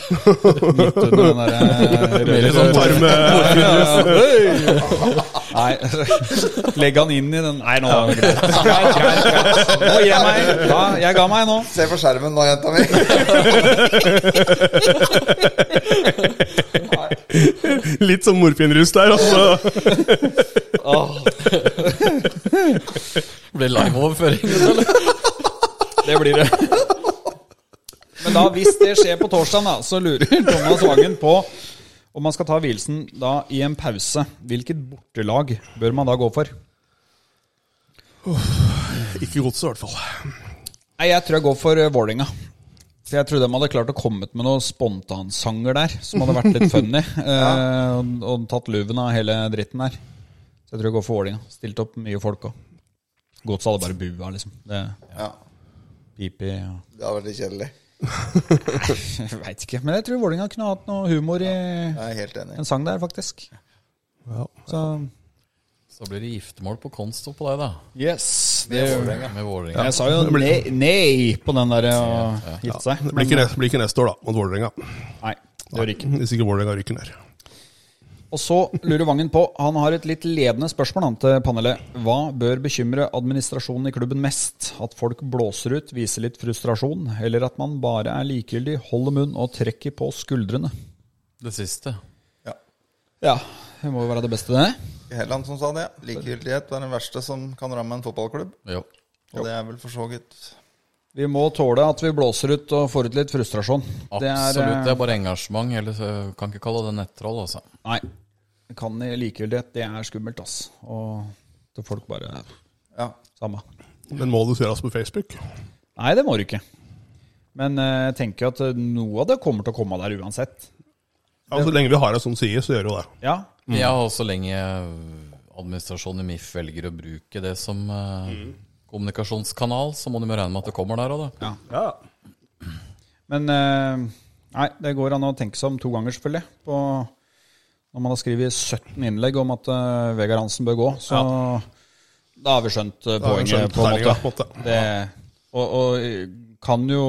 S2: Midt under den der, eh,
S3: Mer sånn
S5: Bare med
S2: Nei, legg han inn i den Nei, nå er det greit. Greit, greit, greit. Nå gir jeg meg. Ja, jeg ga meg nå.
S4: Se på skjermen nå, jenta mi.
S5: litt sånn morfinrus der, altså.
S3: Blir det liveoverføring? eller?
S2: Det blir det. Men da, hvis det skjer på torsdag, da, så lurer Thomas Wangen på om man skal ta hvilelsen da i en pause. Hvilket bortelag bør man da gå for?
S5: Ikke godset, i hvert fall.
S2: Nei, Jeg tror jeg går for eh, Vålerenga. For jeg tror de hadde klart å komme med noen spontansanger der, som hadde vært litt funny. eh, og- og tatt luven av hele dritten der. Så jeg tror jeg går for Vålerenga. Stilt opp mye folk òg. Godset hadde bare bua, liksom. Det
S4: Ja,
S2: pipi og
S4: det var veldig kjedelig.
S2: Jeg veit ikke. Men jeg tror Vålerenga kunne hatt noe humor i
S4: Jeg er helt enig.
S2: en sang der, faktisk. Så
S3: Så blir det giftermål på Konsto på deg, da.
S2: yes. Det,
S3: Med Vålerenga.
S2: jeg sa jo nei, nei på den der eh, å gifte seg.
S5: Det blir ikke, ne- blir ikke neste år, da, mot Vålerenga.
S2: Nei, det gjør ikke.
S5: Hvis ikke Vålerenga ryker ned.
S2: Og så lurer Vangen på, han har et litt ledende spørsmål han, til panelet. Hva bør bekymre administrasjonen i klubben mest? At folk blåser ut, viser litt frustrasjon, eller at man bare er likegyldig, holder munn og trekker på skuldrene?
S3: Det siste.
S4: Ja.
S2: Ja, det må jo være det beste, det.
S4: Helland som sa det. Likegyldighet er den verste som kan ramme en fotballklubb.
S3: Jo.
S4: Og det er vel for så vidt
S2: Vi må tåle at vi blåser ut og får ut litt frustrasjon. Det er, eh,
S3: Absolutt. Det er bare engasjement. Eller så kan ikke kalle det nettroll, altså.
S2: eh, Nei. det Kan i likegyldighet, det er skummelt, ass. Og til folk bare
S4: Ja.
S2: Samme.
S5: Men må det gjøres på Facebook?
S2: Nei, det må du ikke. Men eh, jeg tenker at eh, noe av det kommer til å komme der uansett.
S5: Ja, Så lenge vi har ei sånn side, så gjør jo det.
S2: Ja,
S3: Ja, og så lenge administrasjonen i MIF velger å bruke det som eh,
S2: Mm.
S3: kommunikasjonskanal, så må de jo regne med at det kommer der òg, da.
S5: Ja.
S2: Men eh, nei, det går an å tenke seg om to ganger, selvfølgelig. På, når man har skrevet 17 innlegg om at eh, Vegard Hansen bør gå, så da har vi skjønt eh,
S5: har vi
S2: poenget,
S5: skjønt
S2: på en
S5: terninga,
S2: måte.
S5: på en måte.
S2: Det, og, og eh, kan jo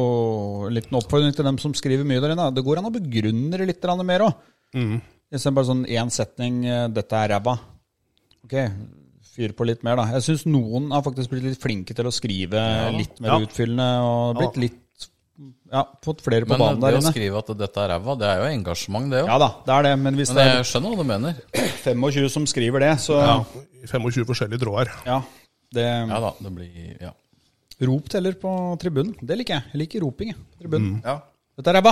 S2: En liten oppfordring til dem som skriver mye der inne. Det går an å begrunne det litt grann mer òg.
S5: Mm.
S2: Istedenfor bare sånn én setning eh, 'Dette er ræva'. Ok, fyr på litt mer, da. Jeg syns noen har faktisk blitt litt flinke til å skrive litt mer
S5: Ja.
S2: utfyllende. Og blitt litt ja, fått flere på
S3: Men eh,
S2: banen
S3: det
S2: der
S3: å
S2: inne.
S3: skrive at dette er ræva, det er jo engasjement, det òg.
S2: Ja da, det er det. Men hvis
S3: Men
S2: det
S3: jeg skjønner hva du mener.
S2: er 25 som skriver det, så ja.
S5: 25 forskjellige tråder.
S2: det,
S3: Ja da, det blir Ja.
S2: Rop teller på tribunen. Det liker jeg. Jeg liker roping. jeg. Tribunen.
S4: Ja.
S2: Dette er ræva!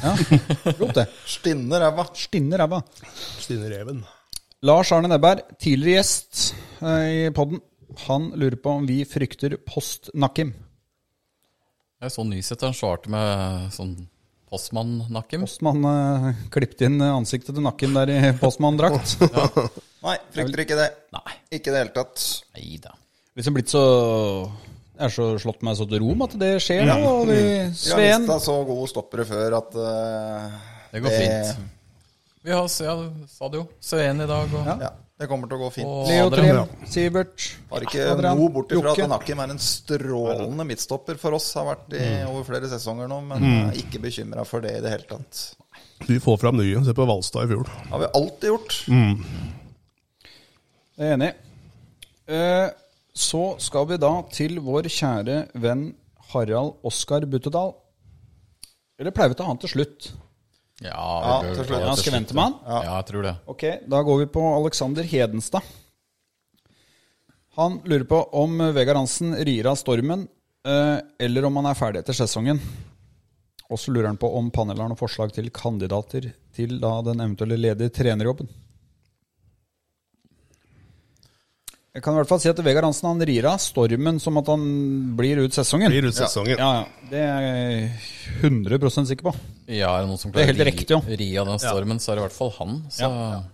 S2: Ja, rop det.
S4: Stinne ræva.
S2: Stinne ræva.
S5: Stine Reven.
S2: Lars Arne Nebberg, tidligere gjest eh, i podden, han lurer på om vi frykter post-Nakim.
S3: Jeg så Nysæteren svarte med sånn postmann-nakkim.
S2: Postmann eh, klippte inn ansiktet til Nakim der i postmanndrakt.
S4: Nei, frykter ikke det.
S3: Nei.
S4: Ikke i det hele tatt.
S3: Nei da.
S2: Liksom blitt så Jeg er så slått meg så til rom at det skjer nå. Og vi,
S4: Vi har
S2: Sveen
S4: mista så gode stoppere før at eh,
S3: Det går fint. Vi har ja, du sa det jo. Sveen i dag og
S4: Ja, det kommer til å gå fint.
S3: Og-
S2: Leo
S3: Adrian.
S2: Trim, Sivert
S4: Har ikke
S2: Adrian,
S4: noe bort ifra at
S2: Jokke.
S4: Nakim er en strålende midtstopper for oss. Har vært i
S3: Mm.
S4: over flere sesonger nå, men er ikke bekymra for det i det hele tatt.
S5: Vi får fram nye. Se på Valstad i fjor.
S4: Har vi alltid gjort.
S3: Mm.
S2: Jeg er enig. Eh, Så skal vi da til vår kjære venn Harald Oskar Buttedal. Eller pleier vi å ta han til slutt?
S3: Ja,
S4: Ja,
S3: vi bør-
S4: til slutt.
S2: Ja, skal vi vente med han?
S3: Ja, jeg tror det.
S2: Ok, da går vi på Alexander Hedenstad. Han lurer på om Vegard Hansen rir av stormen, eh, eller om han er ferdig etter sesongen. Og så lurer han på om panelet har noen forslag til kandidater til da den eventuelle ledige trenerjobben. Jeg kan i hvert fall si at Vegard Hansen han rir av stormen som at han blir ut sesongen.
S5: Blir ut sesongen.
S2: Ja, ja. Det er jeg 100 sikker på.
S3: Ja, er det noen som
S2: Det er
S3: klarer
S2: helt riktig, jo.
S3: å ri- ri av den stormen, så er det i hvert fall han. Så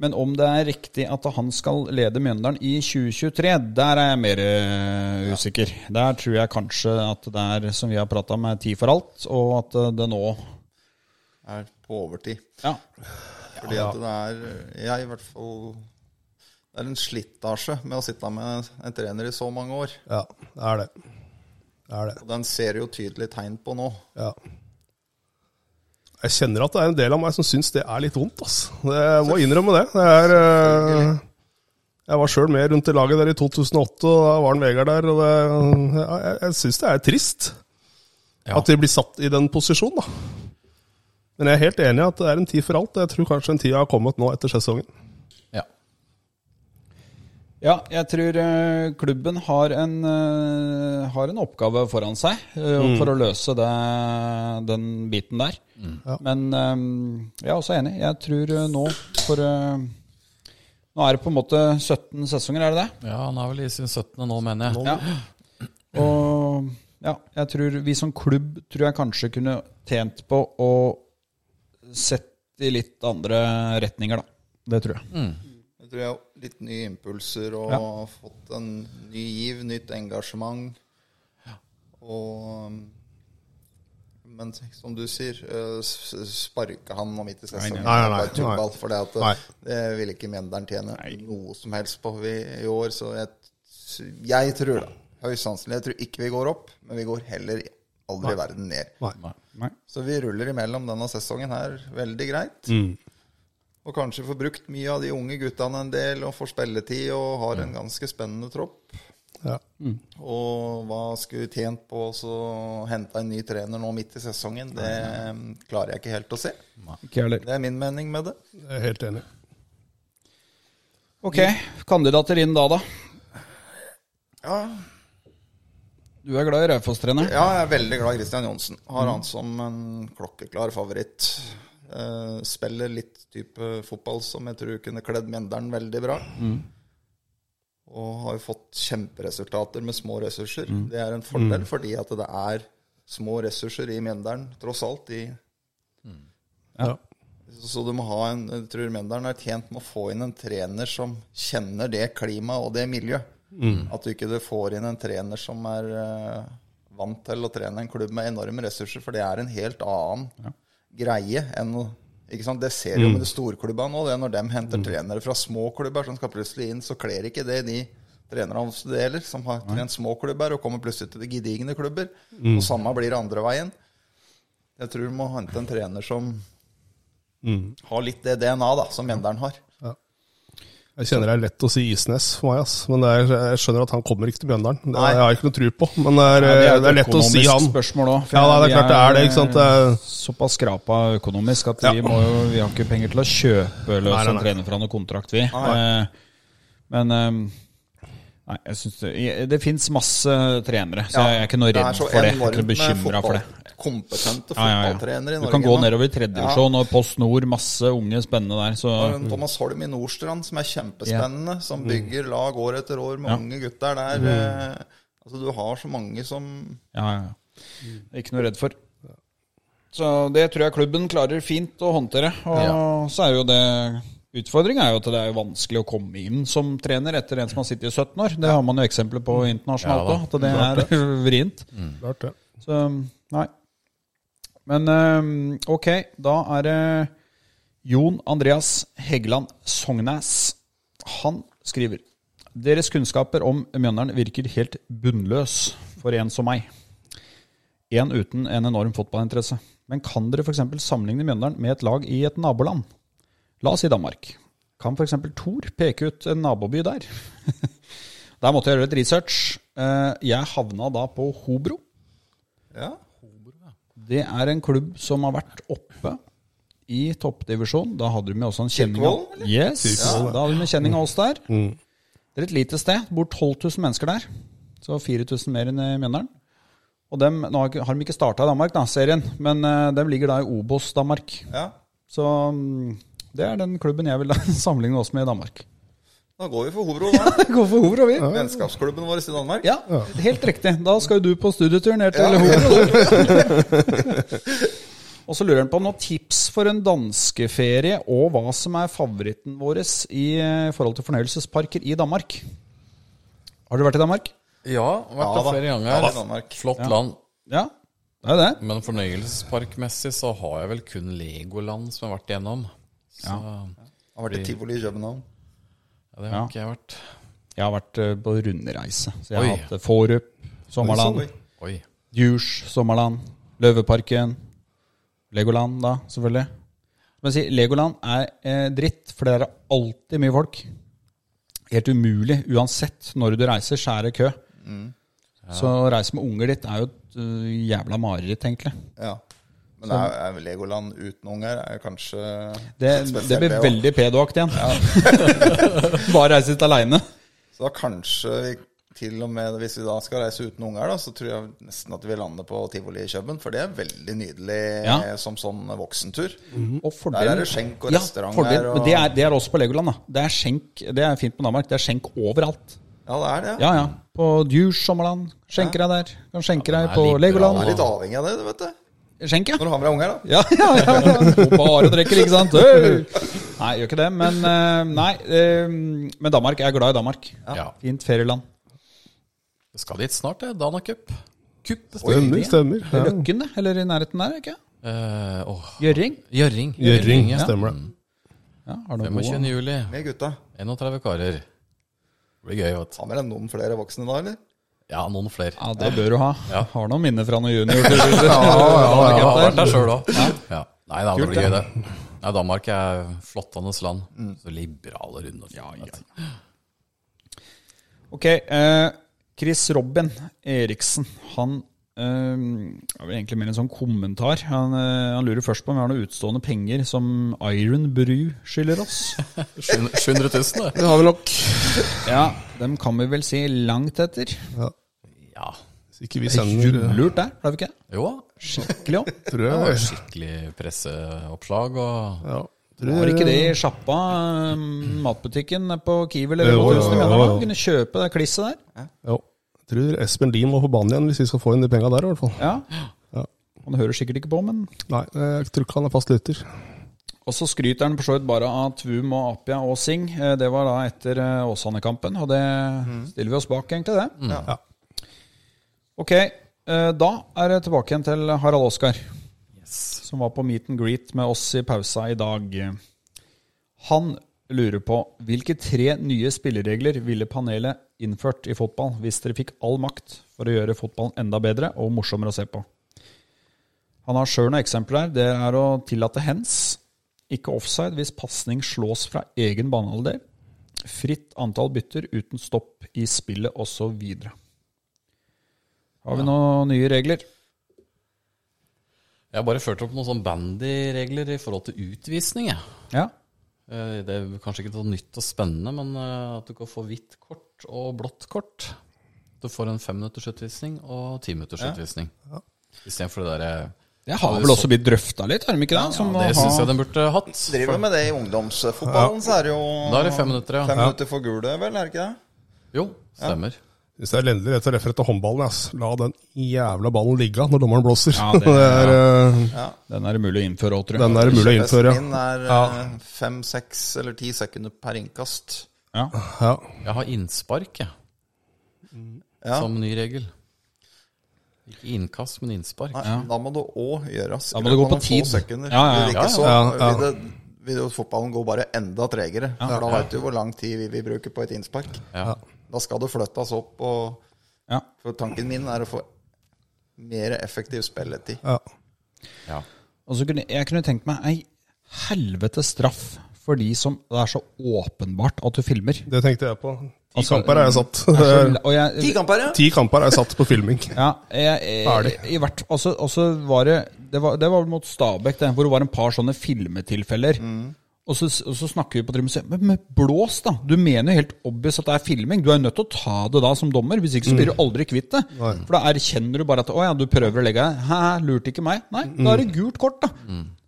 S2: Men om det er riktig at han skal lede Mjøndalen i 2023, der er jeg mer eh, usikker. Der tror jeg kanskje at det er, som vi har prata om, er tid for alt, og at eh, det nå
S4: Er på overtid.
S2: Ja.
S4: Fordi at det er Jeg i hvert fall Det er en slitasje med å sitte med en trener i så mange år.
S5: Ja, det er det. Det er det.
S4: Og den ser jo tydelig tegn på nå.
S5: Ja. Jeg kjenner at det er en del av meg som syns det er litt vondt, ass. Det, jeg må innrømme det. det er, eh, jeg var sjøl med rundt i laget der i 2008, og da var den Vegard der. Og det, ja, jeg jeg syns det er trist
S3: Ja.
S5: at de blir satt i den posisjonen, da. Men jeg er helt enig i at det er en tid for alt. Jeg tror kanskje en tid har kommet nå etter sesongen.
S3: ja.
S2: ja, jeg tror eh, klubben har en, eh, har en oppgave foran seg eh, for å løse det, den biten der. Men eh, jeg er også enig. Jeg tror eh, nå for eh, Nå er det på en måte 17 sesonger, er det det?
S3: ja, han er vel i sin 17. nå, mener jeg.
S2: Ja. Og ja, jeg tror vi som klubb tror jeg kanskje kunne tjent på å sette i litt andre retninger, da. Det tror jeg.
S4: Jeg tror jeg har litt nye impulser og fått en ny giv, nytt engasjement. Og um, Men som du sier, eh, s- s- sparke han om ikke sesongen.
S5: Nei, nei, nei.
S4: For det, at,
S5: Nei.
S4: eh, det vil ikke Mjøndalen tjene noe som helst på i, i år. Så jeg, jeg tror da, høyst sannsynlig, jeg tror ikke vi går opp, men vi går heller aldri i verden ned.
S5: Nei.
S4: Så vi ruller imellom denne sesongen her veldig greit. Og kanskje får brukt mye av de unge guttene en del, og får spilletid, og har en ganske spennende tropp.
S5: Ja.
S4: Og hva skulle tjent på å så hente en ny trener nå midt i sesongen, det mm, klarer jeg ikke helt å se.
S2: Ikke jeg heller.
S4: Det er min mening med det.
S5: Jeg er helt enig.
S2: Ok, kandidater inn da, da.
S4: Ja,
S2: Du er glad i Raufoss-treneren.
S4: ja jeg er veldig glad i Christian Johnsen. Har han som en klokkeklar favoritt. Eh, spiller litt type fotball som jeg tror kunne kledd Mjøndalen veldig bra. Og har jo fått kjemperesultater med små ressurser. Det er en fordel fordi at det er små ressurser i Mjøndalen, tross alt. I,
S5: Ja.
S4: så du må ha en Jeg tror Mjøndalen er tjent med å få inn en trener som kjenner det klimaet og det miljøet. At du ikke du får inn en trener som er eh, vant til å trene en klubb med enorme ressurser, for det er en helt annen greie enn å- ikke sant? Det ser jo med de storklubbene nå, det er når de henter trenere fra små klubber som skal plutselig inn, så kler ikke det de trenerne hans det gjelder, som har trent små klubber og kommer plutselig til de gedigne klubber. Og samme blir det andre veien. Jeg tror du må hente en trener som har litt det DNA da, som Mjøndalen har.
S5: Jeg kjenner det er lett å si Isnes for meg, ass. men det er, jeg skjønner at han kommer ikke til Mjøndalen. Det
S4: Nei.
S5: har jeg ikke noe tro på, men det er, det er, lett å si han.
S2: Spørsmål også, for
S5: Ja, da, det er
S2: vi
S5: klart det er det, ikke sant? Det er-
S2: Såpass skrapa økonomisk at vi,
S5: Ja.
S2: må jo, vi har ikke penger til å kjøpe løs
S5: Nei, nei,
S2: en
S5: nei.
S2: trener fra noen kontrakt, vi. Eh, Men eh, Nei, jeg synes det, jeg- det fins masse trenere, så jeg er ikke noe
S4: Det
S2: redd
S4: er så
S2: for det. Jeg er
S4: enormt
S2: ikke
S4: med
S2: bekymra for det.
S4: fotball-
S2: Ja,
S4: Kompetente
S2: ja, ja.
S4: fotballtrenere i Norge.
S2: Du kan gå
S4: nå.
S2: nedover i tredje divisjon og Post Nord, masse unge spennende der. Så
S4: Og en Thomas Holm i Nordstrand, som er kjempespennende, som
S2: Mm.
S4: bygger lag år etter år med unge gutter der. Eh, altså, du har så mange som
S2: ja, ja, ja. Ikke noe redd for. Så det tror jeg klubben klarer fint å håndtere. Og så er jo det Utfordringa er jo at det er jo vanskelig å komme inn som trener etter en som har sittet i 17 år. Det har man jo eksempler på internasjonalt òg, at Mm. det er vrient.
S5: Klart det.
S2: Så nei. Men eh, ok, da er det Jon Andreas Heggeland Sognes. Han skriver Deres kunnskaper om Mjøndalen virker helt bunnløs for en som meg. En uten en enorm fotballinteresse. Men kan dere f.eks. sammenligne Mjøndalen med et lag i et naboland? La oss si Danmark. Kan f.eks. Thor peke ut en naboby der? der måtte jeg gjøre litt research. Eh, Jeg havna da på Hobro.
S4: Ja.
S2: Det er en klubb som har vært oppe i toppdivisjon. Da hadde de med også en kjenning
S4: Kirkvoll,
S2: av
S4: eller?
S2: Yes,
S5: Kirkvoll, ja.
S2: da hadde de en kjenning av oss der. Det er et lite sted. Det bor 12 000 mennesker der. Så 4000 mer enn i Mjøndalen. Og dem, nå har ikke- har de ikke starta i Danmark, da, serien, men eh, dem ligger da i Obos-Danmark.
S4: ja.
S2: Så mm, det er den klubben jeg vil sammenligne oss med i Danmark.
S4: Da går vi for Hobro, da.
S2: Hvorfor Hobro, vi? Ja.
S4: Vennskapsklubben vår i Danmark.
S2: helt riktig. Da skal jo du på studietur ned til Hobro. og så lurer han på noen tips for en danskeferie, og hva som er favoritten vår i eh, forhold til fornøyelsesparker i Danmark. Har dere vært i Danmark?
S3: Ja, vært
S4: Ja
S3: der
S4: da.
S3: flere
S4: Ja da,
S3: ganger.
S4: Danmark.
S3: Flott land.
S2: Ja, det er jo det.
S3: Men fornøyelsesparkmessig så har jeg vel kun Legoland som jeg har vært igjennom. Så ja.
S4: Har vært i Tivoli i København.
S3: det har
S2: Ja.
S3: ikke jeg vært.
S2: Jeg har vært eh, på rundreise. Så jeg
S3: Oi.
S2: har hatt eh, Forup, Sommerland,
S4: Oi.
S3: Oi.
S2: Djurs, Sommerland, Løveparken, Legoland da, selvfølgelig. Men si, Legoland er eh, dritt, for det er alltid mye folk. Helt umulig, uansett når du reiser, så er det kø.
S4: Mm.
S2: Så å reise med unger ditt er jo et øh, jævla mareritt, egentlig.
S4: Ja. Men det er, er Legoland uten unger er kanskje
S2: Det,
S4: spesielt,
S2: det blir
S4: også.
S2: veldig pedoaktig igjen. Bare reise litt aleine.
S4: Så da kanskje vi til og med hvis vi da skal reise uten unger, da, så tror jeg nesten at vi lander på tivoli i København. For det er veldig nydelig
S2: Ja. Mhm.
S4: eh, som sånn voksentur.
S2: Og
S4: Mm. Der er det skjenk og restaurant
S2: Ja, fordelen-
S4: her, og-
S2: Men det er, det er også på Legoland. da. Det er skjenk, det er fint med Danmark. Det er skjenk overalt.
S4: Ja, det er det.
S2: Ja, ja. På Djurs Sommerland. Skjenker deg der. Kan skjenke deg
S3: er
S2: på
S3: liberal.
S4: Du
S2: Legoland.
S4: er litt avhengig av det, du vet du.
S2: Skjenk, ja.
S4: Når du har med deg unger, da.
S2: Ja, ja, ja. ja. Bare drikker, ikke sant? Øy! Nei, gjør ikke det. Men eh, nei, eh, men Danmark. Jeg er glad i Danmark.
S3: Ja.
S2: Fint ferieland.
S3: Jeg skal dit snart, jeg. Dana Cup. Cup.
S5: Stemmer, stemmer.
S2: Det er
S5: Ja.
S2: Løkken, det. Eller i nærheten der, ikke
S3: Eh, åh.
S2: Gjøring.
S3: Gjøring.
S5: Gjøring,
S3: ja.
S5: stemmer det.
S2: Ja, har du noe
S3: 25.
S2: god-
S3: juli.
S4: Med gutta.
S3: 31 karer. Det blir gøy, vet du.
S4: Ta med deg noen flere voksne da, eller?
S3: Ja, noen flere.
S2: ja, det bør du ha. Har noen minner fra noen junior.
S3: Ja, jeg
S2: Danmark
S3: har
S2: der.
S3: vært der sjøl òg. Ja. Nei da, det blir gøy, det. Nei, Danmark er flottende land. Så liberale runder. Ja, ja.
S2: Ok, eh, Chris Robin Eriksen, han eh, har vel egentlig mer en sånn kommentar. Han, eh, han lurer først på om vi har noen utstående penger som Iron Brew skylder oss.
S3: 700 000, det.
S5: Det har vi nok.
S2: ja, dem kan vi vel si langt etter.
S3: Ja.
S5: Hvis ikke vi sender
S2: Lurt der, ble vi ikke?
S3: Jo,
S2: Skikkelig òg.
S5: Tror jeg.
S3: det var skikkelig presseoppslag og
S5: Ja.
S2: Var
S5: Tror
S2: det ikke
S5: jeg.
S2: det i sjappa, eh, matbutikken på Kiwi eller
S5: Jo, jo,
S2: Rådhuset? i
S5: jo,
S2: Mjøndalen?
S5: jo.
S2: Kunne kjøpe det klisset der.
S5: Ja. Jeg tror Espen Lien må på banen igjen hvis vi skal få inn de penga der, i hvert fall.
S2: Ja. Han hører sikkert ikke på, men
S5: Nei, jeg tror ikke han er fast lytter.
S2: Og så skryter han for så vidt bare av Tvum og Apia og Singh. Eh, Det var da etter eh, Åsane-kampen, og det stiller vi oss bak, egentlig, det.
S4: Ja.
S2: Ok, eh, da er det tilbake igjen til Harald Oskar, som var på meet and greet med oss i pausa i dag. Han lurer på hvilke tre nye spilleregler ville panelet innført i fotball hvis dere fikk all makt for å gjøre fotballen enda bedre og morsommere å se på? Han har sjøl noen eksempler her. Det er å tillate hands. Ikke offside hvis pasning slås fra egen banehalvdel. fritt antall bytter uten stopp i spillet osv. Har vi noen nye regler?
S3: Jeg har bare ført opp noen sånn bandyregler i forhold til utvisning. Jeg.
S2: Ja.
S3: Eh, Det er kanskje ikke noe nytt og spennende, men eh, at du kan få hvitt kort og blått kort. Du får en femminutters utvisning og timinutters utvisning. Istedenfor det derre
S2: Det har vel også blitt drøfta litt, har de ikke det? Som å
S3: Det
S2: ha-
S3: syns jeg den burde hatt.
S4: Driver med det i ungdomsfotballen, så er det jo
S3: Da er det fem minutter,
S4: Fem
S3: ja.
S4: minutter for gule, vel, er det ikke det?
S3: Jo, stemmer.
S5: Hvis det er lendelig rett og slett etter håndballen, ass. La den jævla ballen ligge når dommeren blåser.
S2: Ja, det-
S5: det, er, eh,
S2: Den er det mulig å innføre òg, tror jeg.
S5: Den er det mulig å innføre.
S4: Min er
S5: Ja.
S4: eh, fem, seks eller ti sekunder per innkast.
S2: Ja.
S5: Ja.
S3: Jeg har innspark, jeg.
S4: Ja.
S3: Som ny regel. Ikke innkast, men innspark.
S4: Nei, Da må det òg gjøres.
S2: Da må det gå
S4: i løpet av
S2: på
S4: noen få
S2: tid.
S4: sekunder.
S2: Ja, ja,
S4: Vil
S2: ja.
S4: ikke så
S5: Ja, ja.
S4: Vil, det, vil jo fotballen gå bare enda tregere. for da veit du hvor lang tid vi vil bruke på et innspark.
S3: Ja.
S4: Da skal det flyttes opp, og
S2: Ja.
S4: for tanken min er å få mer effektiv spilletid.
S5: Ja.
S3: Ja.
S2: Og så kunne, jeg kunne tenkt meg ei helvete straff for de som det er så åpenbart at du filmer.
S5: Det tenkte jeg på. Ti
S2: Altså,
S5: kamper er jeg satt.
S2: Det er så- og jeg-
S4: Ti kamper, ja!
S5: Eh, Ti kamper er jeg satt på filming.
S2: Ja, jeg, jeg,
S5: Ferdig.
S2: i hvert Og så var det Det var, det var vel mot Stabæk, det, hvor det var en par sånne filmetilfeller. Og, så, og så snakker vi på trimmen og sier Men men blås, da! Du mener jo helt obvious at det er filming. Du er jo nødt til å ta det da som dommer, hvis ikke så blir du aldri kvitt det. For da erkjenner du bare at 'Å ja, du prøver å legge deg'. Hæ, lurte ikke meg. Nei, da er det gult kort, da.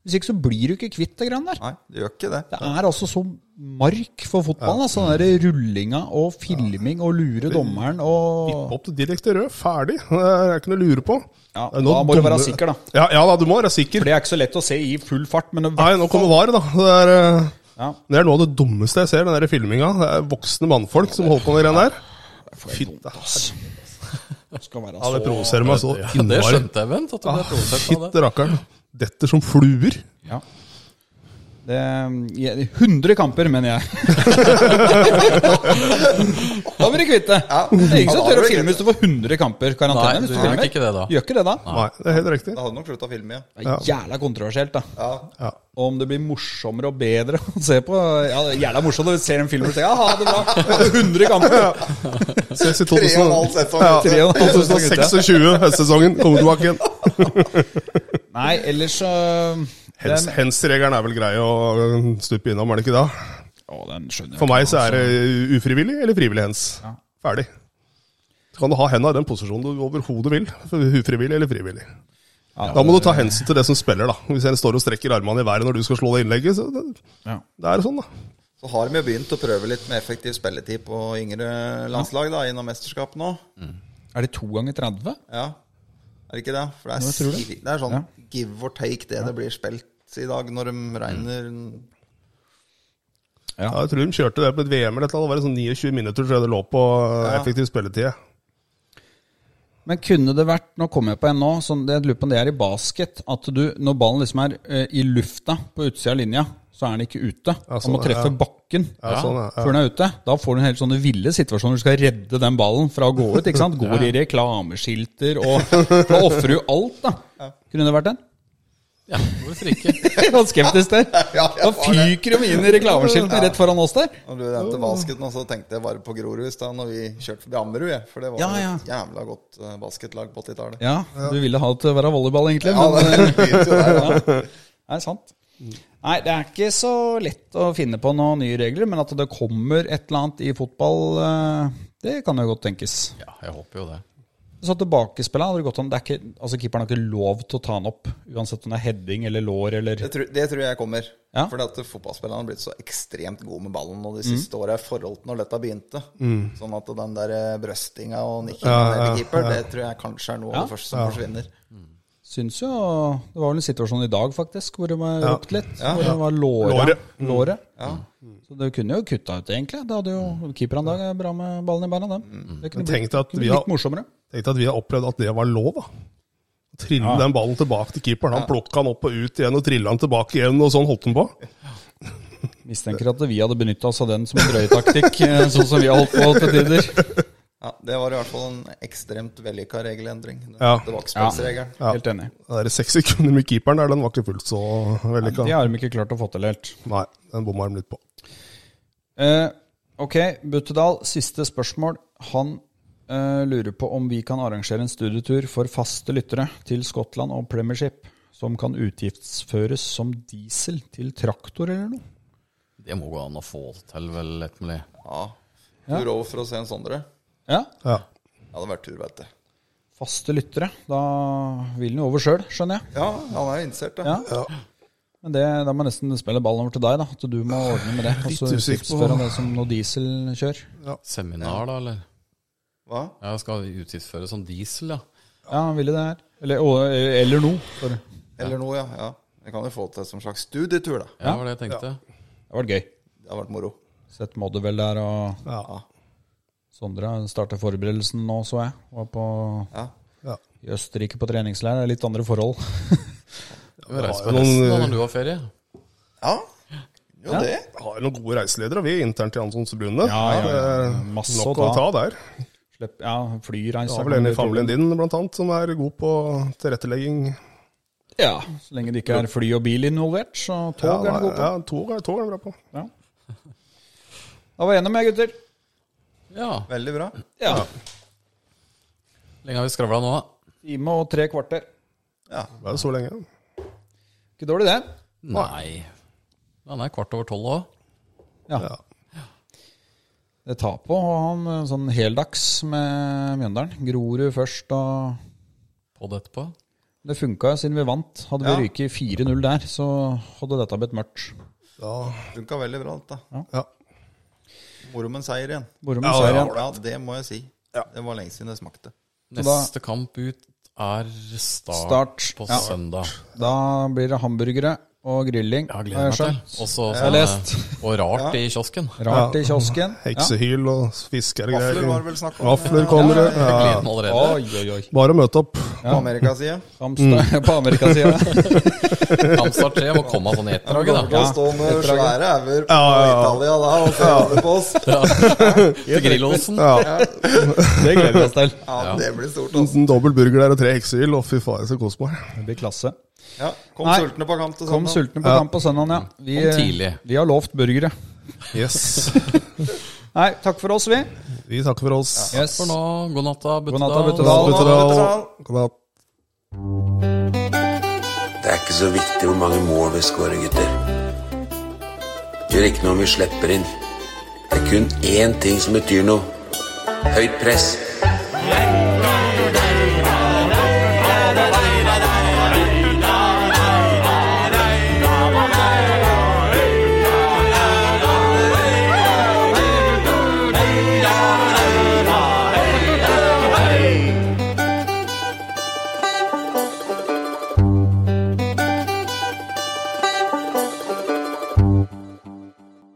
S2: Hvis ikke så blir du ikke kvitt det greiene der.
S4: Nei, det gjør ikke det.
S2: Det er altså så mark for fotballen. Altså, den der rullinga og filming og lure dommeren og
S5: Opp til direkte rød, ferdig. Det er ikke noe å lure på.
S2: Ja,
S5: Det er noe
S2: da må du
S5: dumme-
S2: være sikker, da.
S5: Ja, ja da, du må være sikker.
S2: For det er ikke så lett å se i full fart, men det
S5: Nei, nå kommer VAR, da. Det er, eh,
S2: Ja.
S5: det er noe av det dummeste jeg ser, den der filminga. Det er voksne mannfolk som holder på med de greiene der. Fytte, ass.
S2: skal være altså.
S5: Ja,
S2: så
S5: det provoserer meg så
S3: Ja, det
S5: innmari.
S3: skjønte jeg, Bent. At
S4: Ah,
S3: du ble provosert av det.
S5: Fytte rakkeren. Detter som fluer.
S2: ja. Det jeg- 100 kamper, mener jeg. da blir du kvitt det. Det er ingen som tør å
S4: Ja, da blir du
S2: filme
S4: kvitt
S2: hvis du får 100 kamper karantene.
S3: Nei,
S2: hvis
S3: du
S2: du
S3: gjør
S2: filmer.
S3: nok ikke det da.
S2: Gjør ikke det da.
S5: Nei, det er helt riktig.
S4: Da hadde nok slutta å filme igjen.
S2: Det er jævla kontroversielt, da.
S4: Ja.
S5: Ja.
S2: Og om det blir morsommere og bedre å se på. Ja, det er Jævla morsomt når du ser en film og sier ja, ha det bra. 100 kamper.
S5: Ses i
S4: Tre og en halv
S5: 2000
S4: sesong.
S2: Tre og en halv sesong, gutter.
S5: 2026, høstsesongen. Kommer tilbake igjen.
S2: Nei, ellers så
S5: Hens-
S2: den,
S5: Hens-regelen er vel grei å øh, stupe innom, er det ikke da?
S2: å, den skjønner jeg.
S5: For meg så er det ufrivillig eller frivillig hens. Ferdig. Så kan du ha henda i den posisjonen du overhodet vil. Ufrivillig eller frivillig. Da må du ta hensyn til det som spiller, da. Hvis en står og strekker armene i været når du skal slå det innlegget, så det,
S2: Ja.
S5: det er sånn, da.
S4: Så har de jo begynt å prøve litt med effektiv spilletid på yngre landslag da, gjennom mesterskap nå.
S2: Er det to ganger 30?
S4: Ja. Er det ikke det? For det er,
S2: tror det.
S4: si- det er sånn
S2: Ja.
S4: give or take det det blir spilt i dag, når de regner
S5: Ja, jeg tror de kjørte det på et VM eller et eller annet. Det var sånn 29 minutter tror jeg det lå på øh, effektiv spilletid.
S2: Men kunne det vært, nå kommer jeg på en nå, sånn, det- jeg lurer på om det er i basket, at du, når ballen liksom er eh, i lufta på utsida av linja, så er den ikke ute.
S5: Ja,
S2: han må
S5: sånn,
S2: treffe
S5: ja.
S2: bakken
S5: Ja, sånn, ja.
S2: før den er ute. Da får du en helt sånne ville situasjoner. Du skal redde den ballen fra å gå ut. ikke sant? Går i reklameskilter og Da ofrer du alt, da. Kunne det vært den?
S3: Ja, hvorfor ikke?
S2: Jeg var skeptisk der.
S4: Ja,
S2: Da fyker de inn i reklameskiltene rett foran oss der.
S4: Når du nevnte basket nå, så tenkte jeg bare på Grorud i stad, når vi kjørte forbi Ammerud, jeg. For det var
S2: Ja,
S4: jo
S2: ja.
S4: et jævla godt eh, basketlag på 80-tallet.
S2: Ja, du ville ha det til å være volleyball, egentlig.
S4: Ja,
S2: men,
S4: det begynte jo der, da.
S2: Det er sant. Nei, det er ikke så lett å finne på noen nye regler, men at det kommer et eller annet i fotball, eh, det kan jo godt tenkes.
S3: Ja, jeg håper jo det.
S2: Så tilbakespillet hadde det gått an. Det er ikke, altså Keeperen har ikke lov til å ta den opp, uansett om det er heading eller lår eller
S4: Det tror, det tror jeg kommer.
S2: Ja.
S4: Fordi at fotballspillerne har blitt så ekstremt gode med ballen nå de siste åra i forhold til når dette begynte. Sånn at den der eh, brøstinga og nikkinga
S5: Ja,
S4: ned
S5: ja,
S4: til keeper,
S5: ja.
S4: det tror jeg kanskje er noe av det første som forsvinner.
S2: Syns jo Det var vel en situasjon i dag, faktisk, hvor det var ropt litt. Hvor det var
S5: Låret.
S2: låret. Mm. låret. Så det kunne jo kutta ut, egentlig. Det hadde jo Keeperen i dag er bra med ballen i beina, dem. Det kunne blitt,
S5: Men Mm. tenkte at
S2: kunne
S5: vi
S2: blitt
S5: har-
S2: litt morsommere.
S5: Tenkte at vi har opplevd at det var lov, da. Å Trille den ballen tilbake til keeperen. Han plukka den opp og ut igjen og trilla den tilbake igjen, og sånn holdt han på.
S2: Mistenker at vi hadde benytta oss av den som en drøytaktikk, eh, sånn som vi har holdt på til tider.
S4: Ja, det var i hvert fall en ekstremt vellykka regelendring. Den
S5: Ja.
S4: Tilbakespillsregelen.
S5: Ja.
S2: Helt enig.
S5: Det der seks sekunder med keeperen der, den var ikke fullt så
S2: Det
S5: vellykka.
S2: har de ikke klart å få til helt.
S5: Nei, den bomma de litt på.
S2: Eh, Ok, Buttedal, siste spørsmål. Han eh, lurer på om vi kan arrangere en studietur for faste lyttere til Skottland og Premiership, som kan utgiftsføres som diesel til traktor eller noe.
S3: Det må gå an å få til, vel, lett mulig.
S4: Ja. Tur over for å se en Sondre.
S2: Ja,
S5: Ja.
S4: Ja, det hadde vært tur, vet du.
S2: faste lyttere. Da vil han jo over sjøl, skjønner jeg.
S4: Ja, han er jo innsert, da.
S2: Ja. Men det, da må jeg nesten spille ballen over til deg, da. At du må ordne med det. Og så
S5: Litt usikker på-
S2: utgiftsføre det som noe dieselkjør.
S3: Seminar, da, eller?
S4: Hva?
S3: Ja, skal utgiftsføre som diesel, ja.
S2: Ja, han ville det her. Eller, og- eller noe. For det
S4: Eller noe, ja. ja. Jeg kan jo få til som slags studietur, da.
S3: Ja, det var det jeg tenkte.
S2: var gøy.
S4: Det har vært moro.
S2: Sett Moddervel der, og
S5: Ja.
S2: Sondre starter forberedelsen nå, så jeg. Var på,
S4: Ja.
S5: Ja.
S2: I Østerrike på treningsleir. Det er litt andre forhold.
S3: Vi reiser
S5: Ja,
S3: på
S5: noen,
S3: resten da
S5: eh,
S3: når du har ferie.
S4: ja. Jo, det.
S5: Har jo noen gode reiseledere, vi, internt i Hanssonsforbundet.
S2: Ja, ja, ja.
S5: Det er
S2: Masse å
S5: Nok
S2: ta.
S5: å ta der.
S2: Slipp, ja, flyreiser.
S5: Du har vel
S2: kan
S5: en i
S2: du-
S5: familien din, blant annet, som er god på tilrettelegging.
S2: Ja, Så lenge det ikke er fly og bil involvert, så
S5: Ja,
S2: tog er det god på.
S5: ja, tog er tog er bra på.
S2: Ja. Da var jeg gjennom, jeg, gutter.
S3: Ja,
S4: Veldig bra.
S2: Ja.
S3: lenge har vi skravla nå, da?
S2: Time og tre kvarter.
S5: Det er jo så lenge.
S2: Ikke dårlig, det.
S3: Nei. Han er kvart over tolv òg.
S2: Ja.
S5: Ja.
S2: Det tar på å ha en eh, sånn heldags med Mjøndalen. Grorud først og
S3: På det etterpå.
S2: Det funka jo siden vi vant. Hadde vi
S4: Ja.
S2: ryket 4-0 der, så hadde dette blitt mørkt.
S5: Ja.
S4: Funka veldig bra, dette.
S5: Ja.
S4: Moro med en seier igjen.
S2: Moro med
S5: Ja,
S2: seier
S5: ja,
S2: igjen.
S4: Ja, det må jeg si. Det var lenge siden det smakte.
S2: Så da-
S3: Neste kamp ut er start,
S2: Start,
S3: på
S2: ja.
S3: søndag.
S2: Da blir det hamburgere og grilling.
S3: Jeg
S2: har
S3: gleder
S2: jeg
S3: meg til.
S2: skjønt.
S3: Også,
S2: Jeg har lest.
S3: Og rart i kiosken.
S2: Rart i kiosken. Ja.
S5: Heksehyl og fisker og greier.
S4: Vafler var det vel snakk om. eh,
S5: Vafler kommer det.
S3: Jeg
S5: Ja.
S3: gleder meg allerede.
S2: Oi, oi, oi.
S5: Bare å møte opp.
S4: På Amerikasida.
S2: Hamster
S3: Mm.
S2: på amerikasida.
S3: Kampstart 3 må komme sånn i etterdraget, da.
S4: Da står det svære hauger på
S5: Ja, ja, ja.
S4: Italia da og ser på oss.
S3: Til Grillåsen.
S5: Det gleder vi oss til.
S4: Ja, det blir stort, altså.
S5: En dobbel burger der og tre heksehyl. Å, fy faen, jeg skal kose meg.
S2: Det blir klasse.
S4: Ja, kom
S2: Nei.
S4: sultne på kamp til
S2: Kom
S4: søndag.
S2: sultne på kamp på søndag, ja. Vi,
S3: Kom tidlig.
S2: vi har lovt burgere.
S5: Yes.
S2: Nei, takk for oss, vi.
S5: Vi takker for oss.
S2: Yes.
S3: For nå, god natta,
S2: God natta,
S3: Buttedal.
S2: Buttedal.
S5: God natt,
S4: Buttedal.
S5: God natt.
S1: Det er ikke så viktig hvor mange mål vi scorer, gutter. Det gjør ikke noe om vi slipper inn. Det er kun én ting som betyr noe. Høyt press.